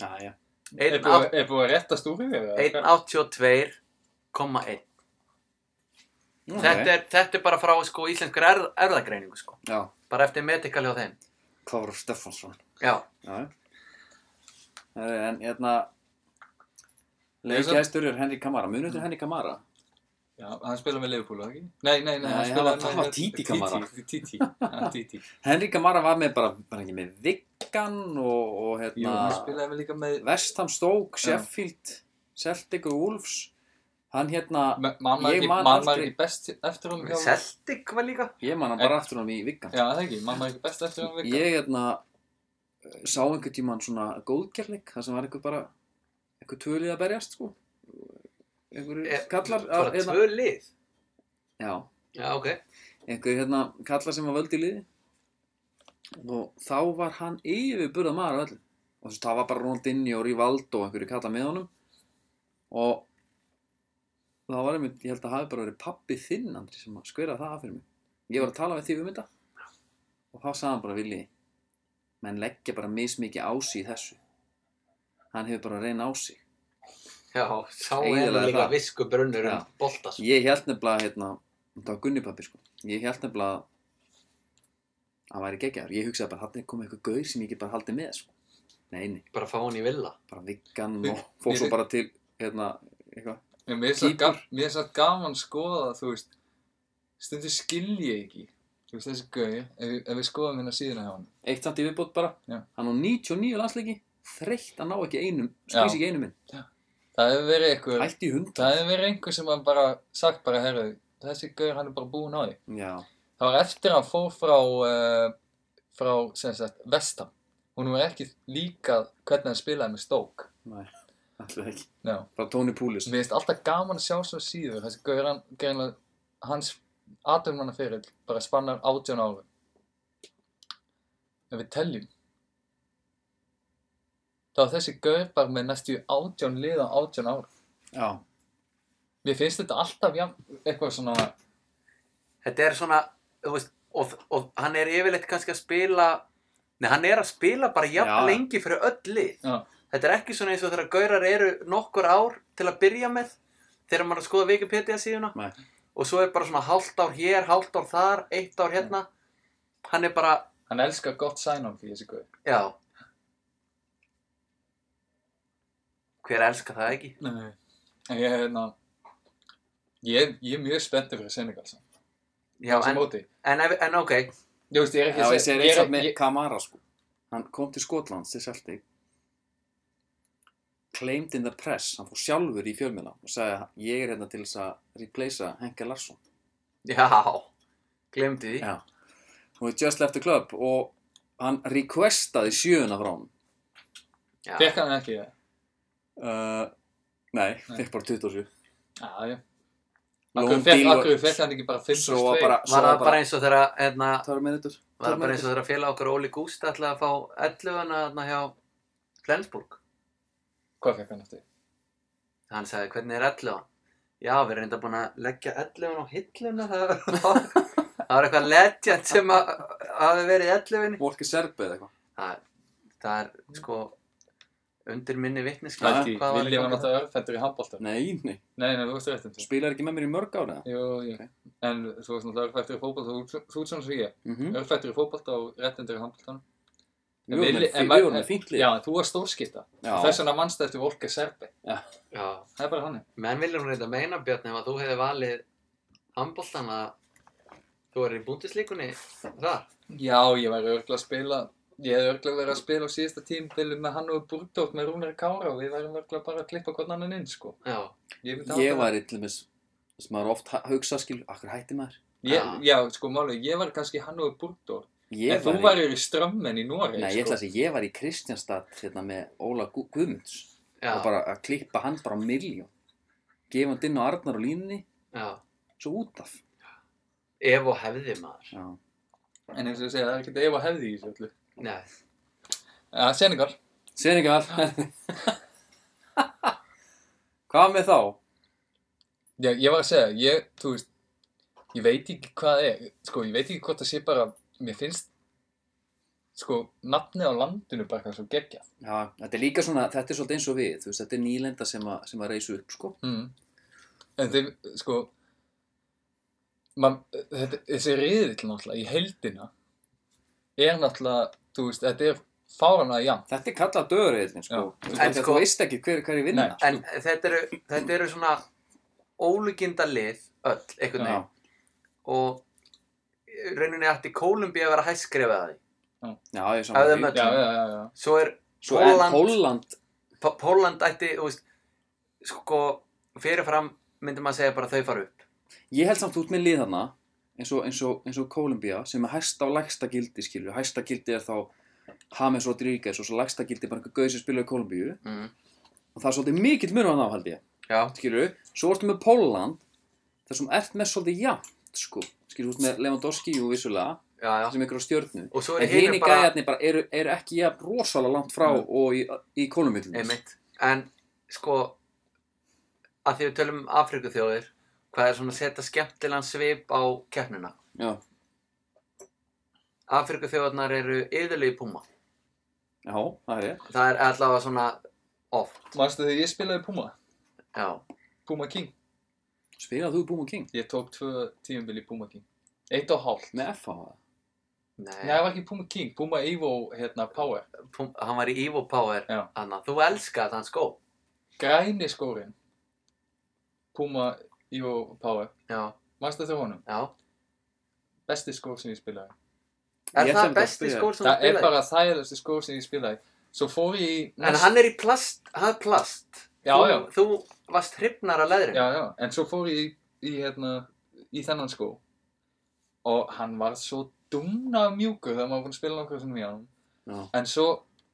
A: já, já,
B: Er
C: 1.8
B: búið er búið að rétta stúrið þér? eða hvað?
C: 1.82,1
A: Ok.
C: þetta, er- þetta er bara frá sko, íslenskur er, erðagreiningu sko.
A: já,
C: bara eftir medikali á þeim
A: Kára Stefánsson
C: Já,
A: já, já Herri, en hérna
B: Ég er svo-
A: leikjæstur er Henry Kamara, munið til Henry Kamara
B: Já, hann spilaði með Liverpool, var það ekki? Nei, nei, nei,
A: Nei,
B: hann
A: hann
B: spilaði
A: var- það var Titi Kamara.
B: Titi, Titi, hann Titi.
A: Henry Kamara var með bara, bara ekki með Viggan og, og
B: Jú,
A: hérna
B: hann spilaði með líka með
A: Vestham Stoke,
B: Já.
A: Sheffield Celtic og Wolves hann hérna,
B: Ma- Man var
A: Ég
B: ekki,
A: man
B: man var
A: aldrei-
B: ekki best eftir honum hjá Já,
C: Celtic var líka
A: ég man hann bara aftur hann í Viggan
B: það ekki, man var ekki best eftir honum vika
A: ég hérna sá einhvern tímann svona góðgerleik þar sem var einhver bara einhver tvölið að berjast sko einhverju
C: Eh,
A: kallar
C: bara
A: að- hérna,
C: tvö lið
A: já,
C: Já, ok
A: einhverju hérna kallar sem var völd í liði og þá var hann yfirburða maður á öllu og þess, það var bara Ronaldinho og Rivaldo og einhverju kallar með honum og það var einmitt, ég held að hafi bara verið pappi þinn Andri sem að skvera það af fyrir mig ég var að tala við því um þetta og þá sagði hann bara vilji menn leggja bara mismikið á sig í þessu hann hefur bara að reyna á sig
C: Já, sá
A: Eiginlega
C: er líka
A: það.
C: visku brunnur
A: Já.
C: um bolta sko.
A: Ég held nefnilega hérna, þetta var Gunni pappi sko Ég held nefnilega að hann væri geggjaður, ég hugsaði bara hann er komið eitthvað gaur sem ég get bara haldið með sko Nei, nei,
C: bara fá hún í villa
A: bara viggan
B: Við-
A: og fór
B: við-
A: svo bara til hérna, eitthvað
B: Já, mér er svo
A: Kýpur.
B: ga- mér er svo gaman skoða, þú veist, stundu skil ég ekki, þú veist, þessi gauði, ef, við- ef við skoðum hérna síðuna hjá hann.
A: Eitt samt í viðbót bara,
B: Já.
A: hann á 99 landsleiki þreytt að ná ekki einum, skýs
B: Já.
A: ekki einum minn
B: Það hefur verið einhver,
A: Hætti í hund
B: það hefur verið einhver sem var bara, sagt bara, herru, þessi gauði hann er bara búinn á því.
A: Já,
B: Það var eftir að hann fór frá, uh, frá, sem sagt, Vestam. Hún var ekki líka hvernig hann spilaði með Stoke.
A: nei, alltaf ekki
B: Já.
A: Frá Tony Púlis
B: Mér finnst alltaf gaman að sjá svo síður þessi gaur hann, greinlega, hans aðdöfnana fyrir bara spannar átján árum. Ef við teljum, þá er þessi gaur bara með næstu átján liða átján árum.
A: Já,
B: Mér finnst þetta alltaf jafn, eitthvað svona,
C: Þetta er svona, þú veist, og, og hann er yfirleitt kannski að spila, nei, hann er að spila bara jafn
A: Já.
C: lengi fyrir öll lið.
B: já,
C: Þetta er ekki svona eins og þegar gaurar eru nokkur ár til að byrja með, þegar maður er að skoða Wikipedia síðuna,
A: nei,
C: og svo er bara svona hálft ár hér, hálft ár þar, eitt ár hérna. Hann er bara,
B: hann elskar gott sæn-on fyrir þessi gaur.
C: já, hver elskar það ekki?
B: Nei. En ég, hérna, ég, ég er mjög spenntið fyrir Senegal, samt.
C: Já,
B: þessi
C: en,
B: móti.
C: en, ef- en ok,
B: Ég veist, ég er ekki
A: Já,
B: að
A: ég
B: segja-
A: segir
B: ég
A: eins
B: er-
A: og með
B: ég-
A: Kamara sko Hann kom til Skotlands til Celtic Claimed in the press Hann fór sjálfur í fjölmiðla og sagði að ég er hérna til þess að replacea Henke Larsson
C: já, glemdi því.
A: Já Hún er just left the club og hann requestaði sjöuna frá hann
C: Já.
B: Fekk hann ekki það?
A: Uh, nei,
B: Nei.
A: fekk bara 27.
B: Já, já.
A: Lón
B: Akkur
A: díl
B: fekk,
A: og-
B: akkur fekk hann ekki bara 5
A: Svo var bara, svo
C: Var
A: var
C: það bara
A: bara,
C: eins og þeirra, hérna,
A: það var meðutur.
C: var það bara eins og þeirra félag okkar Óli Gúst ætlaði að fá 11 hana hérna hjá Flensburg.
B: Hvað fekk hann eftir?
C: Hann sagði, hvernig er 11 hann? Já, við erum reynda búin að leggja 11 hann á hilluna. Það var, það var eitthvað legend sem að- hafi verið 11
A: Volker Serbe eða eitthvað.
C: Það, það er, sko, undir minni vitniski.
B: Hætti, Vilja var náttúrulega örfættur í handbólta. Nei,
A: Nei, nei,
B: nei, þú veist réttum
A: þú
B: til.
A: spilaði ekki með mér í mörg ára.
B: Jú, jú.
A: Ok.
B: En þú veist náttúrulega örfættur í fótbólta, þú þú ert svona svo ég.
A: Mm -hmm.
B: Örfættur í fótbólta og réttindur í handbóltanum. En
A: Við vorum
B: Villi-
A: með-
B: en
A: við
B: var-
A: vorum með fínt lið.
B: Já, en þú var stórskipta.
A: Já.
B: Þess vegna mannstu eftir Volker Serbi.
C: Já,
B: Það er bara hann.
C: menn vilja hún reynda meina, Björn, ef að þú hefði valið handbóltan að þú er í búndislíkunni þar.
B: Já, ég væri örgla að spila. Ég hefði örgla verið að spila á síðasta tímbilu með hann og Burdótt með Rúnar Kára og við værum örgla bara að klippa hvernig annan inn, sko.
C: Já,
B: Ég,
A: Ég
B: myndi halda það.
A: var til dæmis, sem maður oft ha- hugsa skil, akkur hætti maður?
B: Ég, já, sko, máli, ég var kannski hann og Burdótt.
A: Ah. Ég
B: En þú
A: var í,
B: væri í strömmen í sko. Noreg,
A: nei, ég ætla að segja, ég var í Kristjánstad hérna með Óla Gu Guðmunds
C: já,
A: og bara að klippa hann bara á miljón, gefa hann inn á Arnar og línunni,
C: já.
A: svo út af.
C: Ef og hefði maður.
A: Já.
B: En eins og ég segja, það er ekkert ef að hefði í þessu öllu. Eh,
C: Nei, sko.
B: Ja, Senegal.
A: Senegal. Hvað með þá?
B: Já, ég var að segja, ég, þú veist, ég veit ekki hvað það er, sko, ég veit ekki hvort það sé bara, mér finnst, sko, nafnið á landinu bara eitthvað svo geggjað.
A: Já, þetta er líka svona, þetta er svolítið eins og við, þú veist, þetta er nýlenda sem að, sem að reysu upp, sko.
B: Mm. En þeim, sko, man, þetta, þessi riðill náttúrulega í heildina er náttúrulega, þú veist, þetta er fáranlega jafn.
A: Þetta er kallað döðurriðin, sko.
B: Já.
A: Þú
C: En
A: veist,
C: sko-
A: Þú veist ekki hver, hver er vinna.
B: Nei.
C: en þetta eru, þetta eru svona ólíkinda lið öll, einhvern
A: Já.
C: veginn. Og í rauninni ætti Kólumbíu að vera hæskrefið að því.
A: Já, ég er
C: Af
A: saman
C: þeim
A: því.
C: öll.
B: Já, já, já, já.
C: Svo er
A: Svo en
C: Pólland-
A: Holland,
C: P- Pólland ætti, þú veist, sko, fyrirfram myndi maður segja bara þau fara upp.
A: ég held samt út með lið hana, eins og, eins og, eins og Kolumbía, sem er hæsta og lægsta gildi, skilju. Hæsta gildi er þá James Rodríguez og svo lægsta gildi er bara einhver gauð sem spilaði í Kolumbíu.
C: Mm.
A: Og það er svolítið mikill munum hann á, held ég.
C: Já,
A: skilur, svo ertu með Pólland þar sem ert með svolítið jafnt sko, skilur, þú ert með Lewandowski jú vissulega,
C: já, já.
A: sem ykkur á stjörnu
C: Og svo
A: en
C: eru
A: hini
C: hinir bara,
A: gæjarnir bara eru, eru ekki jafn rosalega langt frá
B: Nei.
A: og í, í kolumbillinu
C: einmitt, en sko, að því við tölum um Afrikuþjóðir, hvað er svona að setja skemmtilegan svip á keppnina?
A: já,
C: Afrikuþjóðarnar eru yðurlega í púma.
A: já, það er ég
C: Það er allavega svona oft,
B: Manstu þegar ég spilaði Puma,
C: já.
B: Puma King,
A: spilað þú Búma King
B: ég tók tvö tíumbil í Puma King. Eitt og hálft.
A: með FH
C: Nei,
B: Nei, það var ekki Puma King, Puma Evo, hérna, Power.
C: Pú, hann var í Evo Power,
B: Já.
C: Anna. Þú elskaði hann skó.
B: Græni skórin, Puma Evo Power,
C: Já,
B: mannstu eftir honum?
C: já.
B: Besti skór sem ég spilaði.
C: Er
A: Ég ætla
C: það
A: einmitt að
C: besti
A: spyrja.
C: skór sem þú
B: Það er
C: spilaði?
B: bara þægilegsti skór sem ég spilaði. Svo fór ég í...
C: En hann er í plast, hann er plast.
B: Já,
C: þú,
B: já.
C: Þú varst hrifnar að leðrinu.
B: Já, já, en svo fór ég í, í, hérna, í þennan skó og hann var svo dumna mjúkur þegar maður var búinn að spila nokkuð svona í hann.
A: Já.
B: En svo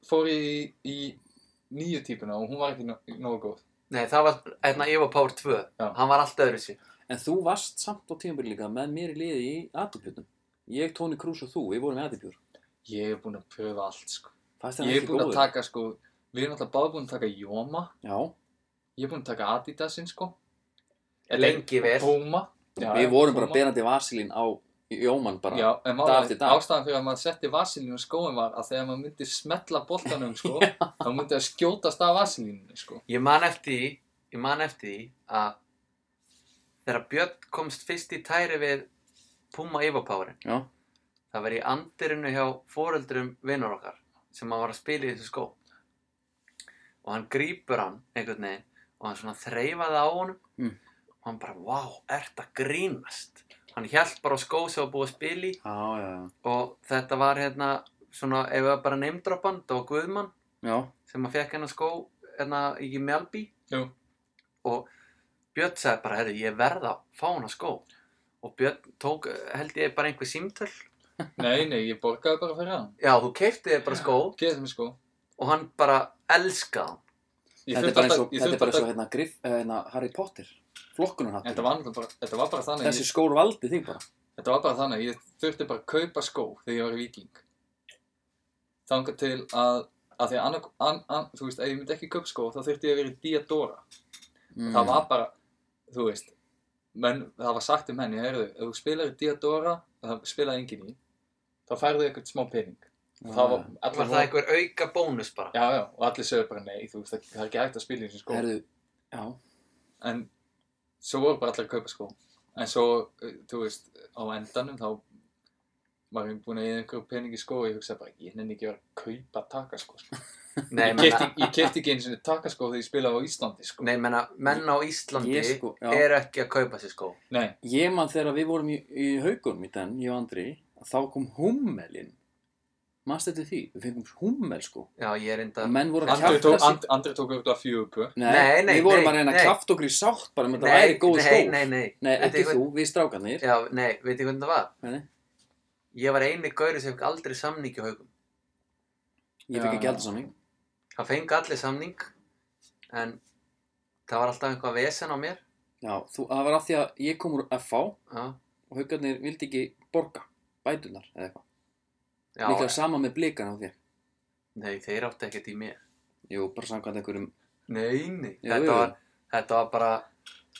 B: fór ég í, í nýju típuna og hún var ekki nó- nógu góð.
C: Nei, það var, hérna, Evo Power 2.
B: Já.
C: Hann var allt öðru sér.
A: en þú varst samt á tímabili líka með mér í liði í aðdupjötum ég, Tóni Krús og þú, við vorum í aðdupjör
B: Ég er búinn að pröfa allt, sko.
A: fannst það
B: Ég er
A: ekki
B: búinn að
A: góður
B: taka, sko, við erum alltaf báð búinn að taka Jóma.
A: já,
B: Ég er búinn að taka Adidasinn sko.
C: Lengi vel.
B: Puma. Já,
A: við
B: já,
A: vorum bara
B: Puma.
A: berandi vasilín á Jómann bara
B: Já, en
A: dag eftir
B: máli,
A: dag.
B: ástæðan fyrir að maður setti vasilínu skóin var að þegar maður myndi smetla boltanum sko, þá myndi það skjótast af vasilínunni sko.
C: Ég man eftir því, ég man eftir því að þegar Björn komst fyrst í tæri við Puma Evo Powerin,
A: já,
C: það var í andirinu hjá foreldrum vinnur okkar sem hann var að spila í þessu skó. Og hann grípur hann einhvern veginn og hann svona þreifaði á honum
A: Mm.
C: og hann bara, vá, ert að grínast. Hann hjælt bara á skó sem var búið að spila í
A: já, já, já.
C: og þetta var hérna svona, ef við bara neymdroppan, þetta var Guðmann
A: já.
C: sem að fekk hennar skó hérna í Mjálbí
B: Jú.
C: og Björn sagði bara, herru, ég verð að fá hennar skó og Björn tók, eh, held ég, bara einhver símtöl
B: Nei, nei, ég borgaði bara fyrir hann.
C: já, þú keipti þér bara skó
B: Geðið mér sko.
C: og hann bara elskaði hann
B: Ég
A: Þetta er
B: þurfti
A: bara eins
B: alltaf-
A: og,
B: ég
A: þetta
B: þurfti
A: er bara eins og
B: alltaf-
A: hérna, grif, eh, hérna Harry Potter, flokkunarhattur.
B: Þetta var nefnilega bara, þetta var bara þannig
A: Þessi
B: ég,
A: skór valdi þig bara.
B: Þetta var bara þannig, ég þurfti bara að kaupa skó þegar ég var í viking Þangað til að, að því að annar, an, an, þú veist, ef ég myndi ekki kaupa skó þá þurfti ég að vera í Diadora
A: Mm.
B: Það var bara, þú veist, menn, það var sagt um henni, heyrðu, ef þú spilar í Diadora, það spilaði enginn í Þá færðu eitthvað smá pening
A: Mm.
B: Og það var, allir
C: Ah. Var það einhver auka bónus bara?
B: Já, já, og allir sögur bara nei, þú veist, það, það er ekki hægt að spila í þessu skó
A: Herðu, já,
B: en svo voru bara allir að kaupa skó en svo, eh, þú veist, á endanum þá var ég búin að eða einhverju peningi skó og ég hugsaði bara, ég nenni ekki að vera að kaupa takaskó sko.
C: Nei,
B: ég,
C: menna,
B: keypti, ég kefti ekki einu sinni takaskó þegar ég spilaði á Íslandi sko.
C: nei, menna, menn á Íslandi
A: Ég sko, já.
C: eru ekki að kaupa sér skó.
B: nei,
A: ég man þegar við vorum í, í haugunum í den, ég og Andri, þá kom hummelinn. Manst þetta því? Við fengum hummel sko.
C: Já, ég er enda...
A: Og menn voru að
B: Andri
A: kjafta
B: tók,
A: sig.
B: and, Andri tók auðvitað fjögur
A: Nei,
C: Nei, nei,
A: við vorum
C: nei,
A: að reyna að
C: nei.
A: kjafta okkur í sátt bara með þetta væri góð
C: nei,
A: skó.
C: Nei, nei, nei.
A: Nei,
C: Veit
A: ekki
C: ég hvað-
A: þú, við strákanir.
C: Já, nei, veit ég hvernig það var?
A: Nei,
C: Ég var eini gaurið sem fikk aldrei samning í haugum.
A: Ég fikk
B: Já.
A: ekki aldrei samning.
C: Það fengi allir samning, en það var alltaf einhvað vesen á mér.
A: Já, þú, það var af því að ég kom úr FH
C: Já,
A: og haugarnir vildi ekki borga bætunar eða eitthvað.
C: já
A: Líklega sama með blikana á þér.
C: nei, þeir áttu ekkert í mér.
A: Jú, bara samkvæmt einhverjum.
C: Nei, nei.
A: Jú,
C: þetta,
A: jú.
C: Var, þetta var bara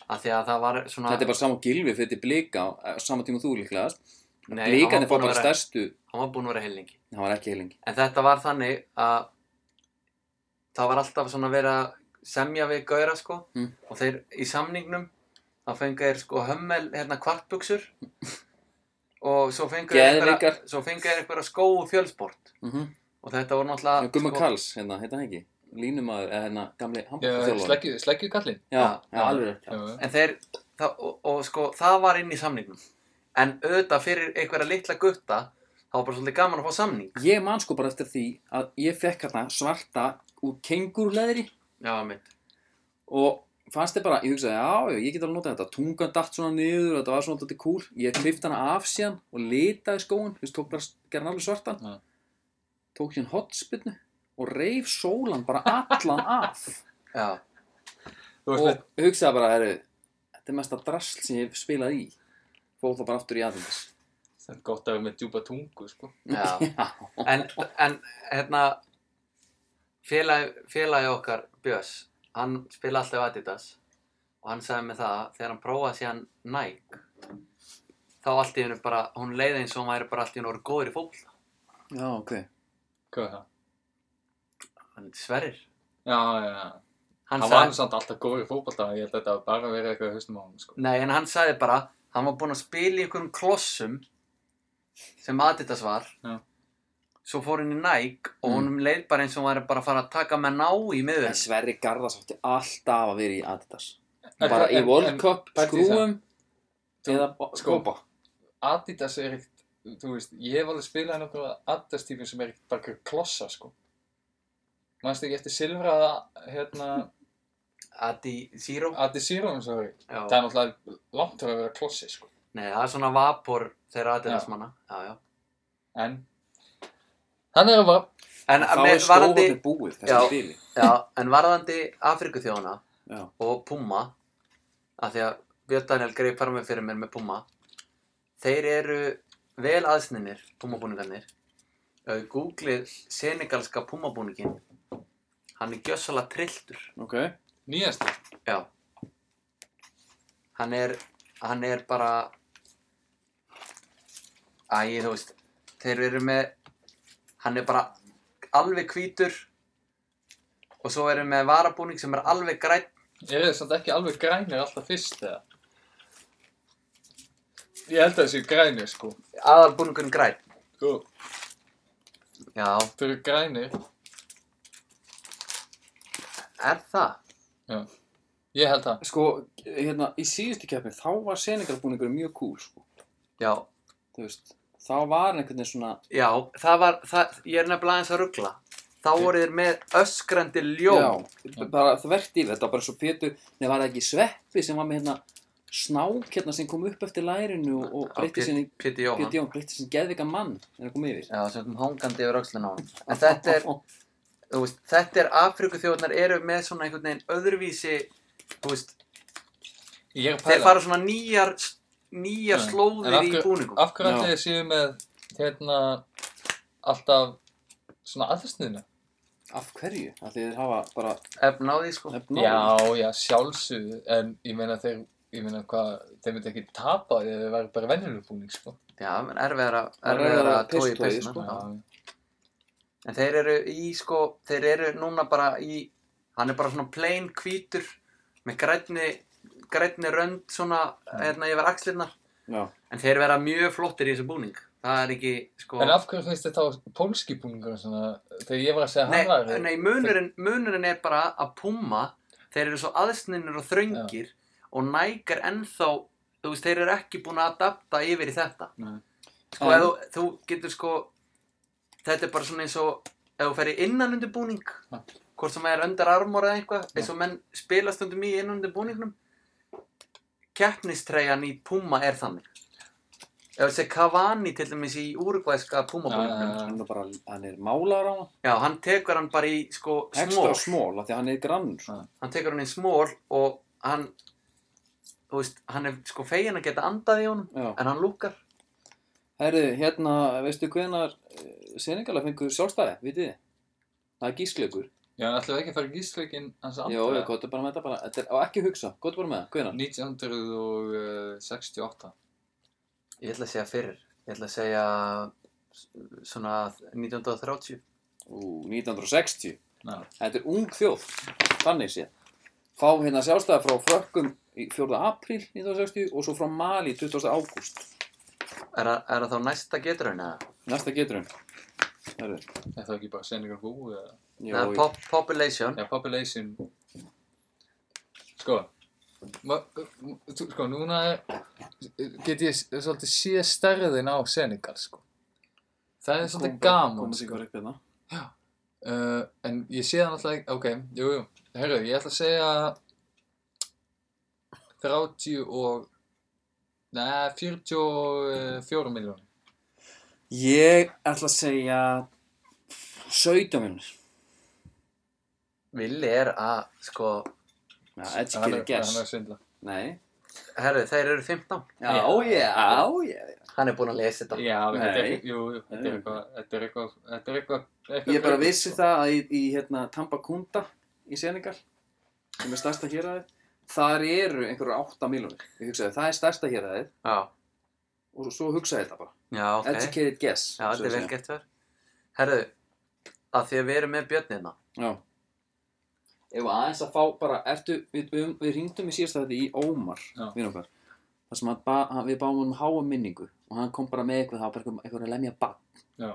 C: að því að það var svona...
A: Þetta er bara sama og gilvi fyrir þetta blika á á sama tíma og þú líklegast.
C: Nei, hann
A: Blikarnir
C: var
A: fá
C: búinn að
A: bara
C: vera-
A: stærstu.
C: Hann var búinn að vera heilingi.
A: Það var ekki heilingi.
C: En þetta var þannig að það var alltaf svona verið að semja við gauðra sko
A: Mm.
C: og þeir í samningnum þá fengu þeir sko hömmel hérna kvartbuksur og svo fengu þeir
A: Geðveikar.
C: einhverja- svo fengu þeir eitthvað skó og fjölsport
A: Mm -hmm.
C: og þetta voru náttúrulega sko-
A: Gumma Karls, hérna, hérna ekki. Línumæður, eða hérna, gamli handbóltaþjólvar.
B: sleggju, sleggju kallinn
A: Já, já,
C: Já.
A: alveg rétt. já.
B: Jú, jú.
C: en þeir það, og, og sko það var inn í samningnum en auðvitað fyrir einhverja litla gutta þá var bara svolítið gaman að fá samning
A: Ég man sko bara eftir því að ég fekk hérna svarta úr kengurleðri
C: Já, mitt
A: og fannst þið bara, ég hugsaði, já, já, ég get alveg notað þetta tungan datt svona niður, þetta var svona þetta kúl ég klifti hana af síðan og litaði skóin þú veist, tók bara, gerði hann alveg svartan
B: Ja.
A: tók síðan hotspinnu og reif sólan bara allan af
C: Já,
B: Þú veist,
A: og hugsaði bara, herru þetta er mesta drasl sem ég hef spilað í fóð það bara aftur í aðeins
B: það er gott að vera með djúpa tungu sko.
C: já
A: já,
C: en, en hérna félagi, félagi okkar Björs, hann spila alltaf Adidas og hann sagði með það að þegar hann prófaði síðan Nike þá allt í hennu bara, hún leiði eins og hann væri bara allt í hennu orðið góður í fólk
A: já, ok
B: hvað er það?
C: hann heitir Sverrir
B: Já, já, já,
C: hann
B: hann var nú
C: sagði,
B: samt alltaf góður í fótbolta ég held að þetta hafi bara verið eitthvað í hausnum á hann sko.
C: nei en hann sagði bara hann var búinn að spila í einhverjum klossum sem Adidas var
B: Já.
C: svo fór hann í Nike og
A: Mm.
C: honum leið bara eins og hann væri bara að fara að taka með ná í
A: en
C: miðverðin
A: Sverri Garðars átti alltaf að vera í Adidas
B: En
A: bara
B: það-
A: í
B: en-
A: World
B: en
A: Cup,
B: pældu í það.
A: skrúum eða
B: sko,
A: skópa
B: Adidas er ekkert, þú veist, ég hef alveg spilað nokkru Adidas tímum sem er ekkert bara einhver klossa, sko. Manstu ekki eftir Silvraða, hérna,
C: Adi Zero
B: Adi Sírón, sorry.
C: Já.
B: Það er náttúrulega langt til að vera klossi, sko.
C: Nei, það er svona vapor þeirra Adidas
B: Já.
C: manna. Já, já.
B: En, hann er að var,
C: En,
A: þá
C: með-
A: er
C: varðandi,
A: skóhóttir búið
C: Já.
A: þessi bíli
C: já, en varðandi Afrikuþjóna
A: Já.
C: og Puma, af því að Björn Daniel greið fara með fyrir mér með Puma, þeir eru vel aðsninir, Puma-búningarnir. Ef við googlið senegalska Puma-búningin, hann er gjössalega trilltur.
A: Ok,
B: nýjast,
C: Já. Hann er, hann er bara, æ, þú veist, þeir eru með, hann er bara alveg hvítur og svo eru með varabúning sem er alveg græn.
B: eru þið samt ekki alveg grænir alltaf fyrst, eða? Ég held að þessi grænir, sko.
C: aðalbúningurinn græn.
B: Þú,
C: Já,
B: þau eru grænir.
C: er það?
B: Ég held það.
A: sko, hérna, í síðustu keppni þá var seningalbúningur mjög cool, sko
C: Já,
A: Þú veist, þá var einhvern veginn svona
C: já, það var, það, ég er nefnilega aðeins að ruggla. Þá voru þeir með öskrandi ljón.
A: Já, b- bara þvert yfir, þetta var bara svo Pétur Nei, var það ekki Sveppi sem var með hérna snák hérna sem kom upp eftir lærinu og, og breytti sinni
C: Pétur Jóhann.
A: Pétur Jón, breytti sinni geðvika mann en það kom yfir
C: Já, sem kom hangandi yfir öxlun á hann. En þetta er, þú veist, þetta er Afrikuþjóðnar eru með svona einhvern veginn öðruvísi þú veist,
B: Ég er að
C: þeir
B: pæla
C: fara svona nýjar nýjar
B: Já, en af
C: slóðir í
B: hverju-
C: búningum
B: Af hverju
A: Já.
B: ætli þið séu með hérna alltaf svona aðsniðna?
A: Af hverju? Af því þeir hafa bara
C: efna á því sko
A: efna á því.
B: Já, já, sjálfsögðu, en ég meina þeir, ég meina hvað, þeir myndi ekki tapa því að þeir væri bara venjulegur búning, sko.
C: já, menn erfiðar að,
A: Það er
C: erfiðar
A: erfiðara
C: að tói
A: pisstogi,
C: peysuna
A: sko.
C: sko.
B: Já,
C: en þeir eru í sko þeir eru núna bara í hann er bara svona plain hvítur með grænni grænni rönd svona hérna yfir axlirnar
A: Já.
C: en þeir vera mjög flottir í þessu búning það er ekki sko
B: En af hverju finnst þið þá pólski búningur svona, þegar ég var að segja að
C: nei,
B: hann var,
C: nei munurinn, munurinn er bara að pumma þeir eru svo aðsninnir og þröngir og nægar ennþá þú veist, þeir eru ekki búin að adapta yfir í þetta
B: Nei.
C: sko,
A: En-
C: en, þú, þú getur sko þetta er bara svona eins og ef þú ferir innan undir búning
B: Já.
C: hvort sem er öndar armor eða eitthvað eins og menn spila stundum í innan undir búningnum keppnistreyjan í pumma er þannig ef þú sé Cavani til dæmis í úrugvæðska pumma búningnum
B: Já, já, já.
A: Hann er bara, hann er málar á hana.
C: Já, hann tekur hann bara í sko
A: Ekstra
C: smól,
A: smól, af því hann er grannur. sko.
B: Já.
C: hann tekur hann í smól og hann, þú veist, hann er sko fegin að geta andað í honum,
A: Já.
C: en hann lúkar.
A: Herri, hérna, veistu eh, hvenar Senegala fengur sjálfstæði, vitið þið? Það er gísklaugur.
B: já, ætlum við ekki að fara í gísleikin hans
A: Já,
B: andra,
A: við gotum bara með þetta bara, þetta er á ekki hugsa, gotum bara með það, hvenar?
B: eh, 1968.
C: Ég ætla að segja fyrir, ég ætla að segja s- svona 1930.
A: Ú, 1960.
B: Já,
A: Þetta er ung þjóð, þannig sé. Fá hérna sjálfstæði frá frökkum í 4. apríl 1960 og svo frá Mali 20. ágúst.
C: Er, það- er það þá næsta getur hann eða?
A: Næsta getur hann. Herri,
B: er það ekki bara Senegal Bú eða?
A: já,
C: Það er pop, population.
B: Já, population Sko ma- m- þú- Sko, núna er- get ég s- svolítið sé stærðin á Senegal, sko Það er svolítið gaman, sko
A: Komum við
B: uh, En ég sé það náttúrulega ekki- Ok, jú, jú, herru, ég ætla að segja 30 og Nei, 44 miljónir
A: Ég ætla að segja 17 minnur.
C: Villi er að, sko,
A: Já, þetta
B: Hann
A: skilir
B: er hann er að
A: gess.
B: svindla
A: Nei.
C: herru, þeir eru 15.
A: Já,
B: Já.
A: já, já, já.
C: Hann er búinn að lesa þetta.
B: Já,
A: Nei.
B: þetta er, jú, jú, þetta er
A: Nei.
B: eitthvað, þetta er eitthvað, þetta er eitthvað, eitthvað
A: Ég bara
B: fleiri,
A: vissi
B: sko.
A: það að í, í hérna, Tampakunda í Senegal, sem er stærsta héræðið, þar eru einhverjar 8 miljónir. Ég hugsaði, það er stærsta héræðið
C: Já,
A: og svo, svo hugsaði ég þetta bara.
C: já, ok.
A: Educated guess.
C: Já, þetta
A: svo að
C: er vel
A: segja.
C: gert þér. Herru, að því að við erum með hérna. björnina,
A: Já. Ef við aðeins að fá bara, ertu, við, við, við hringdum í síðasta þetta í Ómar,
B: Já.
A: vinn okkar, þar sem hann ba, hann, við báum hann háa minningu og hann kom bara með eitthvað, það var bara eitthvað- eitthvað að lemja bann.
B: Já.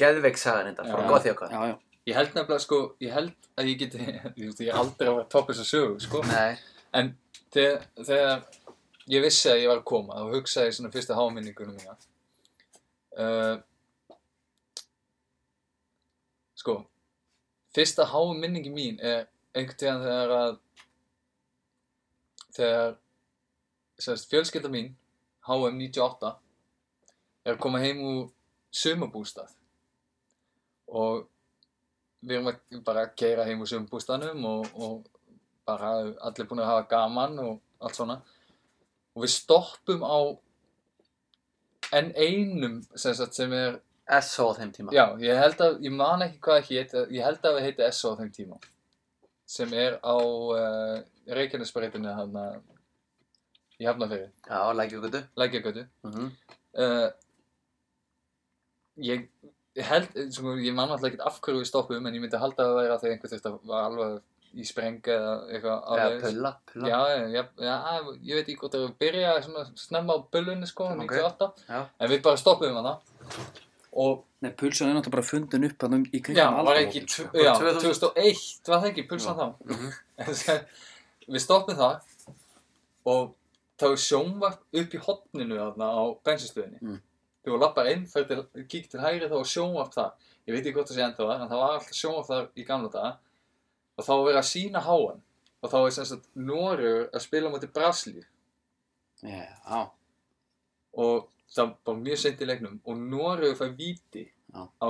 C: geðveik sagan þetta, frá
B: Já.
C: gott hjá hvað.
A: Já, já.
B: Ég held nefnilega, sko, ég held að ég geti, ég veist, ég er aldrei að vera topp þess að sögu, sko.
C: Nei,
B: En þegar, þegar ég vissi að ég var að koma, þá hugsaði ég svona fyrsta háminningunum mína. Uh, sko, fyrsta háminningi mín er einhvern tíðan þegar að, þegar, sérst, fjölskylda mín, HM 98, er að koma heim úr sumabústað. Og við erum að bara að keira heim úr sumabústaðnum og, og bara allir búin að hafa gaman og allt svona og við stoppum á enn einum sem, sagt, sem er
C: SO á þeim tíma.
B: já, ég held að, ég man ekki hvað það hét ég held að við heiti SO á þeim tíma sem er á uh, Reykjanesbreytinu hann í Hafnafjörði,
C: Já, lækjugötu.
B: Lækjagötu
C: Mm -hmm.
B: uh, ég ég held, sko, ég man alltaf ekkert af hverju við stoppum en ég myndi halda að það væri að þegar einhver þurfti að var alveg í spreng eða eitthvað
C: Eða
B: áleiðis.
C: pulla, pulla.
B: Já, já, já, ég veit ekki hvort það er að byrja svona snemma á bullunni sko,
C: Ok.
B: 98,
C: Já.
B: en við bara stoppuðum hana og
A: Nei, pulsan er náttúrulega bara fundin upp hann í kringum
B: já, var ekki,
A: aldamótin,
B: tv-
A: sko.
C: 2000.
B: já, 2001, var það ekki pulsan þá?
C: Mhm.
B: En sem- við stoppum það og það var sjónvarp upp í hotninu þarna á bensinstöðinni.
A: Mm.
B: Þegar þú lappar inn, fer til, kík til hægri þá var sjónvarp þar. Ég veit ekki hvort það sé enda þar, en það var alltaf sjónvarp þar í gamla daga og þá var verið að sína háan og þá var sem sagt Noregur að spila á móti Brasilíu
A: Já, já.
B: og það var mjög seint í leiknum og Noregur fær víti
A: Já.
B: á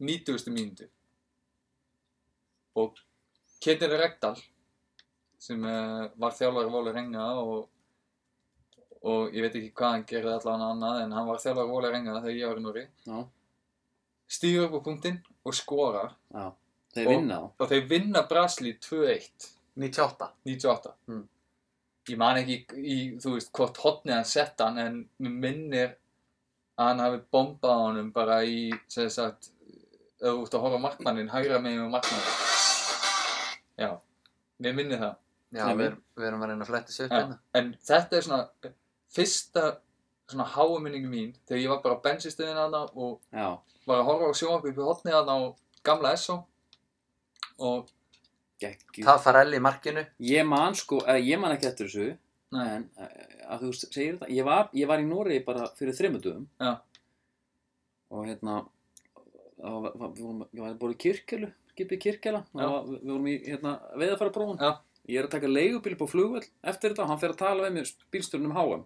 B: 90. mínútu og Ketil Rekdal sem uh, var þjálfari Vóli Renga og, og ég veit ekki hvað hann gerði allan annað en hann var þjálfari Vóli Renga þegar ég var í Núri
A: Já,
B: stýgur upp á punktinn og skorar
A: já. Þeir
B: Og-
A: vinna þá.
B: og þeir vinna Brasli 2-1
C: 98
B: 98
C: Mm.
B: ég man ekki í, þú veist, hvort hotnið hann sett hann en mér minnir að hann hafi bombað á honum bara í, sem sagt ef þú ert að horfa á markmannin, hægra megin með markmannin já, mér minnir það
C: Já,
A: Nei,
C: við,
A: við-
C: erum- við erum að reyna að fletta sér upp
B: en,
C: hérna
B: en þetta er svona fyrsta svona háuminning mín þegar ég var bara á bensinstöðin aðna og
A: Já,
B: var að horfa á sjónvarp upp í hotnið aðna á gamla SO og,
A: geggjum.
C: Tafarelli í markinu
A: Ég man sko, eða ég man ekki eftir þessu,
B: nei,
A: en eh, að þú segir þetta, ég var, ég var í Noregi bara fyrir þreymundum
B: Já.
A: og hérna, þá var- var- við vorum- ég var bara í kirkjölu, skipið kirkjala,
B: Já.
A: við við vorum í hérna, veðafæra prófun.
B: Já.
A: Ég er að taka leigubíl upp á flugvöll eftir þetta og hann fer að tala við mig bílstjórnum HM.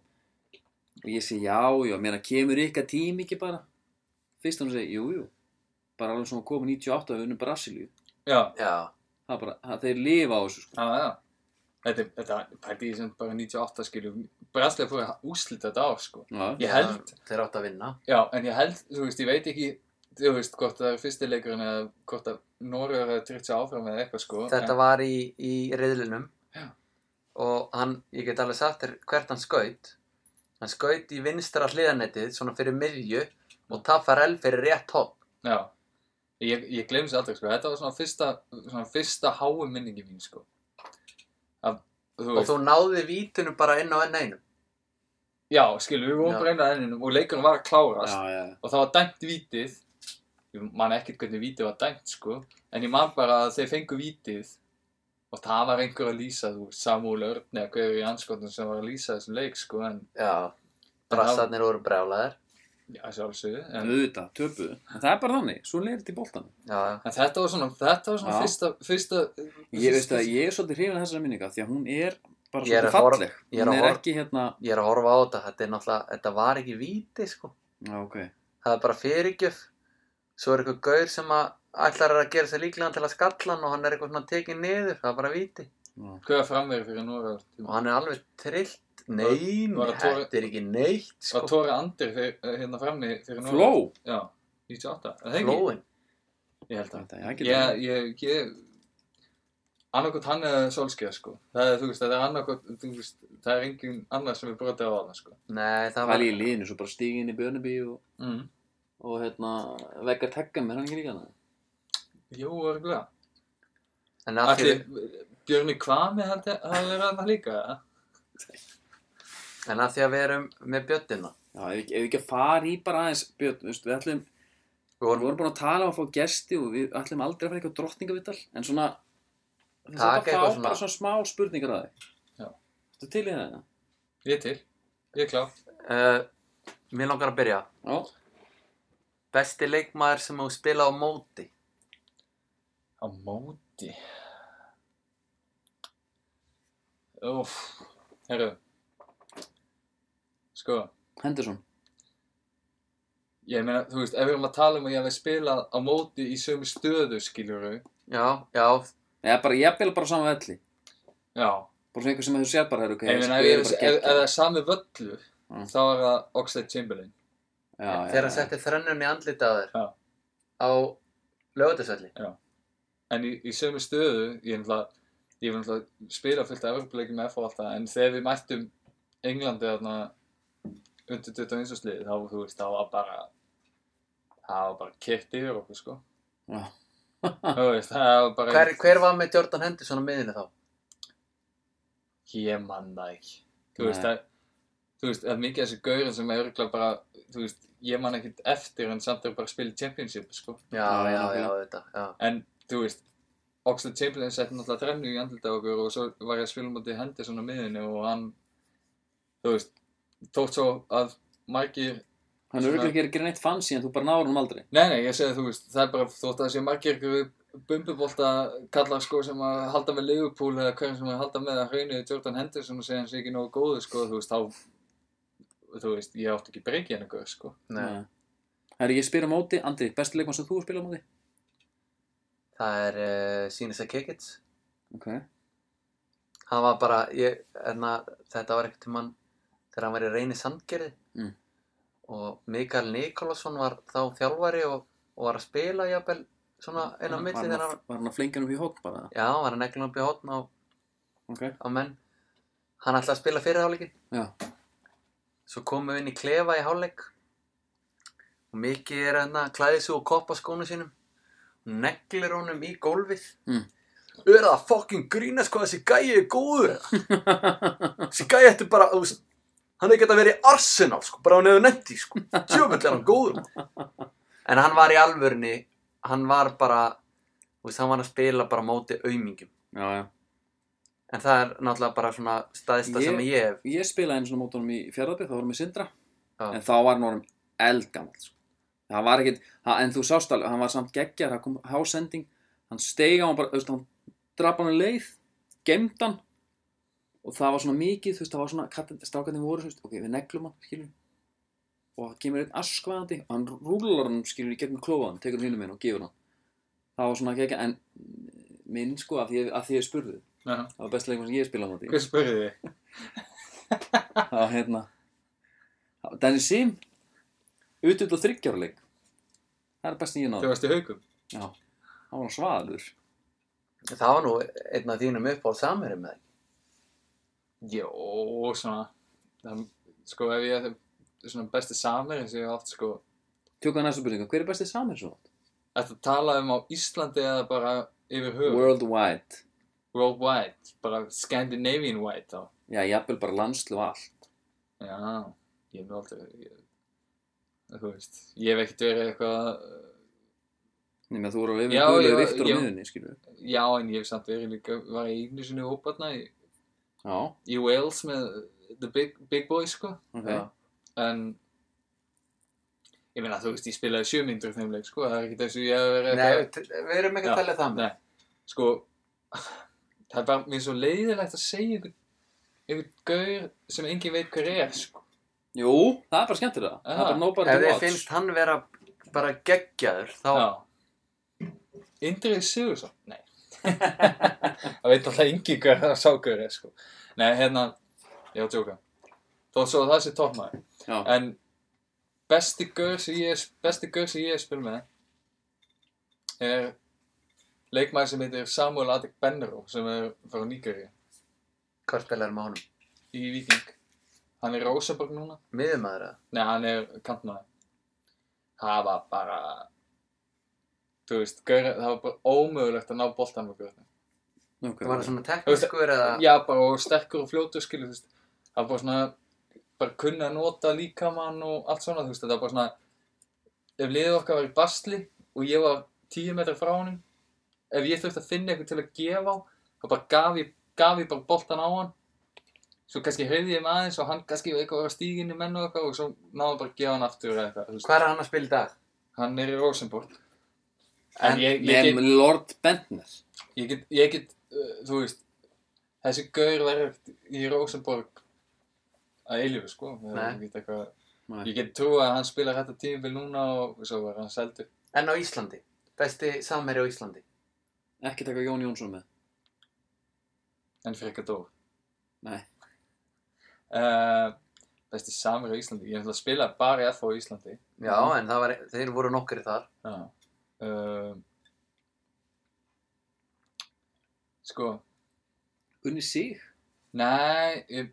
A: Og ég segi, já, já, mér að kemur ykkar tími ekki bara. Fyrst hann segi, jú, jú, bara alveg svona komið 98 að unum Brasilíu.
B: já,
C: Já,
A: Það er bara, það, þeir lifa á þessu, sko.
B: Já, já. Ah, Þetta, þetta pæti ég sem bara 98 skilju. Bræðslega fór að úslita þetta ár, sko.
A: Já,
B: Ég held,
C: Þeir átt að vinna
B: já, en ég held, þú veist, ég veit ekki, þú veist, hvort það er fyrsti leikurinn eða hvort að Norður er að tryggja áfram eða eitthvað, sko.
C: Þetta
B: en,
C: var í, í riðlinum
B: Já.
C: og hann, ég get alveg sagt þér hvert hann skaut hann skaut í vinstra hliðanettið svona fyrir miðju og Tafarell fyrir rétt hopp
B: Já. Ég, ég glems aldrei, sko. Þetta var svona fyrsta, svona fyrsta háu minningi mín, sko. Af, þú
C: og
B: veist,
C: þú náði vítinu bara inn á enn einum
B: já, skilju, við vorum
C: Já.
B: bara einað enninum og leikurinn var að klárast.
A: já, já.
B: og það var dæmt vítið ég man ekkert hvernig vítið var dæmt sko en ég man bara að þeir fengu vítið og það var einhver að lýsa þú veist, Samúl Örn eða hverju í anskotnum sem var að lýsa þessum leik sko en
C: Já, brassarnir voru brjálæðir
B: já, sjálfsögðu en,
A: auðvitað, töpuðu en það er bara þannig, svo leirir þetta í boltan
C: Já, já
B: en þetta var svona þetta var svona
A: Já.
B: fyrsta, fyrsta
A: ég veist að ég er svolítið hrifin að þessari minninga því að hún er bara
C: Ég
A: svolítið
C: er að horfa-
A: falleg
C: ég
A: hún
C: er að
A: er
C: horfa-
A: ekki hérna
C: Ég er að horfa á þetta, þetta er náttúrulega, þetta var ekki víti sko.
A: já, ok,
C: Það er bara fyrirgjöf. Svo er eitthvað gaur sem að ætlar að gera sér líklegan til að skalla hann og hann er eitthvað svona tekið niður, það er bara víti.
A: já.
B: hverja framverið fyrir Nóra
C: Og hann er alveg trillt, nei,
B: Var- var að tóra-
C: þetta er ekki neitt
B: var
C: sko.
B: Tóra Andir fyr, hérna framni fyrir Nóra
A: fló
B: já, 98 er það ekki?
C: Flóin.
B: ég held að
A: Þetta, já, getur
B: ég,
A: verið.
B: ég, ég annarkot hann eða Solskjaer sko það er, þú veist, það er annarkot þú veist, það er engin annar sem er brotið á hann sko
C: Nei, það
A: það
C: var,
A: er í liðinu, svo bara stígi inn í Björnubí og,
B: mm.
A: og hérna, veggar tekka mér hann ekki líka hana
B: jú, örgulega
C: en að því,
B: Allir, Björni Kvami hann hann er hann líka eða?
C: en að því að við erum með bjöttina.
A: já, ef ekki, ef ekki að fara í bara aðeins Björn, veist, við ætlum,
C: Við
A: við
C: vorum
A: vorum búin að tala og fá gesti og við ætlum aldrei að fara eitthvað drottningavital en svona, þetta
C: Taka
A: fá
C: eitthvað
A: bara
C: svona-
A: svona smá spurningar að þig
B: Já.
A: Þetta til í það,
B: ég er til, ég er klár
C: uh, mér langar að byrja.
A: já?
C: Besti leikmaður sem þú spila á móti.
B: á móti óf herru sko
A: Henderson
B: ég meina, þú veist, ef við erum að tala um að ég hef spilað á móti í sömu stöðu skiljuru
C: Já, já,
A: Eða bara, ég vil bara saman velli
B: já,
A: Bara svona einhver sem þú sér bara, er ok
B: Ég meina,
A: þessi
B: ef,
A: gaur bara
B: ég- ef, ef það
A: geggjað.
B: er sami völlur,
A: Mm.
B: þá er það Oxlade Chamberlain.
A: Já, já,
C: þegar
A: já.
C: hann setti þrennun í andlita á þér.
B: Já.
C: Á lögutisvelli.
B: En í, í sömu stöðu, ég er náttúrulega, ég er náttúrulega spila fullt af Evropuleikum með FH alltaf, en þegar við mættum Englandi þarna undir 21. sliði, þá, þú veist, þá var bara, það var bara kert yfir okkur, sko.
A: Já.
B: þú veist, það var bara,
C: Hver, hver var með Jordan Henderson á miðinu þá?
B: ég mann það ekki. Þú
A: Nei.
B: veist, það, þú veist, það er mikið af þessu gaurin sem er örgulega bara, þú veist, ég mann ekkert eftir, en samt er bara að spila í championship, sko.
A: Já,
C: Já, já,
A: já,
C: já,
A: já.
C: þetta, já.
B: En, þú veist, Oxlade Chamberlain setti náttúrulega þrennu í andlita á okkur og svo var ég að spila mútið hendi svona miðinu og hann, þú veist, þótt svo að margir,
A: Hann er örgulega ekki að gera neitt fancy en þú bara náður hann aldrei
B: nei nei, ég segi þú veist, það er bara þótt að það sé margir ykkur bumbubolta kallar sko sem að halda með Liverpool eða hverjum sem að halda með að hrauninu Jordan Henderson og segja hann sé ekki nógu góðu sko, þú veist, þá, þú veist, ég átti ekki breykið hann ykkur sko.
C: Nei,
A: Herri, ég spyr á móti, Andri, besti leikmann sem þú spila á móti?
C: það er uh, Sinisa Kekits
A: Ok.
C: hann var bara ég, erna, þetta var ekkert um hann þegar hann var í reyni sandgerði
A: Mm.
C: og Mikael Nikolásson var þá þjálfari og, og var að spila jafnvel svona inn á milli
A: Var hann
C: þegar
A: að-
C: hann
A: Var hann að flinga um í hótt bara?
C: já, hann var að neglum upp í hotn á,
A: Ok.
C: á menn hann ætlaði að spila fyrir hálfleikin
A: Já.
C: svo komum við inn í klefa í hálfleik og Miki er hérna klæðið svo og koppa skónu sínum og neglir honum í gólfið
A: Mm.
C: er það fucking grínast hvað þessi gæi er góður þessi gæi ætti bara þú veist, hann hefði geta verið í Arsenal sko, bara hann hefði nefnt í sko. tjöfull er hann góður maður. en hann var í alvörni hann var bara þú veist, hann var að spila bara á móti aumingjum
A: Já, já.
C: en það er náttúrulega bara svona staðista
A: Ég-
C: sem ég hef
A: Ég spilaði einu svona mótunum í fjárðabíð, þá vorum við Sindra.
C: Já.
A: En þá var hann orðum eldgammal, sko. Það var ekkit, ha, en þú sást alveg, hann var samt geggjar, það kom hásending, hann steig á hann bara, þú veist, hann draf hann um leið, gemd hann og það var svona mikið, þú veist, það var svona, katt- strákarnir voru, þú veist, ok, við neglum hann, skilur og það kemur einn askvaðandi og hann rúlar hann, skilur, í gegnum klóðan tekur hann hínum minn og gefur hann það var svona geggja, en minn, sko, af því, af því ég spurði
B: Jaha.
A: það var best leikum sem ég spilaði á móti
B: Hver spurði þig?
A: Já, hérna Danny Sim Utut á þryggjárleik Það er best nýjum
B: Þú
A: áður
B: varst í haugum?
A: Já, það var svaður
C: það var nú einn af þínum uppáhald samherjum með
B: Jó, svona. Það, sko, ef ég er svona besti samir eins og ég hef haft, sko.
A: Tjókaði næstu byrningu, hver er bestið samir svo?
B: Þetta tala um á Íslandi eða bara yfir höfum.
A: Worldwide
B: Worldwide. Bara Scandinavian wide þá.
A: Já, jafnvel bara landslu og allt
B: Já, ég hef aldrei, ég, þú veist, ég hef ekkert verið eitthvað,
A: Nefnir að þú voru yfir
B: Já,
A: guðlegu
B: já,
A: viktur á
B: já.
A: miðunni, skilur
B: já, en ég hef samt verið líka, var ég einu sinni hóparna í,
A: Já,
B: í Wales með The Big, big Boys, sko,
A: ok
C: Já.
B: en, ég meina, þú veist, ég spilaði sjö myndur þeim leik, sko, það er ekkert eins og ég hef verið
C: Nei, t- við erum ekki að
B: Já,
C: tellja það með.
B: Nei, sko, það er bara, mér er svo leiðilegt að segja einhvern, einhvern gaur sem enginn veit hver er, sko,
A: Jú, það er bara skemmtir það Það er bara nobody
C: Ef
A: to
C: þið
A: watch
C: finnst hann vera bara geggjaður, þá...
B: Já. Indrið Sigursson? Nei. það veit alltaf engi hver það sákur er, sko. Nei, hérna, ég var að tjóka. Þó svo það sé toppmæður.
A: Já,
B: En besti gaur sem ég, besti gaur sem ég spil með er leikmæður sem heitir Samuel Adek Benro sem er frá Níkari
C: Hvað spilaður með honum?
B: í Viking. Hann er í Rósaborg núna.
C: Miðumæður eða?
B: Nei, hann er kantmaður. Það var bara, þú veist, gaur, það var bara ómögulegt að ná boltan með gaurinu.
A: ok
C: Var það svona
B: Þú
C: teknískur eða...
B: Já, bara og sterkur og fljótur, skilur, þú veist. Það var bara svona, bara kunna að nota líkamann og allt svona, þú veist. Þetta var bara svona, ef liðið okkar var í basli og ég var 10 metrar frá honum, ef ég þurfti að finna eitthvað til að gefa á, þá bara gaf ég, gaf ég bara boltan á hann. Svo kannski hreyfði ég maður aðeins og hann kannski var eitthvað að stíga inn í menn og eitthvað og svo náðum bara að gefa hann aftur eða eitthvað, þú veist.
C: Hvað er hann að spila í dag?
B: Hann er í Rosenborg.
C: En
B: En ég, ég,
A: Nefn
B: get,
A: Lord Bentner
B: ég get, ég get, uh, þú veist, þessi gaur verður í Rosenborg að eilífu, sko. Það er
C: Nei.
B: ekkert eitthvað-
A: Nei.
B: Ég get trúið að hann spilar þetta tímabil núna og svo var hann seldur.
C: En á Íslandi? Besti samherji á Íslandi?
A: Ekki taka Jón Jónsson með
B: En fyrir eitthvað dór.
A: Nei,
B: Uh, besti samir á Íslandi. Ég er náttúrulega að spila bara í FH á Íslandi.
C: Já, en það var... Þeir voru nokkri þar.
B: Já. Uh, sko,
A: Gunni Sig
B: Nei, ég,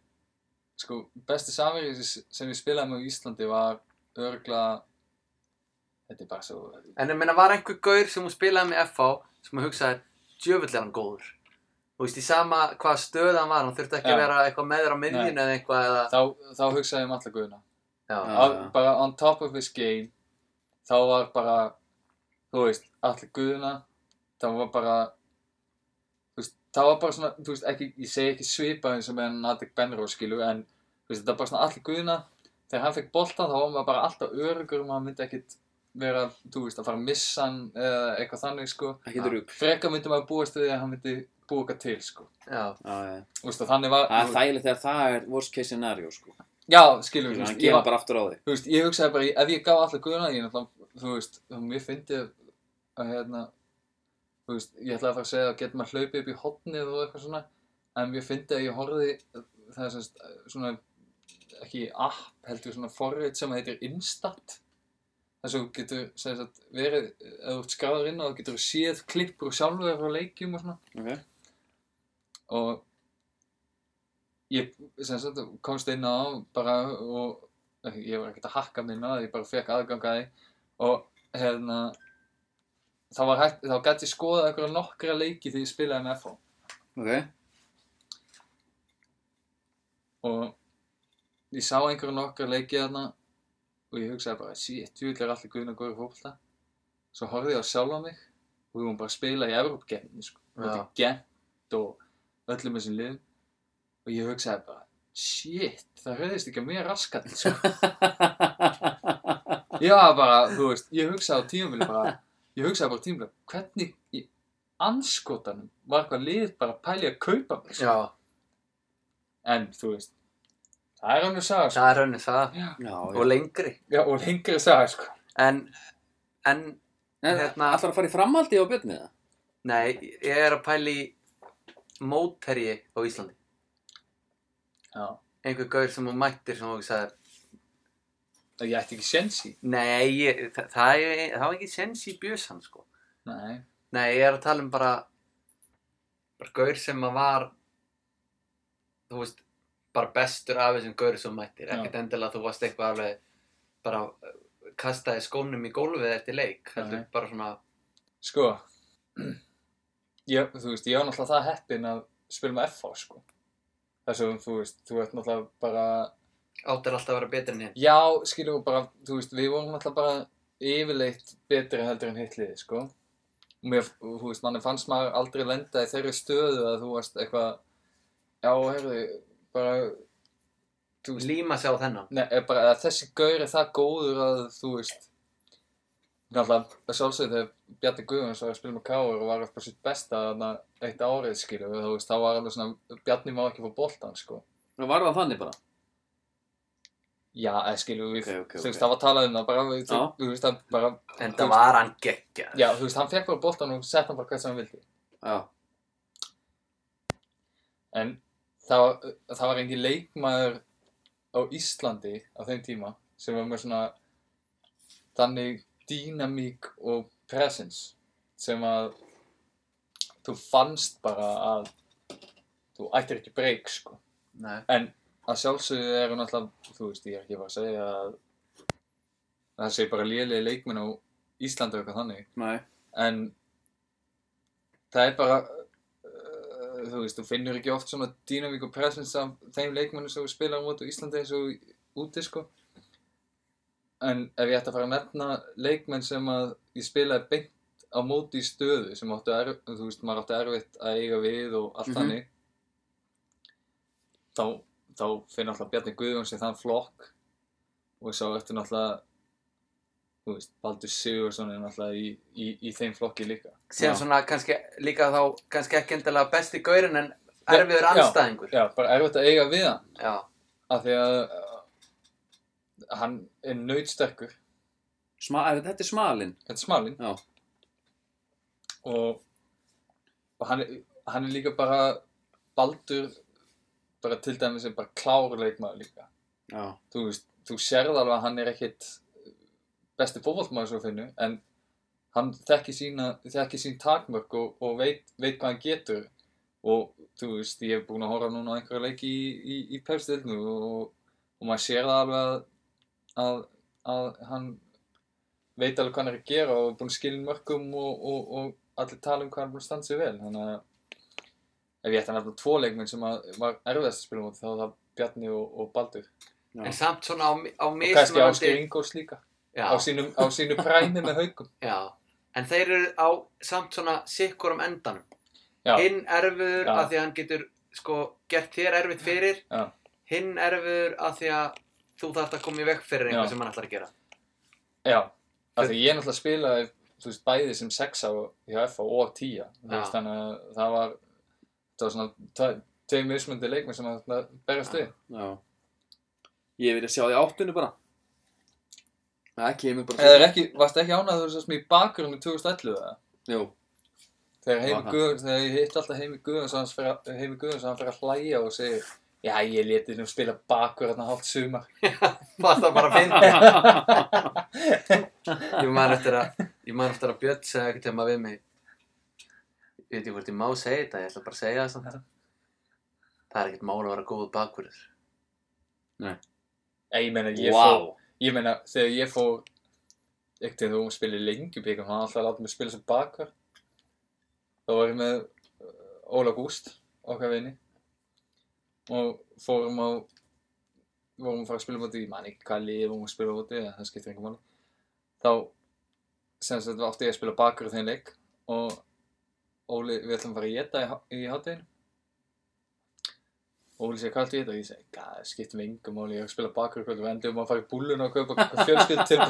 B: sko, besti samverið sem ég spilaði með á Íslandi var örgla, þetta er bara svo,
C: En ég meina, var einhver gaur sem hún spilaði með FH sem hún hugsaði, djöfull er hann góður. Þú veist, í sama hvað stöð hann var, hann þurfti ekki að
B: Já.
C: vera eitthvað meður á miðjunni eða eitthvað eða...
B: þá, þá hugsaði ég um alla guðina.
C: Já,
A: Já,
B: Á-
A: já.
B: Bara on top of his game, þá var bara, þú veist, alla guðina, þá var bara, þú veist, þá var bara svona, þú veist, ekki, ég segi ekki svipa eins og með Nadik Benro, skilu, en, þú veist, þetta var bara svona alla guðina, þegar hann fekk boltan þá var maður bara alltaf örugur um að hann myndi ekkit vera, þú veist, að fara að missa hann eða eitthvað þannig, sko.
A: Ekki
C: Já.
A: drugg
B: frekar myndi maður búast við því að hann myndi búa eitthvað til sko.
C: já.
B: Þú veist, og þannig var
A: Ah, Það er þægilegt þegar það er worst case scenario, sko
B: já, skilur við,
A: Þannig að hann
B: þú veist, ég,
A: gefa
B: var,
A: bara aftur á þig
B: þú veist, ég hugsaði bara ef ég gaf allar guðuna ég náttúrulega, þú veist, og mér fyndi að hérna þú veist, ég ætlaði að fara að segja að getur maður hlaupið upp í hotnið og eitthvað svona en ég fyndi að ég horfði það er semst, svona ekki app heldur svona forrið sem heitir Instat þess að þú getur semst, verið, ef þú ert skráður inn á þú getur séð klippur og sjálfur frá leikjum og svona
A: Ok.
B: og ég sem sagt komst inn á bara og ekki, ég var ekkert að hakka mig inn á það, ég bara fekk aðgang að því og hérna þá var hægt, þá gæti ég skoðað einhverja nokkra leiki því ég spilaði með FH
A: Ok.
B: og ég sá einhverja nokkra leiki þarna og ég hugsaði bara, shit, djúvill er allir guðin að góða fólkta svo horfði ég á sjálfa mig og við vorum bara að spila í Evrópgeppinni sko,
C: Já.
B: og þetta gent og öllum þessum liðum og ég hugsaði bara, shit, það höfðist ekki að mér raskat sko. ég var bara, þú veist, ég hugsaði á tímabili bara, ég hugsaði bara á tímabili hvernig í anskotanum var eitthvað lið bara að pæli að kaupa mig sko.
C: Já,
B: en þú veist, það er alveg saga sko.
C: það er önnur það
A: Já,
C: og
A: já.
C: lengri
B: Já, og lengri saga sko.
C: en, en
A: En
C: hérna-
A: ætlar að fara í framhaldi á björni það?
C: nei, ég er að pæli mótherji á Íslandi
B: Já,
C: einhver gaur sem hún mættir sem hún sagði
B: það ég ætti ekki sjens í.
C: nei, ég, það, það, er- það var ekki sens í bjösan sko
B: Nei.
C: Nei, ég er að tala um bara bara gaur sem að var þú veist bara bestur af þessum gaur sem mættir
B: Já.
C: ekkert endilega þú varst eitthvað alveg bara uh, kastaði skónum í gólfið eftir leik heldur
B: Nei.
C: bara svona
B: Sko, ég, þú veist, ég var náttúrulega það heppinn að spila með FH, sko. Þess að, þú veist, þú ert náttúrulega bara,
C: áttir alltaf að vera betur en hinn
B: já, skilur við bara, þú veist, við vorum náttúrulega bara yfirleitt betri heldur en hitt liði, sko. Og mér, og, þú veist, manni fannst maður aldrei lenda í þeirri stöðu að þú varst eitthvað, já, heyrðu, bara, þú veist,
C: líma sig á þennan
B: Nei, er bara að þessi gaur er það góður að þú veist Náttúrulega, að sjálfsögðu þegar Bjarni Guðjóns var að spila með Káur og var upp á sitt besta þarna eitt árið skilur við, þú veist, þá var alveg svona Bjarni má ekki fá boltan, sko
A: Var það þannig bara?
B: Já, eða skilur
A: Ok,
B: við,
A: ok,
B: þú
A: ok.
B: veist, það var talað um það bara, við,
A: Já.
B: þú veist, það bara
C: en
B: þú
C: það
B: veist-
C: var hann geggja
B: Já, þú veist, hann fekk bara boltan og sett hann bara hvert sem hann vildi
A: Já.
B: En það, var- það var engin leikmaður á Íslandi á þeim tíma sem var með svona þannig dýnamík og presence sem að þú fannst bara að þú ættir ekki breyk sko.
C: Nei.
B: En að sjálfsögðu eru náttúrulega, þú veist, ég er ekki bara að segja að það sé bara lélegi leikmenn á Íslandi og eitthvað þannig
A: Nei.
B: en það er bara uh, þú veist, þú finnur ekki oft svona dynamík og presence af þeim leikmennum sem þú spilar á móti á Íslandi eins og úti sko en ef ég ætti að fara að nefna leikmenn sem að ég spilaði beint á móti í stöðu sem áttu erfitt, þú veist, maður áttu erfitt að eiga við og allt
A: Mhm.
B: þannig þá, þá finnur alltaf Bjarni Guðjóns í þann flokk og svo ertu náttúrulega þú veist, Baldur Sigursson er náttúrulega í, í, í þeim flokki líka
C: síðan
A: Já.
C: svona kannski líka þá kannski ekki endilega besti gaurinn en
B: Já,
C: erfiður
B: já.
C: anstæðingur
B: Já, bara erfitt að eiga við hann
C: já,
B: af því að uh, hann er nautsterkur,
A: Sma, er, þetta er smalinn.
B: þetta er smalinn
A: Já.
B: og, og hann, er- hann er líka bara baldur bara til dæmis er bara klárleikmaður líka
A: Já.
B: þú veist, þú sérð alveg að hann er ekkit uh, besti fótboltmaður svo finnu en hann þekki, sína, þekki sín takmörk og, og veit, veit hvað hann getur og þú veist, ég hef búin að horfa núna á einhverja leiki í, í, í pepstilnu og, og maður sér það alveg að, að, að hann veit alveg hvað hann er að gera og er búin að skilja mörgum og, og, og allir tala um hvað hann er búin að standa sig vel þannig að ef ég ætti að nefna tvo leikmenn sem að var erfiðast að spila múti þá var það Bjarni og, og Baldur
A: Já.
C: en samt svona á, mi- á
B: og kannski
C: mismunandi
B: Ásker Ingóls líka
C: já,
B: á sínu, á sínu præmi með haugum
C: já. en þeir eru á samt svona sikkurum endanum
B: já,
C: hinn erfiður
B: Já.
C: af því að hann getur sko, gert þér erfitt fyrir
B: já,
C: hinn erfiður af því að þú þarft að koma í veg fyrir
B: Já.
C: einhver sem hann ætlar að gera
B: já. af því ég náttúrulega spilaði þú veist, bæði sem sexa á- hjá F og tíja þú
C: Já.
B: veist, þannig að það var það var svona tve- tveir mismundi leikmi sem að þarna berjast
C: Já.
B: við
A: Já. Ég vilja sjá því áttunni bara. Það kemur bara.
B: eða er ekki, varst ekki ánægður þú sérst mér í bakurinn í 2011 eða?
A: Jú.
B: Þegar Heimi
A: Vaka.
B: Guðjóns, þegar ég hitt alltaf Heimi Guðjóns og hans fer að- Heimi Guðjóns og hann fyrir að hlæja og segir Já, ég leti nú spila bakur hérna hálft sumar.
C: Fast það bara að finna Ég man eftir að Ég man eftir að Björn segja ekkert hjá við mig Ég veit ekki hvort ég má segja þetta Ég ætla bara að segja það samt Það er ekkert mál að vera góð bakverður
B: Nei, Ég meina, ég fór, ég meina, þegar ég fór ekkert þegar þú spilir lengjubíkum, hann alltaf látið mig spila sem bakur. Þá var ég með uh, Óla Gúst, okkar vini, og fórum á, vorum að fara að spila mútið, ég man ekki hvað liði vorum að spila mútið, það skiptir einhver máli. Þá, sem sagt, átti ég að spila bakur í þeim leik og Óli, við ætlum að fara að geta í, há- í hátteginu. Óli segir, hvað ættu ég þetta? Og ég segi, gæð, skiptum yngum Óli, ég er að spila bakur kvöld og við endum að fara í búlun og kaupa fjölskyld til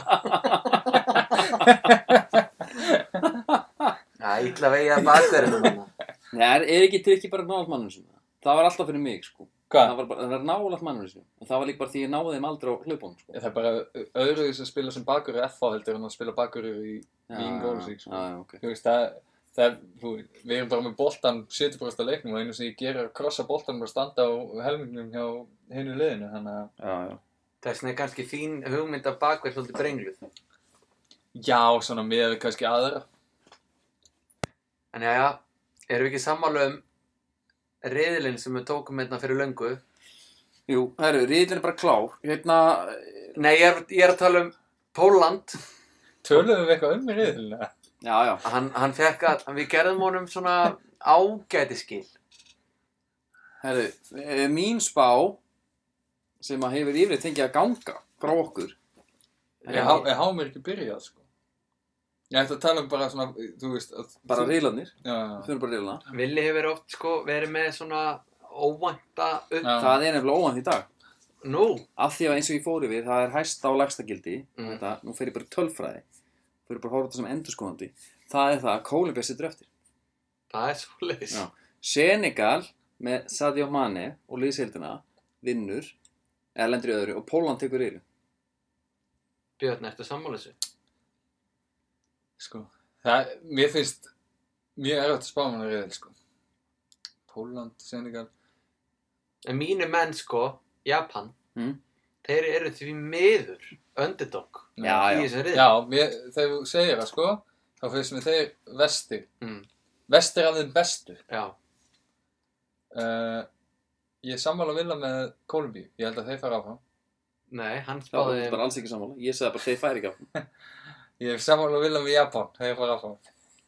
C: Já, illa vegi að bakverðinu minna
A: Nei, er, er ekki trikki bara nálægt mannum sinna? Það var alltaf fyrir mig, sko. Það
B: Hvað?
A: var bara, það var nálægt mannum sinna. Og það var líka bara því ég náði þeim aldrei á hlaupunum, sko.
B: Það er bara öðru þess að spila sem bakur í FH heldur en að spila bakur í Vín Góðsvík,
A: sko.
B: sko.
A: Já, já, ok.
B: Þú veist, það, það, þú, við erum bara með boltan 70% af leiknum og einu sem ég ger er að krossa boltan og standa á helmingnum hjá hinu liðinu, þannig að
A: Já, já.
C: Þess vegna er kannski þín hugmynd af bakverð svolítið brengluð
B: já, svona miðað við kannski aðra.
C: En já, já, erum við ekki sammála um riðilinn sem við tókum hérna fyrir löngu
A: Jú, herru, riðlinn er bara klár. Hérna, eh,
C: Nei, ég er, ég er að tala um Póland
B: Töluðum við eitthvað um í riðilina?
A: já, já.
C: Hann, hann fekk að, við gerðum honum svona ágætiskil
A: Herru, eh, mín spá sem að hefur yfirleitt fengið að ganga frá okkur.
B: Ég há- ég há mér ekki byrjað, sko. Ég ætti að tala um bara svona, þú veist, að,
A: Bara
B: þú-
A: riðlarnir.
B: Já, já.
A: Þau eru bara riðlarna.
C: Vili hefur oft sko verið með svona óvænta upp
B: Já.
A: Það er nefnilega óvænt í dag.
C: nú
A: Af því að eins og ég fór yfir, það er hæsta og lægsta gildi.
C: Mm.
A: Þetta, nú fer ég bara í tölfræði. Þú eru bara að horfa á þetta sem endurskoðandi. Það er það að Kólumbia situr eftir.
C: Það er svo leiðis
A: Já. Senegal með Sadio Mane og liðsheildina vinnur eða lendur í öðru og Póland tekur yfir
C: Björn, ertu sammála þessu?
B: sko, það, mér finnst mjög erfitt að spá um hana reyðil, sko. Póland, Senegal,
C: En mínu menn sko, Japan
A: Mm.
C: Þeir eru því miður underdog
A: Já,
C: í
A: já,
C: þessum riðli
B: já, mér, þegar þú segir það, sko, þá finnst mér þeir vestir,
C: Mm,
B: vestir af þeim bestu.
C: já.
B: Uh, ég er sammála vilja með Kolumbíu, ég held að þeir fara áfram.
C: Nei,
A: þá er
C: hann
A: þetta
C: spáði um
A: bara alls ekki sammála ég sagði bara þeir færi ekki áfram
B: Ég er sammála vilja með Japan, þeir fara áfram.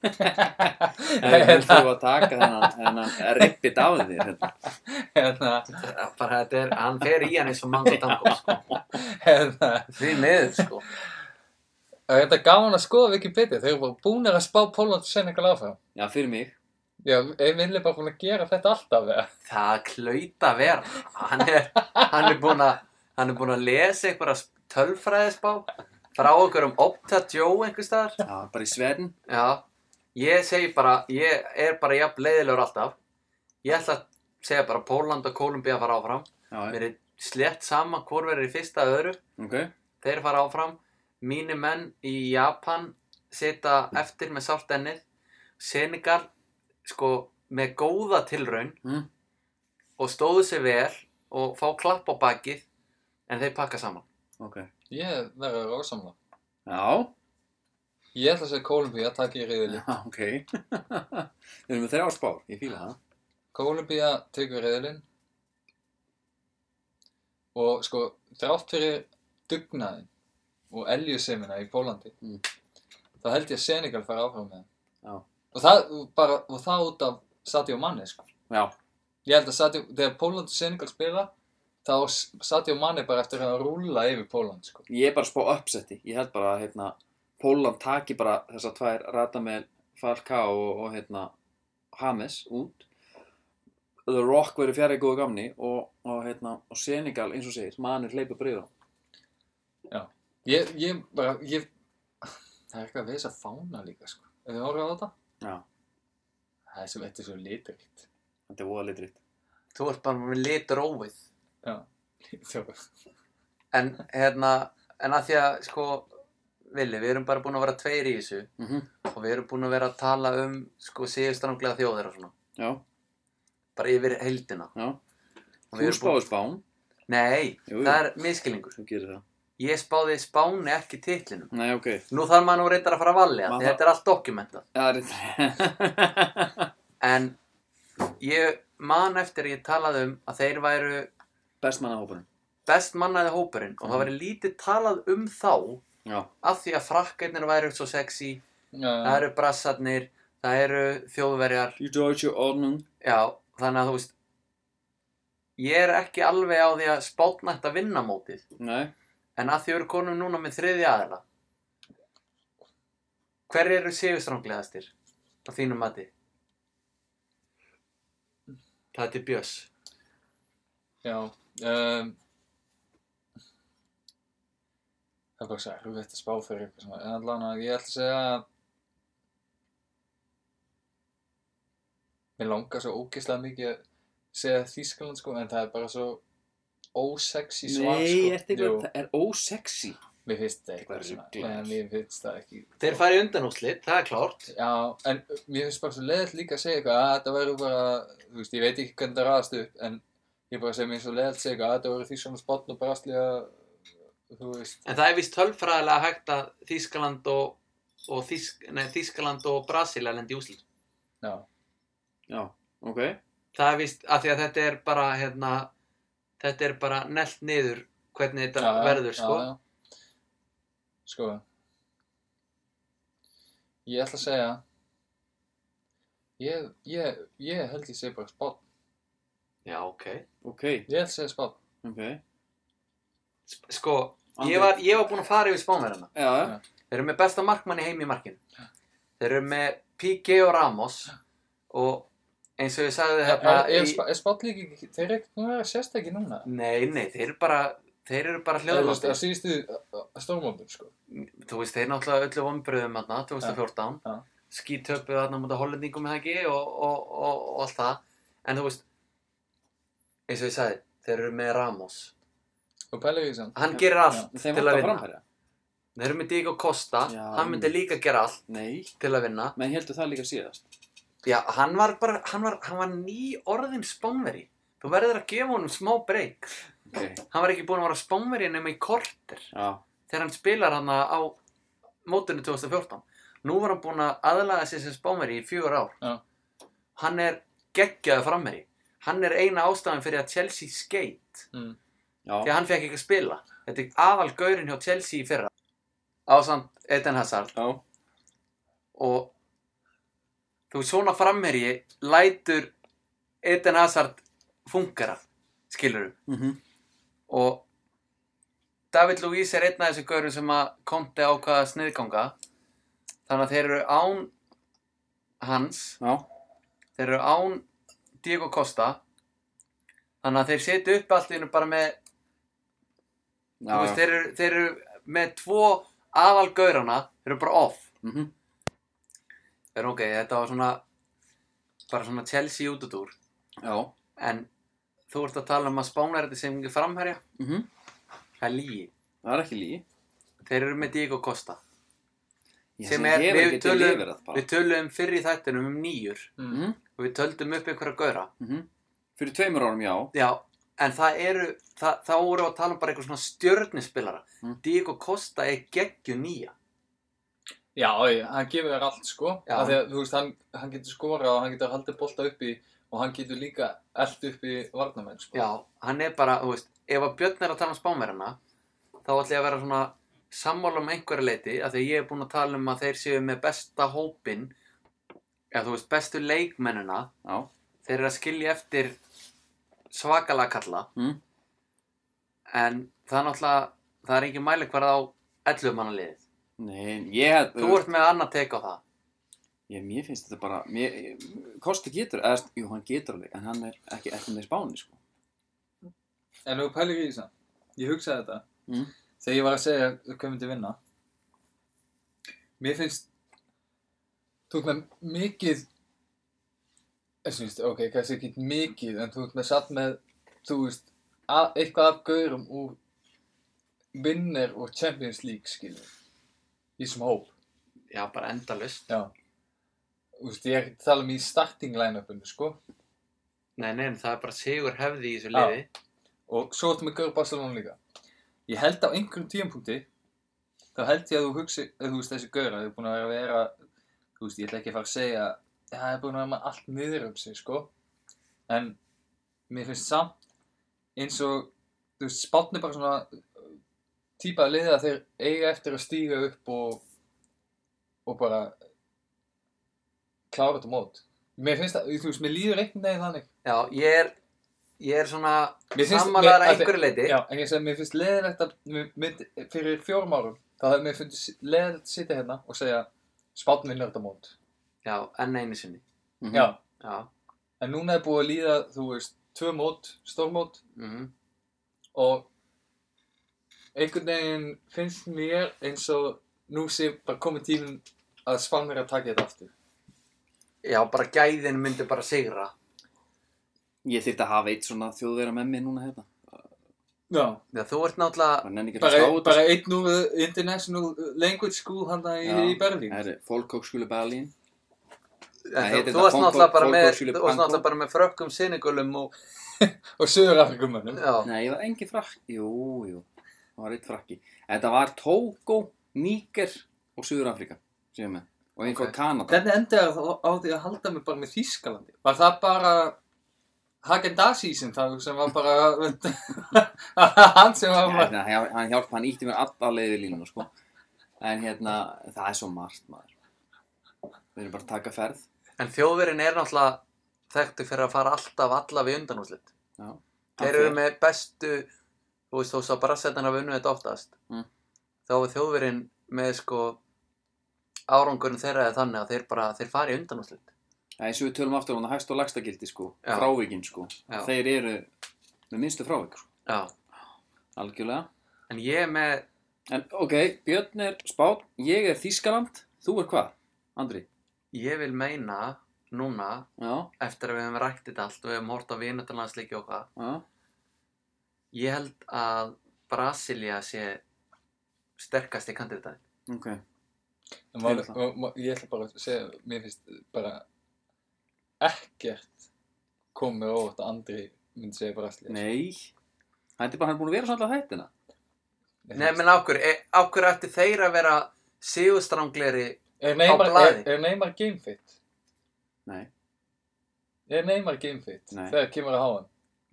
A: en þú þurfa að taka þennan, þennan rippit af þér hérna.
B: Hérna,
C: bara þetta er, hann fer í hann eins og mango tango sko.
B: hérna,
C: Því miður sko
B: það er þetta gaman að skoða vikið betið, þeir eru bara búnir að spá Póland og Senegal áfram.
A: já, fyrir mig
B: Já, ég vil bara búin að gera þetta alltaf, eða?
C: Það klaut að vera. Hann er, hann er búinn að, hann er búinn að lesa einhverja tölfræðisbá frá okkur um Opta Joe einhver staðar.
A: já, bara í Sverden
C: Já, ég segi bara, ég er bara jafn leiðilegur alltaf. Ég ætla að segja bara Póland og Kólumbía fara áfram.
A: já,
C: Mér er slett sama hvor verður í fyrsta eða öðru.
A: ok
C: Þeir fara áfram. Mínir menn í Japan sita eftir með sált ennið. Senegal, sko, með góða tilraun
A: mm.
C: og stóðu sig vel og fá klapp á bakið en þeir pakka saman.
A: ok
B: Ég verður að rásamla.
A: já,
B: Ég ætla að segja Kólumbía, takk ég reyðili.
A: já, Ah, ok við erum með þrjá spár ég fíla það
B: Kólumbía tekur reyðilinn og sko þrátt fyrir dugnaðin og eljusemina í Pólandi
A: Mm.
B: þá held ég að Senegal fara áfram með
A: Já.
B: það. Og það, bara, og það út af Sadio Mane sko.
A: já,
B: Ég held að Sadio, þegar Póland og Senegal spila þá á S- Sadio Mane bara eftir að rúlla yfir Póland sko.
A: ég er bara að spá uppsetti ég held bara að hérna, Póland taki bara þessar tvær Radamel Falcao og, og hérna, James út The Rock verður fjari góðu gamni og, og, hérna, og Senegal eins og segir manur hleypa breyða
B: Ég, ég bara, ég, það er eitthvað við þess að fána líka sko. Ef þið horfum á þetta?
A: Já.
B: Það er sem þetta er svo litrikt.
A: þetta er voða litrit
C: Þú ert bara með litur óvið.
B: Já. Þjóður.
C: En, hérna, en að því að sko villi, við erum bara búin að vera tveir í þessu
A: Mhm.
C: og við erum búin að vera að tala um sko síðustranglega þjóðir og svona
A: Já,
C: bara yfir heldina
A: já.
C: Og við
A: Þú
C: erum
A: spáði spán,
C: Nei,
A: Jú, jú.
C: það er miskilningur
A: þú gerir það.
C: Ég spáði Spáni ekki titlinum
A: Nei, ok.
C: Nú þarf maður nú reyndar að fara að valja því
A: Maður-
C: þetta er allt dokumentað
A: Það er þetta.
C: En ég man eftir að ég talaði um að þeir væru
A: Best manna hópunum.
C: best mannaði hópurinn og það væri
A: Mm.
C: lítið talað um þá
A: Já.
C: af því að frakkarnir væru svo sexy það
B: Já,
C: eru brassarnir, það eru þjóðverjar
A: Die Deutsche Ordnung.
C: já, þannig að þú veist ég er ekki alveg á því að spátnætt að vinna mótið
A: Nei.
C: en að því eru konum núna með þriði aðila hver eru sigurstranglegastir á þínum mati? það er til Björs
B: já. Um, það er bara svo erfitt að spá fyrir eitthvað svona. En allan að ég ætla að segja að mér langar svo ógeðslega mikið að segja Þýskaland sko, en það er bara svo ósexy svar sko.
A: Nei, ertu eitthvað,
B: Jú,
A: það er ósexy.
B: mér finnst það
A: Eitthvað
B: eitthvað svona.
A: ruglaður.
B: En mér finnst það ekki
C: þeir fari undan úrslit, það er klárt
B: Já, en uh, mér finnst bara svo leiðilegt líka að segja eitthvað að þetta væri bara, þú veist, ég veit ekki hvernig það raðast upp, en ég bara segja mér finnst svo leiðilegt að segja eitthvað að þetta væri því svona spott og braslega, þú veist,
C: en það er vist tölfræðilega hægt að Þýskaland og, og, Þýsk, nei, Þýskaland og Brasilia lendi úrslit
B: já,
A: Já, ok.
C: það er víst, af því að þetta er bara hérna, þetta er bara nellt niður hvernig þetta
B: já, já,
C: verður sko
B: já, já. Sko, ég ætla að segja, ég, ég, ég held ég segja bara spott,
C: já, ok
A: Ok,
B: ég held ég segja spott,
A: ok.
C: S- sko,
A: Andri.
C: ég var, ég var búinn að fara yfir spánverðina
A: Já, já.
B: Já.
C: þeir eru með besta markmann í heim í markinu þeir eru með P.G. og Ramos og eins og ég sagði
B: er,
C: hérna
B: er,
C: í,
B: spa- er spott líka, ekki- þeir eru ekki, nú er það sérstakki núna,
C: nei, nei, þeir eru bara þeir eru bara
B: þú veist,
C: hljóðlóttir
B: að síðustu stórmóndum, sko,
C: þú veist, þeir náttúrulega öllu vombriðum hérna, 2014
B: Já,
C: ja.
B: já.
C: skítöpuð hérna mútið hollendingum eða ekki og, og, og, og allt það en þú veist eins og ég sagði, þeir eru með Ramos
B: og pælir ég samt,
C: hann
A: Já.
C: gerir allt
A: Þeim
C: til
A: vantar
C: að vinna
A: framherja.
C: þeir eru með Diego Costa,
A: Já,
C: hann myndi líka gera allt
A: Nei,
C: til að vinna
A: menn heldur það líka síðast.
C: já, hann var bara, hann var, hann var ný orðin spánveri þú verður að gefa honum smá breyk
A: Ok,
C: hann var ekki búinn að vera spánveri nema í korter
A: já,
C: þegar hann spilar hann á mótunni 2014 nú var hann búinn að aðlaga sér sem spámeri í fjögur ár
B: Já.
C: hann er geggjaði frammeri hann er eina ástæðan fyrir að Chelsea skeit
B: mm.
A: já.
C: því að hann fekk ekki að spila þetta er aðal gaurin hjá Chelsea í fyrra ásamt Eden Hazard
A: Já,
C: og þú veist, svona frammeri lætur Eden Hazard fungara skilur
A: mhm,
C: og David Luiz er einn af þessu gaurum sem að Conte ákvaða sniðganga þannig að þeir eru án hans
A: já,
C: þeir eru án Diego Costa þannig að þeir setja upp allt í einu bara með
A: já,
C: þú veist,
A: já,
C: þeir, eru, þeir eru með tvo aðal gaurana þeir eru bara off
A: mhm,
C: þeir eru ok, þetta var svona bara svona Chelsea út og dúr
A: já,
C: en þú ert að tala um að spána þetta sem ekki framherja
A: mhm,
C: það er lígi,
A: það er ekki lígi.
C: þeir eru með Diego Costa
A: Ég
C: Sem
A: sem
C: er-
A: hefur
C: við
A: ekki til
C: tölum-
A: yfir það bara.
C: Við töluðum fyrr í þættinum um nýjur
B: Mm.
A: Mhm,
C: og við töldum upp einhverja gauðra.
A: mhm. Fyrir tveimur árum, já.
C: Já, en það eru, það, þá voru að tala um bara eitthvað svona stjörnispilara. Mm.
A: Mm.
C: Diego Costa er geggju nýja.
B: Já, já, hann gefur þér allt sko
C: Já.
B: af því að þú veist, hann, hann getur skorað og hann getur haldið bolta uppi og hann getur líka eld uppi varnamenn sko
C: Já, hann er bara, þú veist, ef að Björn er að tala um spámerina, þá ætla ég að vera svona sammála um einhverja leiti af því að ég er búinn að tala um að þeir séu með besta hópin, eða þú veist, bestu leikmennina,
A: Já,
C: þeir eru að skilja eftir svakalega kalla.
A: mhm,
C: En það er náttúrulega, það er engin mælikvarð á 11 manna liðið.
A: nei, ég hef,
C: Þú ert með annað teik á það.
A: ég, mér finnst þetta bara, mér, ég- Kosti getur, eða, jú, hann getur alveg, en hann er ekki, ekki með spáni, sko.
B: En þú pælir í því samt Ég hugsaði þetta
A: Mm.
B: Þegar ég var að segja hvað myndi vinna Mér finnst Þú ert með mikið Ég syns, ok, kannski ekki mikið En þú ert með satt með Þú veist, að, eitthvað af gaurum úr Vinner og Champions League skilur í þessum hóp
C: Já, bara endalust.
B: já Þú veist, ég er ekki að tala um í starting line-upinu sko
C: Nei, nei, en það er bara sigur hefði í þessu
B: Já.
C: liði.
B: og svo ertu með Gaur Barcelona líka ég held á einhverjum tíumpunkti þá held ég að þú hugsi að þú veist þessi Gaur að þú er búin að vera þú veist ég ætla ekki að fara að segja að það er búin að vera með allt niður um sig sko en mér finnst samt eins og þú veist spátn er bara svona uh, típa að liða að þeir eiga eftir að stíga upp og og bara klára þetta mót mér finnst það, þú veist, mér líður einhvern veginn þannig
C: Já, ég er, ég er svona
B: Mér finnst-
C: sammálaður
B: mér-
C: að einhverju leiti.
B: Já, en ég segi, mér finnst leðilegt að, mér- mér- fyrir fjórum árum, þá hefði mér fundið leðilegt að sitja hérna og segja, spátn vinnur þetta mót.
C: Já, enn einu sinni.
A: Mhm.
B: Já,
C: Já,
B: en núna er búið að líða, þú veist, tvö mót, stórmót
C: mhm,
B: og einhvern veginn finnst mér eins og nú sé bara komið tíminn að spánir að taka þetta aftur.
C: Já, bara gæðin myndi bara sigra.
A: Ég þyrfti að hafa eitt svona þjóðverða með mér núna hérna.
B: Já.
C: Já, þú ert náttúrulega,
A: Það nenni ekki að
B: Bara,
A: skáða
B: bara einn úr uh, International Language School handa í,
A: Já.
B: í Berlín.
A: Það er fólkókskjölu Berlín.
C: þú,
A: heitir
C: þú
A: þetta
C: ert náttúrulega
A: Bangkok-
C: bara með,
A: Bangkok-
C: þú ert náttúrulega bara með frökkum sinigulum og,
B: Og Suður-Afrikumönnum.
C: já,
A: Nei, ég var engin frakk. Jú, jú. Það var eitt frakki. Þetta var Tógó, Níger og Suður-Afrika. Sér með. Og einhver
B: Ok.
A: okay. Kanada.
B: Hvernig endaði það á á því að halda mig bara með Þýskalandi? Var það bara Hagen-Dazsi sem það sem var bara hann sem var bara
A: Hérna, hann hann hjálpa, hann ítti mér alla leiði línuna, sko. En hérna, það er svo margt, maður. Við erum bara að taka ferð.
C: en þjóðverinn er náttúrulega þekktu fyrir að fara alltaf alla við undanúslit.
A: Já.
C: Þeir eru með bestu, þú veist, þú svo bara setjan að vinna þetta oftast.
A: Mm.
C: Þá er þjóðverinn með, sko, árangurinn þeirra eða þannig að þeir bara, þeir fara í undanúslit.
A: Það er eins og við tölum aftur, hann er hægst og lagstagildi, sko.
C: Já.
A: Frávíkin, sko.
C: Já.
A: Þeir eru með minnstu frávik, sko.
C: Já,
A: Algjörlega.
C: en ég er með,
A: En ok, Björn er Spán, ég er Þískaland, þú er hvað? Andri?
C: ég vil meina núna,
A: Já,
C: eftir að við hefum rætt þetta allt og við hefum hort á vinutalandsleiki og hvað,
A: já.
C: ég held að Brasilia sé sterkasti kandidatinn.
A: Ok,
B: Mál- og- og- Ég ætla bara að segja, mér finnst bara ekkert komið óvart að Andri myndi segja Brasilia
A: nei Það er bara hann er búin að vera svona alltaf þættina
C: Nei, menn e, ákvör, ákvör ætti þeir að vera síðustrangleri,
B: Er Neymar,
C: á blaði.
B: er, er Neymar gamefit?
A: Nei,
B: Er Neymar gamefit?
A: Nei.
B: Þegar kemur að háan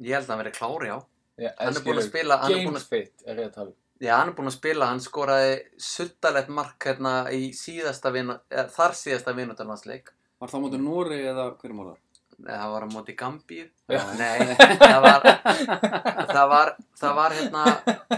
C: ég held að hann veri klári á.
B: Já,
C: Hann er búinn að spila, hann er búinn að,
B: Gamefit er ég að tala um.
C: já, hann er búinn að spila, hann skoraði suttalegt mark hérna í síðasta vinu, eða, þar síðasta vinutarnansleik.
A: var það mútið Nóri eða hverjum var það?
C: Það var á móti Gambíu.
B: Já.
C: Nei, það var, það var, það var hérna,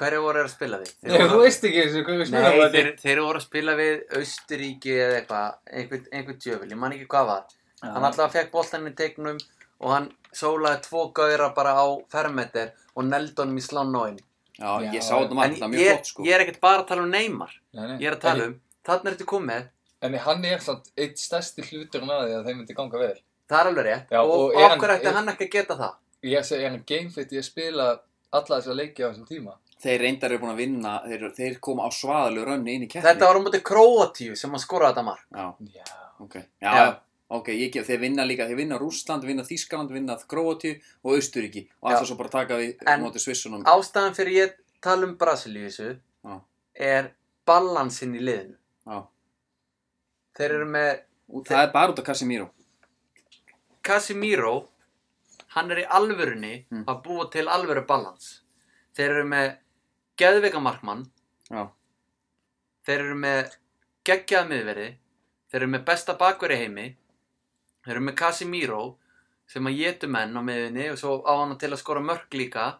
C: hverju voru þeir að spila því?
B: Nei, Þú veist ekki þessu hverju spila
C: Nei, þeir, þeir voru að spila við Austuríki eða eitthvað, einhvern einhver djöfil, ég man ekki hvað var. Hann alltaf fekk boltan í teiknum og hann sólaði tvo gauðra bara á fermeter og neldi honum í slannóin.
A: Já,
B: Já,
A: ég sá þetta
C: En
A: margt, það er
C: ég,
A: mjög flott sko
C: ég er ekkert bara að tala um Neymar,
B: Nei,
C: ég er að tala um, þarna ertu komið,
B: En hann er samt eitt stærsti hluturinn að því að þeim myndi ganga vel.
C: það er alveg rétt.
B: Já,
C: og
B: og
C: og
B: er
C: okkur
B: hann-
C: ætti
B: er-
C: hann ekki að geta það.
B: Ég segi, er hann gamefit í að spila alla þessa leiki á þessum tíma?
A: Þeir reyndar eru búin að vinna, þeir, þeir koma á svaðalegu rönni inn í keppni
C: Þetta var á móti Króatíu sem hann skoraði þetta mark.
A: Já,
B: Já.
A: ok Já,
C: Já.
A: ok, ég gef, þeir vinna líka, þeir vinna Rússland, vinna Þískaland, vinna Króatíu og Austuríki og
C: Já.
A: alltaf svo bara taka við
C: En-
A: mótið Svissunum
C: Ástæðan fyrir ég tala um Brasilíu í þessu
A: Já.
C: er balansinn í liðinu.
A: Já.
C: Þeir eru með
A: Og það er bara út af Casimiro
C: Casimiro hann er í alvörunni
A: Mm.
C: að búa til alvöru balans þeir eru með geðveika markmann
A: Já.
C: þeir eru með geggjaða miðveri þeir eru með besta bakveri í heimi þeir eru með Casimiro sem að getu menn á miðvinni og svo á hann til að skora mörk líka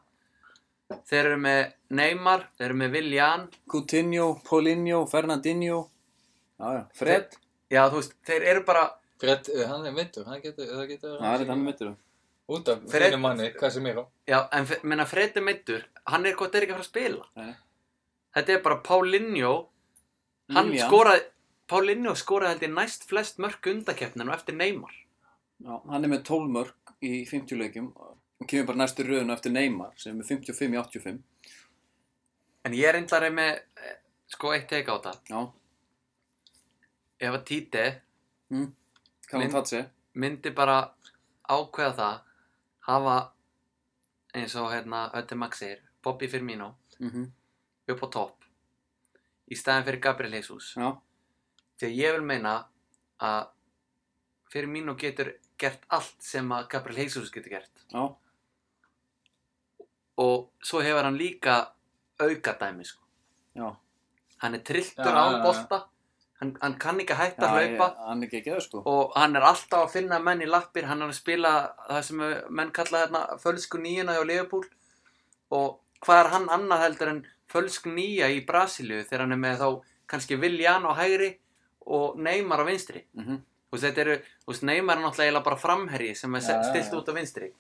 C: þeir eru með Neymar þeir eru með Viljan
A: Coutinho, Paulinho, Fernandinho Já, já, Fred
C: já þú veist, þeir eru bara
B: Fred, eh, hann er mittur, hann getur, það getur...
A: Það er þetta hann meitur
B: Út af
C: Fred-
B: fyrir manni, Casemiro.
C: Já, en f- meina Fred er meittur, hann er gott er ekki að fara að spila.
A: Nei.
C: Þetta er bara Paulinho, hann
A: Willian.
C: skoraði, Paulinho skoraði held ég næst flest mörg undakeppninu eftir Neymar.
A: Já, hann er með 12 mörg í 50 leikjum og kemur bara næstu röðinu eftir Neymar sem er með 55 í 85
C: En ég er einnig með eh, sko eitt teika á þetta
A: Já,
C: ef að Títi
A: kannan
C: Minn-
A: tatsi
C: myndi bara ákveða það hafa eins og hérna Ötti Max segir Bobby Firmino
A: Mhm.
C: upp á topp í staðin fyrir Gabriel Jesus
A: Já,
C: því að ég vil meina að Firmino getur gert allt sem að Gabriel Jesus getur gert
A: já,
C: og svo hefur hann líka aukadæmi sko
A: já
C: hann er trilltur
B: Já, já,
C: án
B: já.
C: bolta hann, hann kann ekki að hætta
A: Já,
C: að
A: ég-
C: hlaupa
A: Hann er ekki ekki sko
C: og hann er alltaf að finna menn í lappir hann er að spila það sem menn kalla þarna fölsku nýjuna hjá Liverpool og hvað er hann annað heldur en fölsku nýja í Brasilíu þegar hann er með þá kannski Viljan á hægri og Neymar á vinstri
A: Mhm.
C: Þú veist, þetta eru, þú veist, Neymar er náttúrulega eiginlega bara framherji sem er
B: Já,
C: ja,
B: já,
C: stilt
B: já.
C: út á vinstri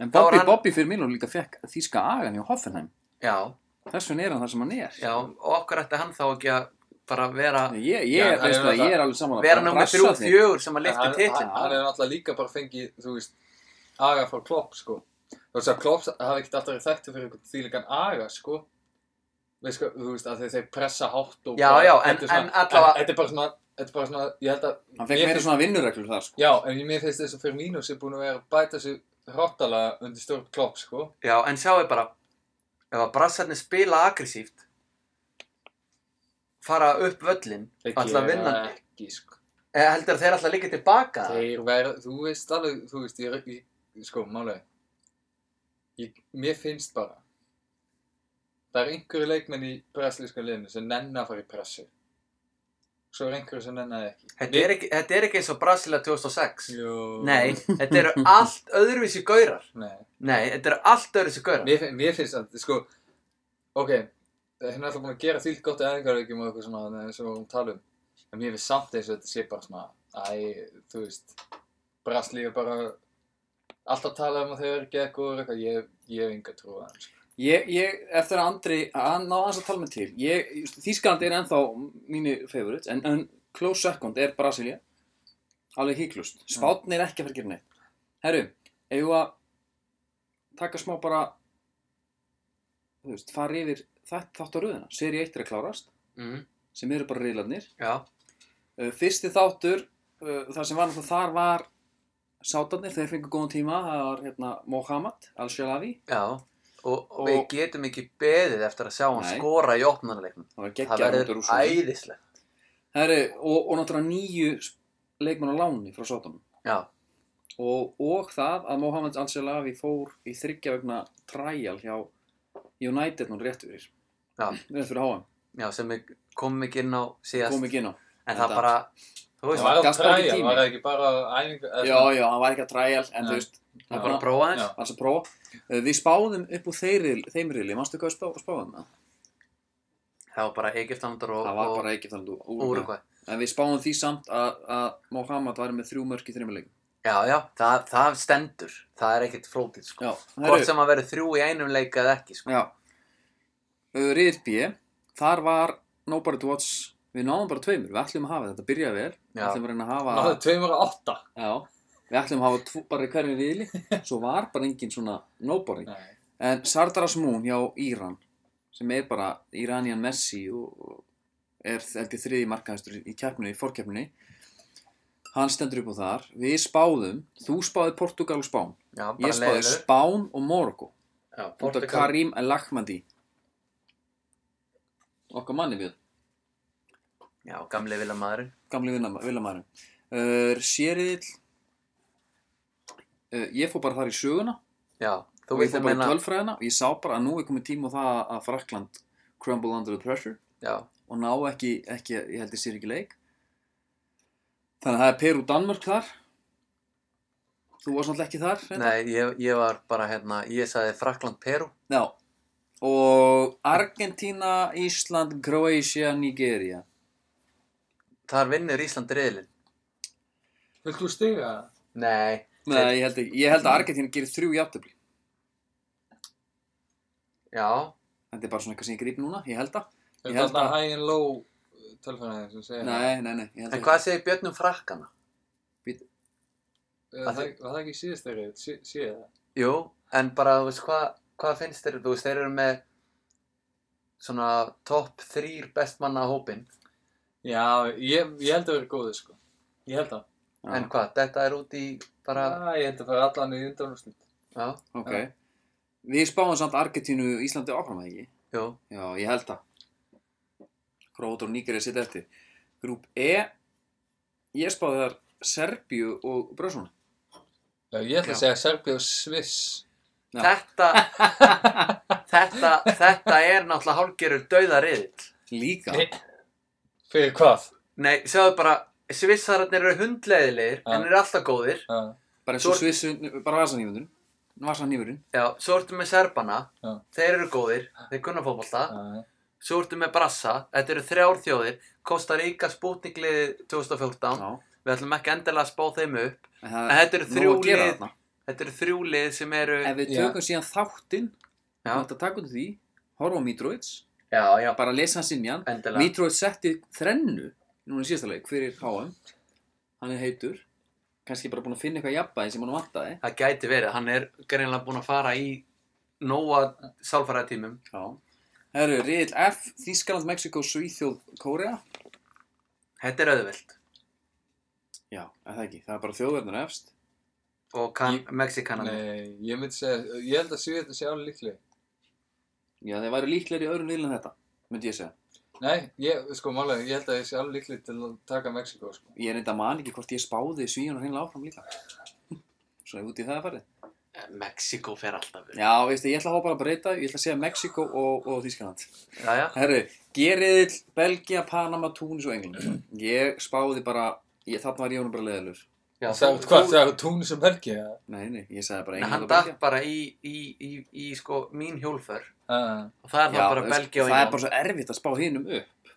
A: En
C: Þá var
A: Bobby,
C: hann-
A: Bobby fyrir mínu líka fekk þýska agan hjá Hoffenheim
C: já,
A: Þess vegna er hann þar sem hann er
C: já, og okkur ætti hann þá ekki að bara vera,
A: Ég, ég, já,
B: Já, hann er
A: veistu, að
B: náttúrulega-
A: ég er alveg saman
C: vera nummer þrjú fjögur sem að
B: En
C: lifta
B: hann-
C: titlin
B: hann- Hann er náttúrulega líka bara fengið, þú veist, aga frá Klopp, sko. Þú veist að Klopp hafi ekkert alltaf verið þekktu fyrir einhvern þýlingan aga, sko. Veist, sko, þú veist, að þeir, þeir pressa hátt og
C: Já,
B: bara-
C: já,
B: þetta
C: en-
B: er svona-
C: en allavega-
B: Þetta er bara svona, þetta er bara svona, ég held að...
A: Hann fekk
B: mér
A: meira
B: finnst-
A: svona vinnureglur þar sko
B: Já, en mér finnst þess að fyrir mínu sé búin að vera að bæta sig hróttalega undir stjórn Klopp, sko.
C: Já, en sjáu bara ef að brassarnir spila aggressíft fara upp völlin
B: Þeir
C: alltaf að
B: gera
C: vinna
B: það Ekki, sko.
C: eða heldur þeir alltaf líka tilbaka
B: Þeir verða, þú veist alveg, þú veist, ég, er- ég sko, málega, ég, mér finnst bara, það er einhverju leikmenn í brasilíska liðinu sem nenni að fara í pressu. Svo er einhverju sem nenni það ekki.
C: þetta, er ekki, þetta er ekki eins og Brasilia 2006
B: Jú.
C: Nei, þetta eru allt öðruvísi gaurar
B: Nei.
C: Nei, þetta eru allt öðruvísi gaurar
B: Mér, fin- mér finnst að, sko, ok, hérna er alltaf búin að gera því gott í aðeingarleikjum og eitthvað svona, eins og hún tala um. En mér finnst samt eins og þetta sé bara svona, æ, þú veist, Brasilíu er bara alltaf að tala um að þau eru ekki eitthvað, eitthvað, ég, ég hef enga trú að hann, sko.
A: Ég, ég, eftir að Andri, hann náði aðeins að tala mig til ég, just, Þískaland er ennþá mínu favorite, en, en close second er Brasilia alveg híklust, Spátn er ekki að fara að gera neitt Herru, ef við að taka smá bara þú veist, fara yfir þetta þátt á röðina, seri 1 er að klárast
C: mm,
A: sem eru bara reylarnir
C: Já,
A: Uh, Fyrsti þáttur, uh, það sem var náttúrulega þar var sátarnir, þeir fengu góðan tíma, það var hérna Mohamed Al-Shalavi,
C: já og, og
A: Og-
C: við getum ekki beðið eftir að sjá hann
A: Nei.
C: skora í opnarleiknum
A: það var
C: Það
A: geggjar út úr
C: verður
A: úr
C: æðislega
A: Herri, og, og náttúrulega nýju sp- leikmenn á láni frá sátarnum
C: Já,
A: og, og það að Mohamed Al-Shalavi fór í þryggja vegna trial hjá United nú rétt fyrir,
C: Já.
A: rétt fyrir háan,
C: já, sem við komum ekki inn á síðast
A: kom ekki inn á.
C: En það bara, þú
B: Það
C: veist,
B: var
A: gasta
B: alltaf
A: ekki
B: træja,
A: tími.
B: var það ekki bara æfingu, eða
A: Já, já, hann var ekki að trial, en
B: Nei.
A: þú veist,
C: það
A: já.
C: er bara að prófa
B: Já.
C: aðeins.
A: hans að prófa. Uh, Við spáðum upp úr þeirri, þeim rili, manstu hvað við spá, spáðum það?
C: Það var bara Egyptalandar og,
A: Það var
C: og
A: bara ekki þannig úr,
C: og Úrugvæ.
A: En við spáum því samt að, að Mohamed væri með þrjú mörk í þreymur leikum.
C: Já, já, það, það stendur. Það er ekkert flótið, sko.
A: Já,
C: Hvort
A: herru,
C: sem að verður þrjú í einum leik eða ekki, sko.
A: já. Riðil B, þar var Nobody to Watch, við náðum bara tveimur, við ætlum að hafa þetta, byrja vel, við
C: Já.
A: ætlum að reyna að
B: það
A: hafa,
B: var tveimur og átta.
A: já, við ætlum að hafa tvo, bara í hverju riðli, svo var bara engin svona Nobody.
B: Nei.
A: En Sardar Asmoon hjá Íran, sem er bara Iranian Messi og og er held ég þriði markaðistur í keppninu, í fórkeppninu, hann stendur upp á þar, við spáðum, þú spáði Portugal og Spán,
C: Já, bara
A: Ég spáði
C: leiðilegur.
A: Spán og Morocco
C: Já,
A: út af
C: Portugal.
A: Karim Al-Akhmadi okkar manni við
C: Já, gamli vilja maðurinn.
A: gamli villamæri uh, Séril uh, ég fór bara þar í söguna
C: Já, þú
A: og ég
C: veist
A: fór
C: að
A: bara
C: menna...
A: í tölfræðina og ég sá bara að nú er komið tíma á það að Frakland crumble under the pressure
C: Já,
A: og ná ekki, ekki ég held ég sér ekki leik þannig að það er Peru Danmörk þar þú varst náttúrulega ekki þar reyndar.
C: nei, ég, ég var bara hérna, ég sagði Frakland Peru.
A: Já, og Argentína, Ísland, Kroatia, Nigeria
C: Þar vinnur Ísland riðilinn.
B: Vilt þú stiga það?
C: Nei,
A: Nei, ég held, ekki, ég held að Argentína gerir þrjú játtöfli
C: já,
A: Þetta er bara svona eitthvað sem ég grýp núna, ég held að Ég
B: Er
A: held
B: þetta
A: að-
B: high and low uh, tölfræðin sem segir það?
A: Nei, nei, nei, ég held
C: en
A: að
C: hvað segir Björnum frakkana?
B: Eh, það- Var það ekki síðast þeirri? Sér það?
C: Jú, en bara, þú veist, hvað hva finnst þér? Þú veist, þeir eru með svona topp þrýr bestmanna hópin
B: Já, ég, ég held að vera góður sko. Ég held að.
A: Já,
C: en hvað, þetta er út í bara,
B: Já, ég held að fara allan í undanúrslit.
C: já,
A: ok. Við spáum samt Argentínu Íslandi áfram að ekki.
C: jú,
A: Já, ég held það. Króatar og Nígerið sitja eftir. Grúp E, ég spáði þar Serbíu og Brössuna.
B: Já, ég
C: Já.
B: ætla að segja Serbia og Sviss.
A: Já.
C: þetta þetta, þetta er náttúrulega hálgerur dauðariðill
A: Líka.
B: Nei. Fyrir hvað?
C: nei, sjáðu bara Svissararnir eru hundleiðilegir
B: Já.
C: en eru alltaf góðir
B: Já,
A: Bara eins og
C: Svo-
A: svissu, bara vasanýmundun. Vasanýmurinn.
C: Já, svo ertu með Serbana,
B: Já.
C: þeir eru góðir, þeir kunna fótbolta.
B: já,
C: Svo ertu með Brassa, þetta eru þrjár þjóðir, Costa Rica spútningliðið 2014.
A: Já.
C: Við ætlum ekki endilega að spá þeim upp.
A: En það
C: En þetta eru
A: nóg
C: þrjú
A: að gera
C: lið.
A: þarna.
C: Þetta eru þrjú lið sem eru...
A: Ef við
B: Já.
A: tökum síðan þáttinn,
C: Já.
A: þú ætti að taka út því, horfa á Mitrovic,
C: Já, já,
A: bara lesa hans inn í hann.
C: endilega.
A: Mitrovic setti þrennu, núna í síðasta leik, fyrir HM. Hann er heitur, kannski bara búin að finna eitthvað jafnbæði sem hann vantaði.
C: Það gæti verið, hann er greinlega búinn að fara í nóa sálfæratímum.
A: Já. Herru, riðil F, Þískaland, Mexiko, Svíþjóð, Kórea.
C: Þetta er auðvöld.
A: Já, er það ekki. Það er bara þjóðverðnur efst.
C: Og kann,
B: Ég-
C: Mexikanan.
B: Nei, ég myndi segja, ég held að Svíðan sé alveg líklega.
A: Já, þeir væri líklegri í öðrum riðil en þetta, myndi ég segja.
B: Nei, ég, sko, málega, ég held að ég sé alveg líklega til að taka Mexiko, sko.
A: Ég er enda man ekki hvort ég spáði svíjun og hreinlega áfram líka. Svo ef út í það er farið.
C: Mexiko fer alltaf verið.
A: Já, veistu, ég ætla að fá bara að breyta, ég ætla að segja Mexiko og, og Þískaland.
C: Já, já.
A: Herru, Geriðill, Belgia, Panama, Túnis og England. Ég spáði bara, ég, þarna var ég honum bara leðalur.
C: já
B: Sagði þú hvað, sagði þú Túnis og Belgia?
A: Nei, nei, ég sagði bara
C: Nei, hann
A: England og
C: datt
A: Belgia.
C: bara í, í, í, í, sko, mín hjólför.
B: Já,
C: Og það er þá bara
A: þú veist,
C: Belgia og
A: það er
C: England.
A: bara svo erfitt að spá hinum upp.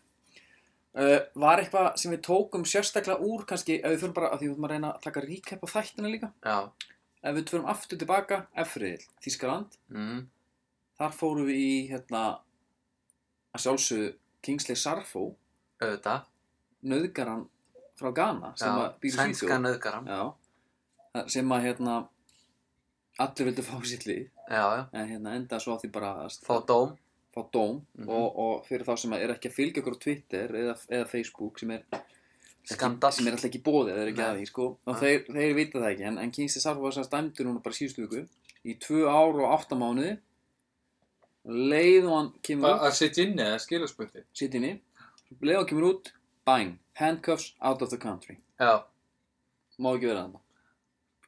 A: Uh, var eitthvað sem við tókum sérstaklega úr kannski, ef við fyrir bara, af því við þurfum að reyna að taka recap á þættina líka,
C: Já.
A: ef við fyrir aftur tilbaka, F-riðil, Þískaland,
C: Mm.
A: Þar fórum við í, hérna, að sjálfsögðu Kingsley Sarfo,
C: auðvitað,
A: nöðgaran frá Ghana, sem að
C: já,
A: býr í
C: sænska
A: Svíþjóð.
C: nöðgaran,
A: Já, Það- sem að, hérna, allir vildu fá sitt lið,
C: já, já,
A: en hérna enda svo á því bara að
C: fá dóm,
A: fá dóm
C: Mhm.
A: og, og fyrir þá sem að er ekki að fylgja okkur á Twitter eða, eða Facebook sem er
C: skandal,
A: sem er alltaf ekki bóðið eða er ekki
C: Nei.
A: að því sko. og
C: Nei.
A: þeir, þeir vita það ekki en, en Kingsley Sarfo var sem dæmdur núna bara síðustu viku í tvö ár og átta mánuði leið og hann kemur
B: Bara að sitja inni eða skilurspunkti.
A: út sitt inni, leið og hann kemur út bang, handcuffs out of the country
C: já,
A: má ekki vera þarna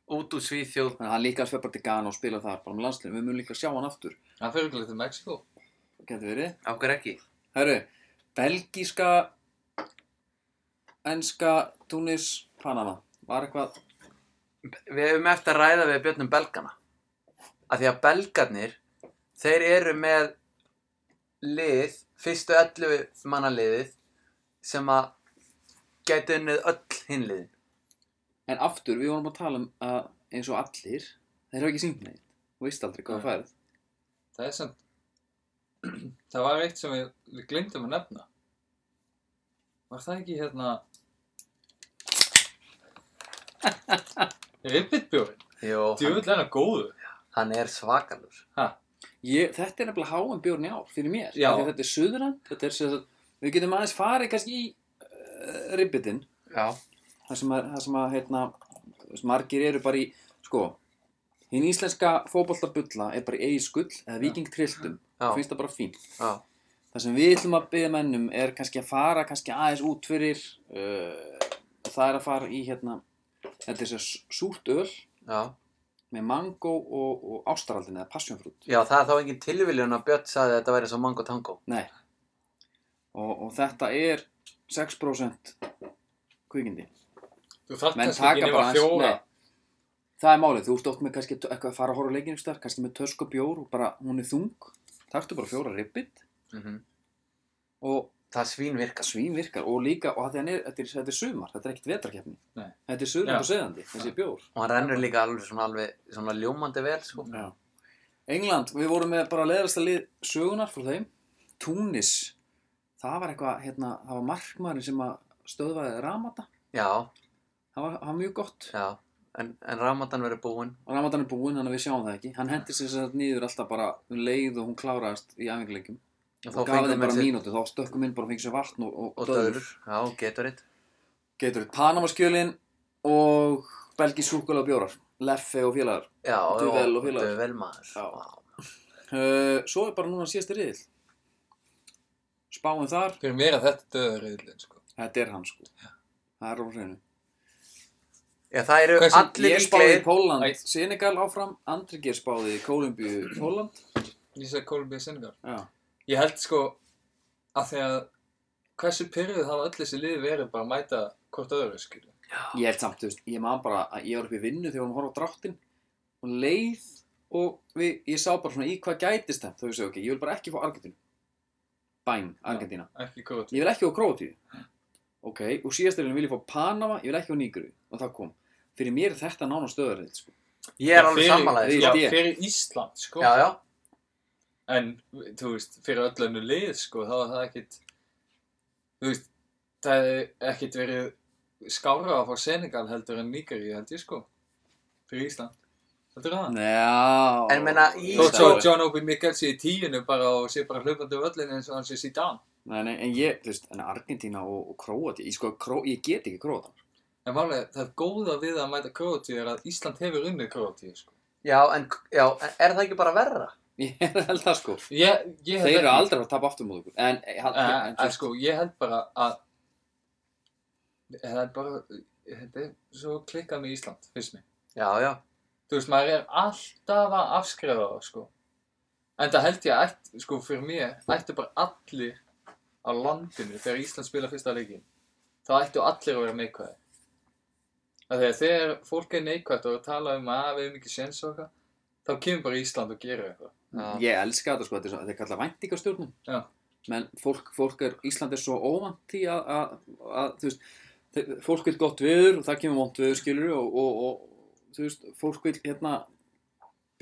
C: út úr Svíþjóð,
A: þannig að hann líka sveppar til Ghana og spila þar bara með landslinu, við munum líka sjá hann aftur
B: Hann fyrir ekki til Mexiko.
A: getur verið
C: á hver ekki,
A: Herru, belgíska enska Tunis Panama var eitthvað
C: við hefum eftir að ræða við björnum belgana, af því að belgarnir, þeir eru með lið, fyrstu 11 manna liðið, sem að gæti unnið öll hinliðin,
A: En aftur, við vorum að tala um að eins og allir, þeir hafa ekki syngt neitt. Þú veist aldrei hvað það
B: Nei.
A: færið.
B: Það er samt, það var eitt sem við, við glemdum að nefna. Var það ekki hérna... Ribbitbjórin,
C: jú, hann,
B: djúvill er hann góður.
C: hann er svakalur,
A: Ég, þetta er nefnilega háan bjórn í ár fyrir mér.
B: Já.
A: Af því að Þetta er suðurand, þetta er sem sagt, við getum aðeins farið kannski í uh, ribbitinn,
C: já,
A: þar sem að, þar sem að hérna, þú veist, margir eru bara í, sko, hinn íslenska fótboltabulla er bara í eigi skull eða vikingtrilltum.
C: Já.
A: Finnst það bara fínt.
C: já,
A: Það sem við ætlum að byggja mennum er kannski að fara kannski aðeins út fyrir, uh, það er að fara í hérna, þetta er þess að súrt öl
C: já,
A: með mango og, og ástaraldin eða passjónfrút
C: já, það er þá engin tilviljun að Björn sagði að þetta væri svo mango tango,
A: Nei og, og þetta er 6% kvikindi
B: Þú þarft
A: Menn
B: kannski ekki
A: taka bara
B: nema
A: aðeins
B: fjóra.
A: nei. Það er málið, þú ert oft með kannski tö- eitthvað að fara að horfa á leikinu einhvers staðar, kannski með tösk og bjór og bara hún er þung Taktu bara fjóra ribbit
C: Mhm.
A: og
C: það svín virkar,
A: svín virkar og líka, og þetta er, þetta er, þetta er sumar, þetta er ekkert vetrarkeppni
B: Nei.
A: Þetta er suðrand
B: Já.
A: og seðandi, þessi bjór
C: og hann rennur líka alveg svona, alveg, svona ljómandi vel sko.
A: Já. England, við vorum með bara leðrasta lið sögunar frá þeim. Túnis, það var eitthvað, hérna, það var markmaðurinn sem að stöðvaði Ramata.
C: já,
A: Það var, það var mjög gott.
C: já en, en Ramadan verður búinn
A: Ramatan er búinn, þannig að við sjáum það ekki. Hann hendi sér sér niður alltaf bara um leið og hún kláraðist í æfinguleikum.
C: Og þá
A: og gaf
C: fengum
A: þeim
C: við
A: bara
C: sér-
A: mínútu, þá stökkum inn bara og fengið sér vatn og, og,
C: og döður, já, getur eitt
A: Getur við Panamaskjölin og Belgi súkulega bjórar, Leffe og félagar.
C: Já,
A: Duvel og
C: já,
A: félagar.
C: Duvel maður
A: Já.
C: Vá.
A: Uh, svo er bara núna síðasti riðil. Spáum þar,
B: Fyrir mér að þetta döður riðlinn, sko.
A: þetta er hann sko. Það er á hreinu.
C: Já, það eru
B: Hversu-
C: allir
A: Ég spáði í
C: líklegir
A: Póland,
B: Æ.
A: Senegal áfram, Andri Geir spáði í Kólumbíu, Póland.
B: Ég segi Kolbjörn Senegal.
A: Já.
B: Ég held, sko, að því að hversu pyrruð hafa öll þessi liði verið bara að mæta hvort öðru, skilju.
A: Ég held samt, þú veist, ég man bara að ég var upp í vinnu þegar hún horfði á dráttinn og leið og við, ég sá bara svona í hvað gætist það, þá ég segi, ok, ég vil bara ekki fá Argentínu. Bæn, Argentína.
B: Ekki hvort.
A: Ég vil ekki á Króatíu. Ok, og síðasturinn vil ég fá Panama, ég vil ekki á Nígru. Og það kom. Fyrir mér er þetta nána stöðarrið, sko.
C: Ég er alveg sammálaðið
A: við-
C: sko.
B: Já,
A: Ég-
B: fyrir Ísland, sko.
C: Já, já,
B: En, þú veist, fyrir öll önnu lið, sko, þá er það ekkit, þú veist, það er ekkit verið skára að fá Senegal heldur en Nígari, held ég, sko, fyrir Ísland. Heldur það?
A: Já.
C: En meina, í-
B: Þó svo
C: Ísland.
B: John Obi Mikkel sé í tíinu bara og sé bara hlaupandi völlin eins og hann sé Zidane.
A: Nei, nei, en ég, þú veist, en Argentína og, og Króatíu, ég sko, kró, ég get ekki Króatíu.
B: En málega, það góða við að mæta Króatíu er að Ísland hefur unnið Króatíu, sko.
C: já, en já, er það ekki bara verra?
A: Ég held það, sko.
B: Ég, ég
A: Þeir eru aldrei að tapa aftur múið okkur. En, en,
B: En, en,
A: en,
B: sko, ég held bara að, það er bara, þetta er svo klikkað með Ísland, finnst mér.
C: Já, já,
B: Þú veist, maður er alltaf að afskrifa það, sko. En það held ég ætt, sko, fyrir mér, ættu bara allir á landinu þegar Ísland spila fyrsta leikin. Þá ættu allir að vera neikvæði. Af því að þegar fólk er neikvætt og er að tala um að við hefum ekki séns og eitthvað, þá kemur bara Ísland og gerir eitthvað.
C: já.
A: ég elska þetta, sko, þetta er svo- þetta er kallað væntingastjórnum.
B: Já.
A: menn fólk, fólk er, Ísland er svo óvant því að, að, að þú veist, þe- fólk vil gott viður og það kemur vont viður skilur og, og, og þú veist, fólk vil hérna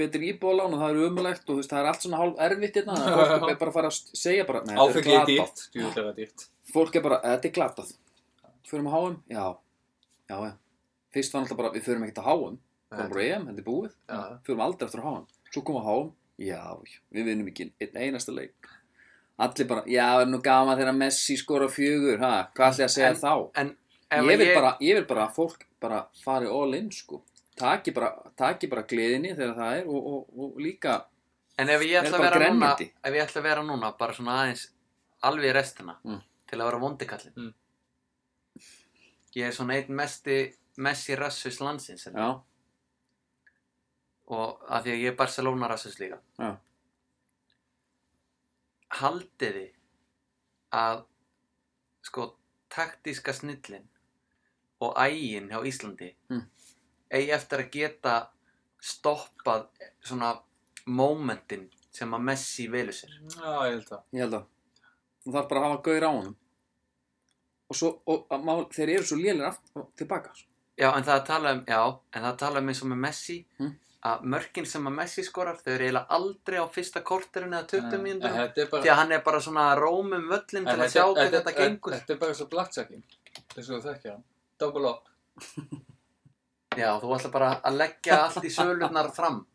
A: betri íbúðalán og það er umulegt og þú veist, það er allt svona hálf erfitt hérna þannig að fólk er bara að fara að st- segja bara, nei, þetta
B: Áfengi er
A: er glatað
B: dýrt, djúvill er það dýrt.
A: fólk er bara, þetta er glatað förum að háum, já já, já, fyrst var náttúrulega bara, við förum ekkert að háum
C: Nei.
A: komum bara EM, þetta er búið
C: já.
A: förum aldrei aftur að háum, svo komum við að háum já, við vinnum ekki einn einasta leik allir bara, já, er nú gaman þegar Messi skora fjögur, ha, hvað ætli ég að segja
C: En-
A: þá
C: En
A: ég vil, bara, ég vil bara að fólk bara fari all in, sko taki bara, taki bara gleðinni þegar það er og, og, og líka
C: En ef ég
A: Er
C: ætla að
A: bara
C: vera núna,
A: grænmeti.
C: ef ég ætla að vera núna, bara svona aðeins alveg í restina,
A: Mm.
C: til að vera vondikallin.
B: Mm.
C: Ég er svona einn mesti, messi rassus landsins, en,
A: já,
C: og af því að ég er Barcelona rassus líka.
A: Já.
C: Haldið þið að, sko, taktíska snillin og ægin hjá Íslandi
A: Mm.
C: eigi eftir að geta stoppað svona momentin sem að Messi velur sér
B: Já, ég held það.
A: ég held að þú þarf bara að hafa gaur á honum og svo, og að mál, þeir eru svo lélir aftur tilbaka, sko.
C: Já, en það er að tala um, já, en það er að tala um eins og með Messi
A: Mm.
C: að mörkin sem að Messi skorar þau eru eiginlega aldrei á fyrsta korterinu eða 20
B: En- en
C: mínútur
B: þetta er bara-
C: því að hann er bara svona að róma um völlin
B: En
C: til að sjá hvernig þetta
B: en-
C: gengur
B: Þetta er bara svo blackjacking, eins og þú þekkir hann. Double up.
C: Já, þú ætlar bara að leggja allt í sölurnar fram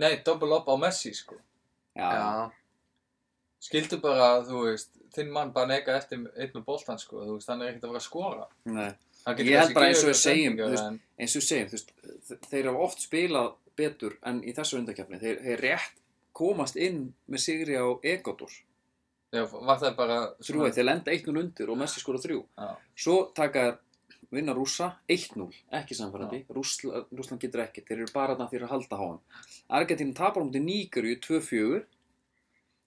B: Nei, double up á Messi, sko.
A: já,
C: Já,
B: Skildu bara, þú veist, þinn mann bara neka eftir einn með boltan, sko. Þú veist, hann er ekkert að vera að skora.
A: nei
B: Hann
A: Ég held
B: kannski
A: bara
B: gefið
A: eins og við
B: eitthvað
A: segjum,
B: sendingar,
A: þú veist,
B: en-
A: eins og við segjum, þú veist, þe- þeir hafa oft spilað betur en í þessu undakefni. Þeir, þeir rétt komast inn með sigri á Egodor.
B: Já, var það bara...
A: Þrjú eitt, þeir lenda 1-0 undir og Messi skora 3.
B: Já.
A: Svo taka þeir vinna rúsa 1-0, ekki samfærandi. Rússla, Rússland getur ekki, þeir eru bara þarna fyrir að halda háan. Argentínu tapar á mútið Nígurju 2-4,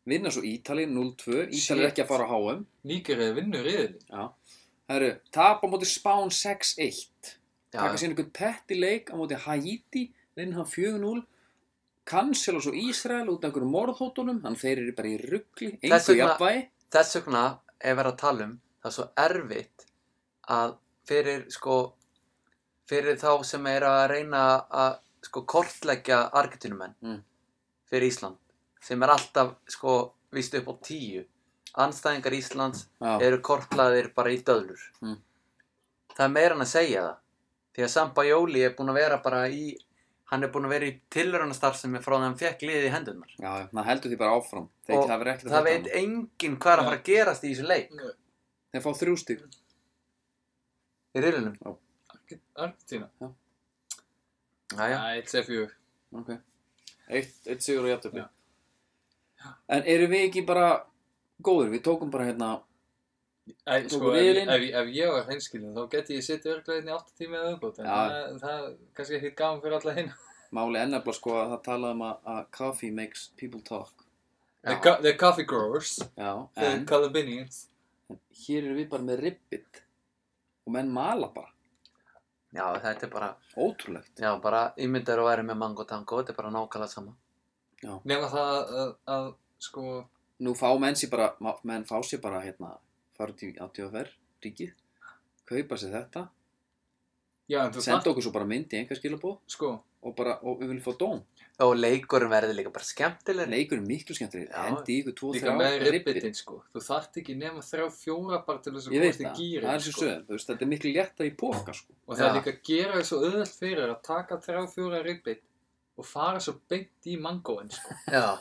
A: vinna svo Ítali 0-2, Ítali er ekki að fara á HM.
B: Nígerið vinnur riðilinn.
A: Já. Herru, tapa á móti Spán 6-1.
C: já,
A: taka síðan einhvern petti leik á móti Haiti, vinna hann 4-0 cancela svo Ísrael út af einhverjum morðhóttunum, þannig þeir eru bara í ruggli
C: Þess
A: engu
C: vegna-
A: jafnvægi
C: Þess vegna ef verið að tala um það er svo erfitt að fyrir sko fyrir þá sem er að reyna að sko kortleggja argetinumenn
A: Mm.
C: fyrir Ísland sem er alltaf sko víst upp á tíu anstæðingar Íslands
A: Já,
C: eru kortlaðir bara í döðlur
A: Mm.
C: það er meira en að segja það því að Samba Jóli er búin að vera bara í hann er búin að vera í tilraunastarf sem er frá því að hann fekk liðið í hendurnar
A: Já, já, það heldur því bara áfram. Þeir,
C: Og
A: það verður ekkert að
C: það
A: þetta
C: veit enginn hvað er að fara að gerast í þessu leik
A: Þeir fá þrjú stík.
C: í riðlunum
B: Argentina
C: Jæja,
B: Nei, þetta er fjör
A: Ok. Eitt, eitt sigur og jafntöfli.
B: Já.
A: En eru við ekki bara góður? Við tókum bara hérna,
B: Ei,
A: Tóku
B: sko, ef,
A: riðilinn.
B: ef, ef ég var hreinskilin þá geti ég sitt örgleginn í 8 tími eða umbútt en
A: Já.
B: það, það er kannski ekkert gaman fyrir alla hinn
A: máli ennefla sko að það talaði um að, að coffee makes people talk.
B: the, co- the coffee growers
A: Já,
B: The
A: en
B: Calabinians
A: hér eru við bara með ribbit og menn mala bara.
C: já þetta er bara
A: Ótrúlegt.
C: já, bara ímyndar að vera með mango tango þetta er bara nákvæmlega sama
B: Nefna það að, að, að sko
A: Nú fá menn sér bara, ma- menn fá sér bara hérna, fara út í ATFR, ríkið, kaupa sér þetta,
B: Já, en þú
A: senda okkur svo bara mynd í einhver skilabóð
B: sko
A: og bara, og við viljum fá dóm.
C: og leikurinn verður líka bara skemmtilegri
A: Leikur er miklu skemmtilegri,
C: Já.
A: hendi ykkur 2-3
B: Líka með ribbitinn sko Þú þarft ekki nema þrjá fjóra bara til þess að
A: Ég veit
B: komast í
A: það,
B: gýrin
A: það er svo
B: sko.
A: sögum, þú veist, þetta er miklu létta í póka sko.
B: Og það er
C: Já.
B: líka að gera þessu auðvelt fyrir að taka þrjá fjóra ribbit og fara svo beint í mangóin sko
C: já,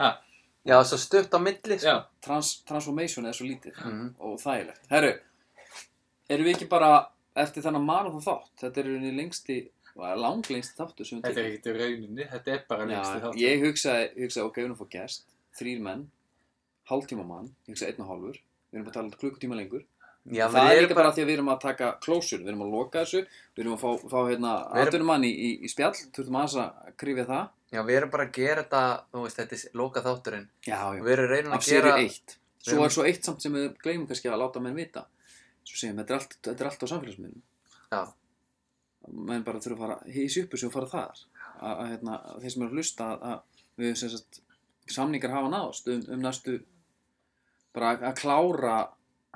B: Ha.
C: já svo stutt á milli sko.
B: Já,
A: Trans, transformation er svo lítið
C: Mhm.
A: og þægilegt. Herru, erum við ekki bara eftir þennan marathon þátt? Þetta er unni lengsti, langlengsti þáttu sem
B: þetta er ekkert í rauninni, þetta er bara lengstu
A: Já,
B: þáttur.
A: ég hugsaði, hugsaði, ok, við erum að fá gest, þrýr menn, hálftíma mann, ég hugsaði einn og hálfur, við erum að tala klukkutíma lengur.
C: já
A: það
C: við
A: er
C: erum
A: líka bara því að við erum að taka closure, við erum að loka þessu, við erum að fá, fá hérna,
C: Við erum-
A: atvinnum mann í, í, í spjall, þurfum aðeins að krifja það.
C: Já, við erum bara að gera þetta, þú veist, þetta er loka þátturinn.
A: Já, já,
C: Við erum reyna
A: af
C: að gera...
A: séri eitt. Svo
C: erum-
A: er svo eitt samt sem við gleymum kannski að láta menn vita. Svo segjum, þetta er allt, þetta er allt á samfélagsmiðlum.
C: Já,
A: Menn bara þurfa að fara hísi upp þessu og fara þar. Að, að, hérna, að þeir sem eru að hlusta að, að við höfum sem sagt, samningar hafa náðst um, um næstu bara að klára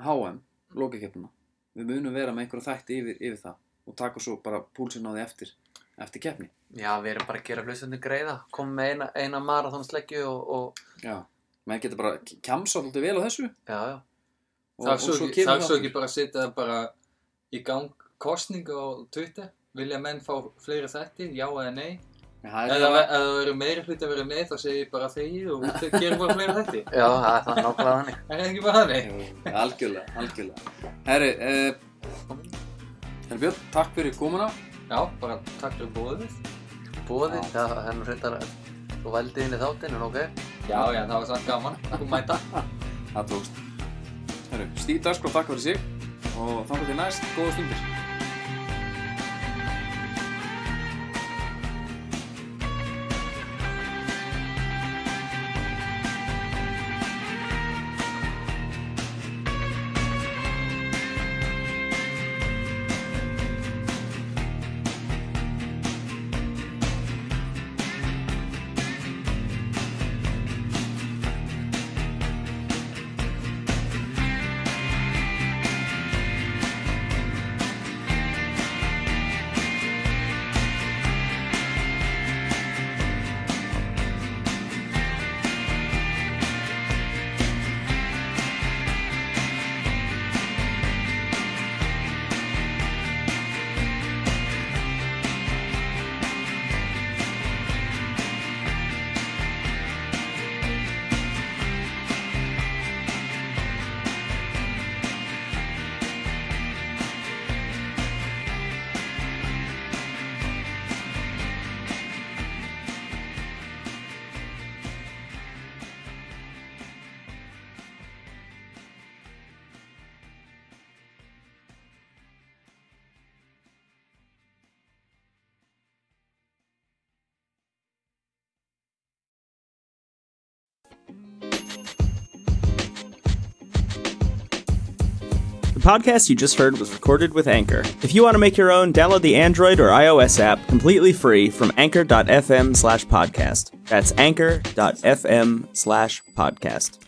A: HM, lokakeppuna. Við munum vera með einhverja þætti yfir, yfir það og taka svo bara púlsinn á því eftir, eftir keppni.
C: já, við erum bara að gera hlustundin greiða. Komum með eina, eina marathonsleggju og, og...
A: Já. Menn getur bara kjamsa alltaf vel á þessu
C: Já, já.
A: og,
B: Þarf svo, ekki,
A: kemur
B: þarf svo
A: þáttur.
B: ekki bara að setja bara í gang kostningu á Twitter? Vilja menn fá fleiri þætti, já eða nei?
A: Já, það er-
B: Eða ef það eru meiri hluti að vera með þá segir ég bara þegið og þau gerum bara fleiri þætti.
C: Já, það er það nákvæmlega þannig.
B: Er það ekki bara þannig?
A: Jú, algjörlega, algjörlega Herri, uh, Herri Björn, takk fyrir komuna
B: Já, bara takk fyrir bóðið.
C: Bóði,
A: Já.
C: það það er nú reyndar að... Þú vældi inn í þáttinn, en ok.
B: Já, já, það var samt gaman. Takk um mæta.
A: Það tókst Herri, Stíf Dagskrá, takk fyrir sig og þannig til næst, góða stundir
E: The podcast you just heard was recorded with Anchor. If you want to make your own, download the Android or iOS app completely free from anchor.fm slash podcast. That's anchor.fm slash podcast.